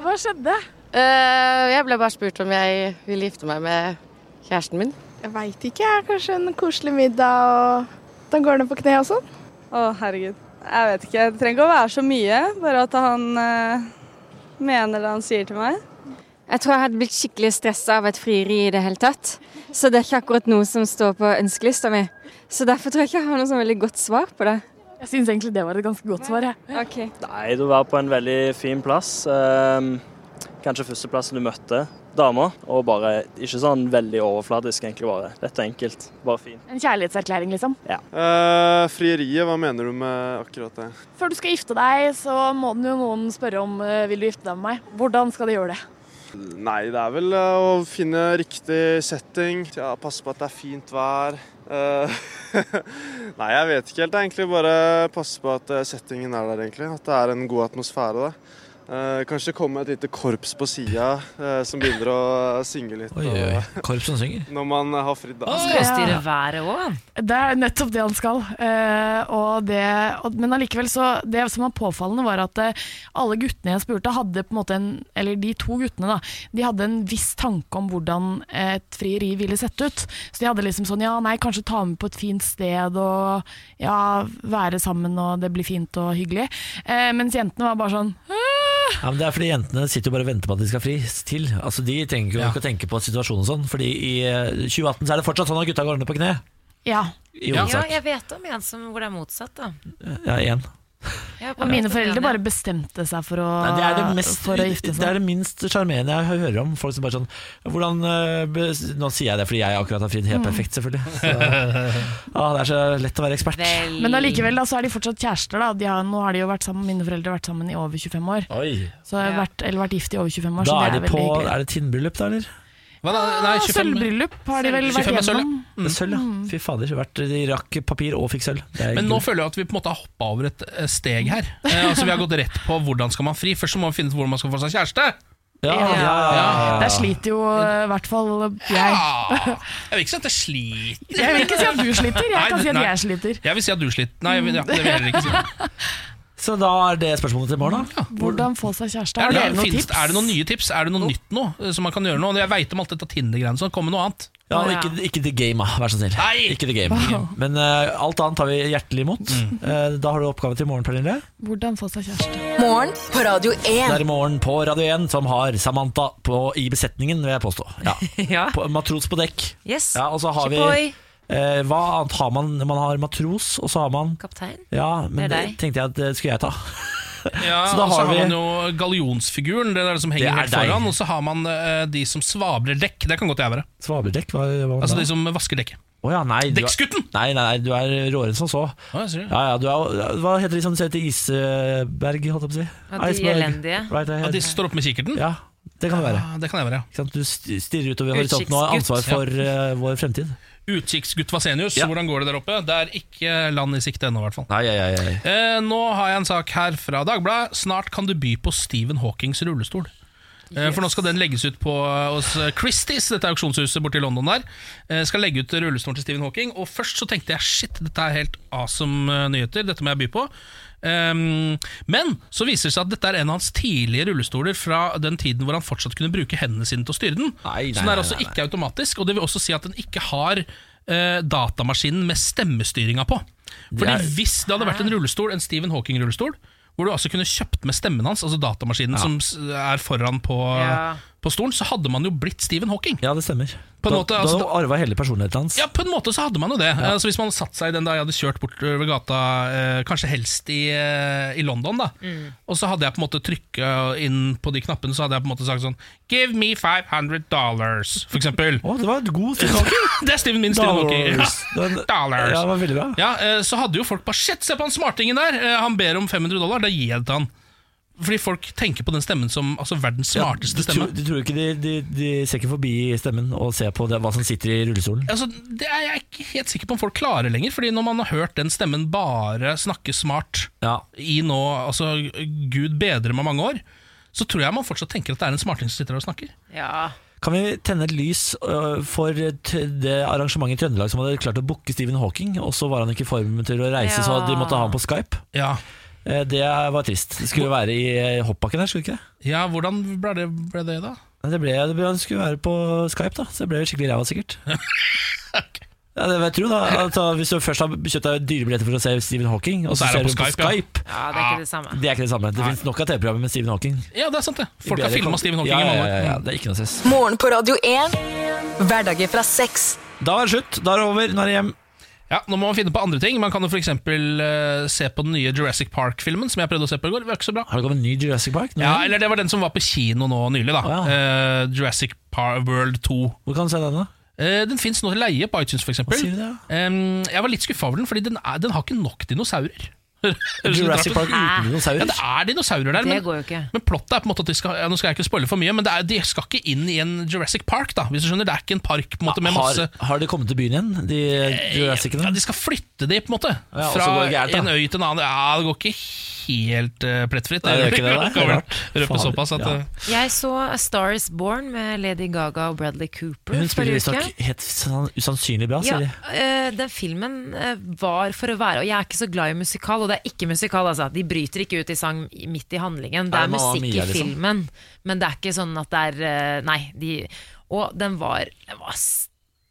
[SPEAKER 1] Hva skjedde? Eh,
[SPEAKER 2] jeg ble bare spurt om jeg ville gifte meg med kjæresten min.
[SPEAKER 23] Jeg veit ikke. jeg. Kanskje en koselig middag og Da går det på kne og sånn. Å, herregud. Jeg vet ikke. Det trenger ikke å være så mye. Bare at han eh, mener det han sier til meg.
[SPEAKER 24] Jeg tror jeg hadde blitt skikkelig stressa av et frieri i det hele tatt. Så det er ikke akkurat noe som står på ønskelista mi. Så derfor tror jeg ikke jeg har noe sånn veldig godt svar på det.
[SPEAKER 1] Jeg syns egentlig det var et ganske godt svar, jeg.
[SPEAKER 25] Nei, du var på en veldig fin plass. Ehm, Kanskje førsteplassen du møtte dama, og bare ikke sånn veldig overfladisk, egentlig bare. Dette er enkelt, bare fin.
[SPEAKER 1] En kjærlighetserklæring, liksom.
[SPEAKER 25] Ja.
[SPEAKER 26] Eh, frieriet, hva mener du med akkurat det?
[SPEAKER 1] Før du skal gifte deg, så må den jo noen spørre om eh, vil du gifte deg med meg. Hvordan skal de gjøre det?
[SPEAKER 26] Nei, det er vel eh, å finne riktig setting, ja, passe på at det er fint vær. Eh, Nei, jeg vet ikke helt. Det er egentlig bare passe på at eh, settingen er der, egentlig. At det er en god atmosfære. da. Eh, kanskje komme et lite korps på sida som begynner å synge litt.
[SPEAKER 5] Oi, oi, oi. Korps som synger?
[SPEAKER 26] Når man har fridd, da.
[SPEAKER 1] skal jo styre
[SPEAKER 7] været òg.
[SPEAKER 1] Det er nettopp det han skal. Eh, og det, og, men allikevel, så Det som var påfallende, var at eh, alle guttene jeg spurte, hadde på en måte en Eller de to guttene, da. De hadde en viss tanke om hvordan et frieri ville sett ut. Så de hadde liksom sånn Ja, nei, kanskje ta med på et fint sted, og ja, være sammen, og det blir fint og hyggelig. Eh, mens jentene var bare sånn
[SPEAKER 5] Ja, men det er fordi Jentene sitter jo bare og venter på at de skal fri til. Altså De trenger ikke å tenke på situasjonen og sånn. Fordi i eh, 2018 så er det fortsatt sånn at gutta går ned på kne.
[SPEAKER 1] Ja.
[SPEAKER 5] I
[SPEAKER 7] Ja,
[SPEAKER 5] hovedsak.
[SPEAKER 7] jeg vet om en som, hvor det er motsatt, da.
[SPEAKER 5] Ja, én.
[SPEAKER 7] Jeg
[SPEAKER 1] Og
[SPEAKER 7] bare
[SPEAKER 1] mine
[SPEAKER 7] vet om en,
[SPEAKER 1] foreldre
[SPEAKER 7] ja.
[SPEAKER 1] bare bestemte seg for å,
[SPEAKER 5] Nei, det, er det, mest,
[SPEAKER 1] Ah, for å sånn. gifte seg.
[SPEAKER 5] det er det minst sjarmerende jeg hører om. Folk som bare sånn hvordan, eh, bes- Nå sier jeg det fordi jeg akkurat har fridd helt
[SPEAKER 1] Mm.
[SPEAKER 5] perfekt,
[SPEAKER 1] *laughs*
[SPEAKER 5] selvfølgelig. Så, ah, det er så lett å være ekspert.
[SPEAKER 1] Men allikevel da, så er de fortsatt kjærester. da de har, Nå har de jo vært sammen, Mine foreldre har vært sammen i over 25 år.
[SPEAKER 5] Oi.
[SPEAKER 1] Så har jeg vært, eller vært gift i over 25 år,
[SPEAKER 5] Da
[SPEAKER 1] så
[SPEAKER 5] er
[SPEAKER 1] det
[SPEAKER 5] de
[SPEAKER 1] er
[SPEAKER 5] på
[SPEAKER 1] veldig hyggelig.
[SPEAKER 5] Er det tinnbryllup, da, eller?
[SPEAKER 1] nei, 25 Sølvbryllup har de vel vært
[SPEAKER 6] 25 er sølv,
[SPEAKER 1] gjennom.
[SPEAKER 5] Det er Sølv, ja.
[SPEAKER 1] Mm.
[SPEAKER 5] Fy fader. det har vært- De rakk papir og fikk sølv. Det er
[SPEAKER 6] Men nå
[SPEAKER 5] gull.
[SPEAKER 6] føler jeg at vi på en måte har hoppa over et eh, steg her. Eh, altså Vi har gått rett på hvordan skal man fri. Først så må vi finne ut hvordan man skal få seg kjæreste. Ja.
[SPEAKER 1] Der sliter jo i hvert fall jeg.
[SPEAKER 6] Ah! Jeg vil ikke si at jeg sliter.
[SPEAKER 1] Jeg vil ikke si at du sliter, jeg kan si at jeg sliter.
[SPEAKER 6] Jeg vil si at du sliter. Nei, jeg vil- ja, det vil jeg heller ikke si.
[SPEAKER 5] Så da er det spørsmålet til i morgen, da.
[SPEAKER 1] Hvordan få seg kjæreste?
[SPEAKER 6] Er
[SPEAKER 1] Har
[SPEAKER 6] det,
[SPEAKER 1] dere noen
[SPEAKER 6] finnes,
[SPEAKER 1] tips?
[SPEAKER 6] er det noen nye tips? Er det noe nytt nå eh, som man kan gjøre nå? Jeg veit om alt dette Tinder-greiene, så kom med noe annet.
[SPEAKER 5] Ja, og ikke, ikke The Game, da, vær så snill. Ikke the game.
[SPEAKER 1] Wow.
[SPEAKER 5] Men eh, alt annet tar vi hjertelig imot.
[SPEAKER 6] Mm.
[SPEAKER 5] Eh, da har du oppgave til i morgen, Pernille.
[SPEAKER 1] Hvordan få seg kjæreste?
[SPEAKER 8] Morgen på Radio 1.
[SPEAKER 5] Det er i morgen på Radio 1 som har Samantha på, i besetningen, vil jeg påstå. Ja. På, matros på dekk.
[SPEAKER 7] Yes.
[SPEAKER 5] Ja, og så har vi
[SPEAKER 7] Shipoi.
[SPEAKER 5] eh, Hva annet har man? Man har matros, og så har man
[SPEAKER 7] Kaptein.
[SPEAKER 5] Ja, men
[SPEAKER 7] Det er
[SPEAKER 5] det,
[SPEAKER 7] deg.
[SPEAKER 5] tenkte jeg at det skulle jeg ta.
[SPEAKER 6] Ja,
[SPEAKER 5] Så da
[SPEAKER 6] og så
[SPEAKER 5] har
[SPEAKER 6] har
[SPEAKER 5] vi-
[SPEAKER 6] man jo gallionsfiguren, det er det som
[SPEAKER 5] Det
[SPEAKER 6] henger
[SPEAKER 5] er
[SPEAKER 6] helt
[SPEAKER 5] deg.
[SPEAKER 6] foran. Og så har man eh, de som svabler dekk. Det kan godt jeg være.
[SPEAKER 5] Svabeldekk? Hva, hva
[SPEAKER 6] Altså de som vasker dekket.
[SPEAKER 5] Å ja, nei, du er-
[SPEAKER 6] Dekksgutten!
[SPEAKER 5] Nei, nei, nei, du er råere enn som så.
[SPEAKER 6] Å, jeg sier det.
[SPEAKER 5] Ja, ja, du er, hva heter de som ser til Isberg, holdt jeg på å si?
[SPEAKER 6] Ja, de
[SPEAKER 5] Iceberg.
[SPEAKER 6] elendige.
[SPEAKER 5] Right ahead.
[SPEAKER 6] Ja, de som står oppe med kikkerten?
[SPEAKER 5] Ja, det kan det være.
[SPEAKER 6] Ja, Ah, det kan jeg være, ja.
[SPEAKER 5] Ikke sant? Du st- stirrer utover horisonten og har
[SPEAKER 6] Utkikksgutt,
[SPEAKER 5] ansvar for eh, vår fremtid.
[SPEAKER 6] Utkikksgutt Vasenius,
[SPEAKER 5] Ja.
[SPEAKER 6] hvordan går det der oppe? Det er ikke land i sikte ennå, i hvert fall.
[SPEAKER 5] Nei, nei, nei, nei.
[SPEAKER 6] Eh, nå har jeg en sak her fra Dagbladet. Snart kan du by på Stephen Hawkings rullestol. Eh, For nå skal den legges ut på eh, hos eh, Christie's, dette auksjonshuset borte i London der. Eh, Skal legge ut rullestolen til Stephen Hawking. Og først så tenkte jeg shit, dette er helt awesome eh, nyheter, dette må jeg by på. Ehm, men så viser det seg at dette er en av hans tidlige rullestoler fra den tiden hvor han fortsatt kunne bruke hendene sine til å styre den. så den
[SPEAKER 5] nei,
[SPEAKER 6] er altså
[SPEAKER 5] nei, nei.
[SPEAKER 6] ikke automatisk, og det vil også si at den ikke har eh, datamaskinen med stemmestyringa på.
[SPEAKER 5] Det
[SPEAKER 6] Fordi
[SPEAKER 5] er-
[SPEAKER 6] hvis det hadde vært en rullestol, en Stephen Hawking-rullestol, hvor du altså kunne kjøpt med stemmen hans, altså datamaskinen
[SPEAKER 5] Ja.
[SPEAKER 6] som s- er foran på,
[SPEAKER 5] Ja.
[SPEAKER 6] på stolen, så hadde man jo blitt Stephen Hawking.
[SPEAKER 5] Ja, det stemmer.
[SPEAKER 6] På en
[SPEAKER 5] Da-
[SPEAKER 6] måte,
[SPEAKER 5] da
[SPEAKER 6] altså,
[SPEAKER 5] har du arva hele personligheten hans.
[SPEAKER 6] Ja, på en måte så hadde man jo det. Altså, hvis man hadde satt seg i den da jeg hadde kjørt bortover gata, eh, kanskje helst i, eh, i London, da, og så hadde jeg på en måte trykka inn på de knappene, så hadde jeg på en måte sagt sånn Give me 500 dollars, for eksempel.
[SPEAKER 5] det var et god
[SPEAKER 6] *laughs*
[SPEAKER 5] Stephen Hawking.
[SPEAKER 6] det er Stephen min Stephen Hawking.
[SPEAKER 5] Dollars.
[SPEAKER 6] Ja.
[SPEAKER 5] Den-
[SPEAKER 6] Dollars.
[SPEAKER 5] Ja, det var veldig bra.
[SPEAKER 6] Ja, eh, så hadde jo folk bare Shit, se på han smartingen der! Eh, Han ber om 500 dollar, da gir jeg det til han. Fordi folk tenker på den stemmen som altså, verdens smarteste
[SPEAKER 5] du,
[SPEAKER 6] stemme.
[SPEAKER 5] tror, du tror ikke de, de, de ser ikke forbi stemmen og ser på det, hva som sitter i rullestolen?
[SPEAKER 6] Altså, det er jeg ikke helt sikker på om folk klarer lenger, Fordi når man har hørt den stemmen bare snakke smart i nå Altså, gud bedre med mange år, så tror jeg man fortsatt tenker at det er en smarting som sitter der og snakker.
[SPEAKER 7] Ja.
[SPEAKER 5] Kan vi tenne et lys øh, for t- det arrangementet i Trøndelag som hadde klart å booke Stephen Hawking, og så var han ikke i form til å reise, så
[SPEAKER 6] Ja.
[SPEAKER 5] de måtte ha ham på Skype? Eh, Det var trist. Det skulle være i eh, hoppbakken her, skulle det ikke det?
[SPEAKER 6] Ja, hvordan ble det, ble det da?
[SPEAKER 5] Nei, Det, ble, det ble, det skulle være på Skype, da. Så det ble jo skikkelig ræva,
[SPEAKER 6] *laughs*
[SPEAKER 5] sikkert. Ja, det vil jeg tro, da. Altså, hvis du først har kjøpt deg dyre billetter for å se Stephen Hawking, og så,
[SPEAKER 6] er
[SPEAKER 5] ser
[SPEAKER 6] det
[SPEAKER 5] du på Skype,
[SPEAKER 7] Ja, det er ikke det samme.
[SPEAKER 5] Det er ikke det samme. Det
[SPEAKER 6] Nei.
[SPEAKER 5] finnes nok av TV-programmer med Stephen Hawking.
[SPEAKER 6] Ja, det er sant, det. Folk har
[SPEAKER 5] Bedre
[SPEAKER 6] filma
[SPEAKER 5] kon-
[SPEAKER 6] Stephen Hawking
[SPEAKER 5] ja,
[SPEAKER 6] i mange
[SPEAKER 5] ja, ja, ja,
[SPEAKER 6] år.
[SPEAKER 5] det er ikke noe stress.
[SPEAKER 8] Morgen på Radio 1. Hverdager fra seks.
[SPEAKER 5] Da er det slutt. Da er det over. Nå er det hjem.
[SPEAKER 6] Ja, Nå må man finne på andre ting. Man kan jo f.eks. Uh, se på den nye Jurassic Park-filmen, som jeg prøvde å se på i går. Det var ikke så bra.
[SPEAKER 5] Har det kommet en ny Jurassic Park?
[SPEAKER 6] Ja, eller det var den som var på kino nå nylig, da. Eh, Jurassic Par World 2.
[SPEAKER 5] Hvor kan du se den, da?
[SPEAKER 6] den fins nå til leie på iTunes, f.eks.
[SPEAKER 5] Hva sier du det,
[SPEAKER 6] jeg var litt skuffa over den, Fordi den, er, den har ikke nok dinosaurer. *laughs* Høres litt
[SPEAKER 5] Jurassic
[SPEAKER 6] rart ut.
[SPEAKER 5] Park uten
[SPEAKER 6] Ja,
[SPEAKER 5] dinosaurer?
[SPEAKER 6] det er dinosaurer der,
[SPEAKER 7] Det
[SPEAKER 6] men,
[SPEAKER 7] går jo ikke.
[SPEAKER 6] men plottet er på en måte at de skal ja, Nå skal jeg ikke spoile for mye, men det er, de skal ikke inn i en Jurassic Park, da, hvis du skjønner. Det er ikke en park på en måte, med masse Eh,
[SPEAKER 5] har, har de kommet til byen igjen, de Jurassicene?
[SPEAKER 6] Ja, de skal flytte de, på en måte.
[SPEAKER 5] Ja, og så
[SPEAKER 6] fra
[SPEAKER 5] går det gærent, da.
[SPEAKER 6] en øy til en annen. Ja, det går ikke helt eh, plettfritt.
[SPEAKER 5] Nei, det gjør ikke det, da.
[SPEAKER 6] kan vel
[SPEAKER 5] Det er rart.
[SPEAKER 6] røpe
[SPEAKER 5] Fader,
[SPEAKER 6] såpass at
[SPEAKER 5] ja.
[SPEAKER 6] eh,
[SPEAKER 7] Jeg så A Star Is Born med Lady Gaga og Bradley Cooper.
[SPEAKER 5] Hun spiller
[SPEAKER 7] forrige uke.
[SPEAKER 5] visstnok helt sann- usannsynlig bra,
[SPEAKER 7] Ja,
[SPEAKER 5] sier de.
[SPEAKER 7] eh, den filmen eh, var for å være Og jeg er ikke så glad i musikal, og det er ikke musikal. Altså. De bryter ikke ut i sang i- midt i handlingen. Det
[SPEAKER 5] Er
[SPEAKER 7] er
[SPEAKER 5] det Mamma
[SPEAKER 7] musikk
[SPEAKER 5] Mia,
[SPEAKER 7] i
[SPEAKER 5] liksom?
[SPEAKER 7] filmen, men det er ikke sånn at det er eh, Nei. De, og den var, den var s-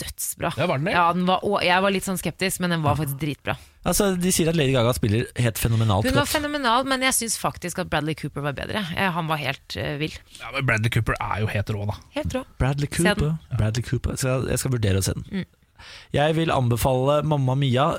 [SPEAKER 7] dødsbra.
[SPEAKER 6] Ja, var den det?
[SPEAKER 7] Ja, den var, og jeg var litt sånn skeptisk, men den var faktisk dritbra.
[SPEAKER 5] Altså, de sier at Lady Gaga spiller helt fenomenalt
[SPEAKER 7] Hun var
[SPEAKER 5] godt.
[SPEAKER 7] fenomenal, men jeg syns faktisk at Bradley Cooper var bedre. Eh, Han var helt eh, vill.
[SPEAKER 6] ja, men Bradley Cooper er jo helt rå, da.
[SPEAKER 7] Helt rå.
[SPEAKER 5] Bradley
[SPEAKER 7] Se den.
[SPEAKER 5] Cooper. Bradley Cooper. Så jeg- jeg skal vurdere å se den.
[SPEAKER 7] Mm.
[SPEAKER 5] Jeg vil anbefale Mamma Mia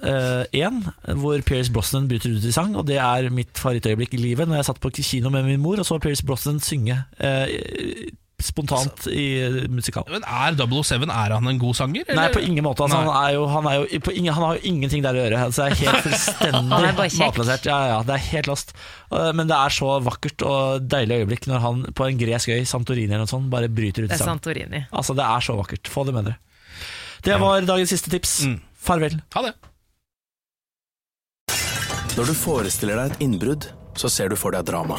[SPEAKER 5] 1, hvor Pierce Brosnan bryter ut i sang. Og det er mitt favorittøyeblikk i livet, når jeg satt på kino med min mor og så Pierce Brosnan synge eh, spontant i musikal.
[SPEAKER 6] Men er 007 er han en god sanger?
[SPEAKER 5] Nei, på ingen måte. Altså,
[SPEAKER 6] Nei.
[SPEAKER 5] han, er jo, han, er jo, på ingen, han har jo ingenting der å gjøre. Altså, det er
[SPEAKER 7] *laughs*
[SPEAKER 5] helt
[SPEAKER 7] Han er bare
[SPEAKER 5] fullstendig
[SPEAKER 7] kjekk.
[SPEAKER 5] matplassert. Ja, ja, det er helt lost. Eh, Men det er så vakkert og deilig øyeblikk når han på en gresk øy, Santorini eller noe sånt, bare bryter ut i
[SPEAKER 7] Det er
[SPEAKER 5] sang.
[SPEAKER 7] Santorini.
[SPEAKER 5] Altså, det er så vakkert. Få det med dere. Det var dagens siste tips. Farvel.
[SPEAKER 6] Ha det.
[SPEAKER 3] Når du forestiller deg et innbrudd, så ser du for deg drama.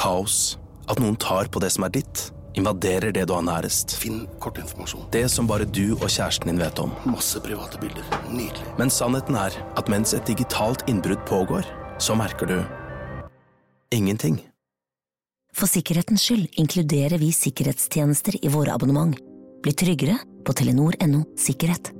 [SPEAKER 3] Kaos. At noen tar på det som er ditt. Invaderer det du har nærest. Finn kortinformasjon. Det som bare du og kjæresten din vet om. Masse private bilder. Nydelig. Men sannheten er at mens et digitalt innbrudd pågår, så merker du ingenting.
[SPEAKER 4] For sikkerhetens skyld inkluderer vi sikkerhetstjenester i våre abonnement. Bli tryggere på telenor.no sikkerhet.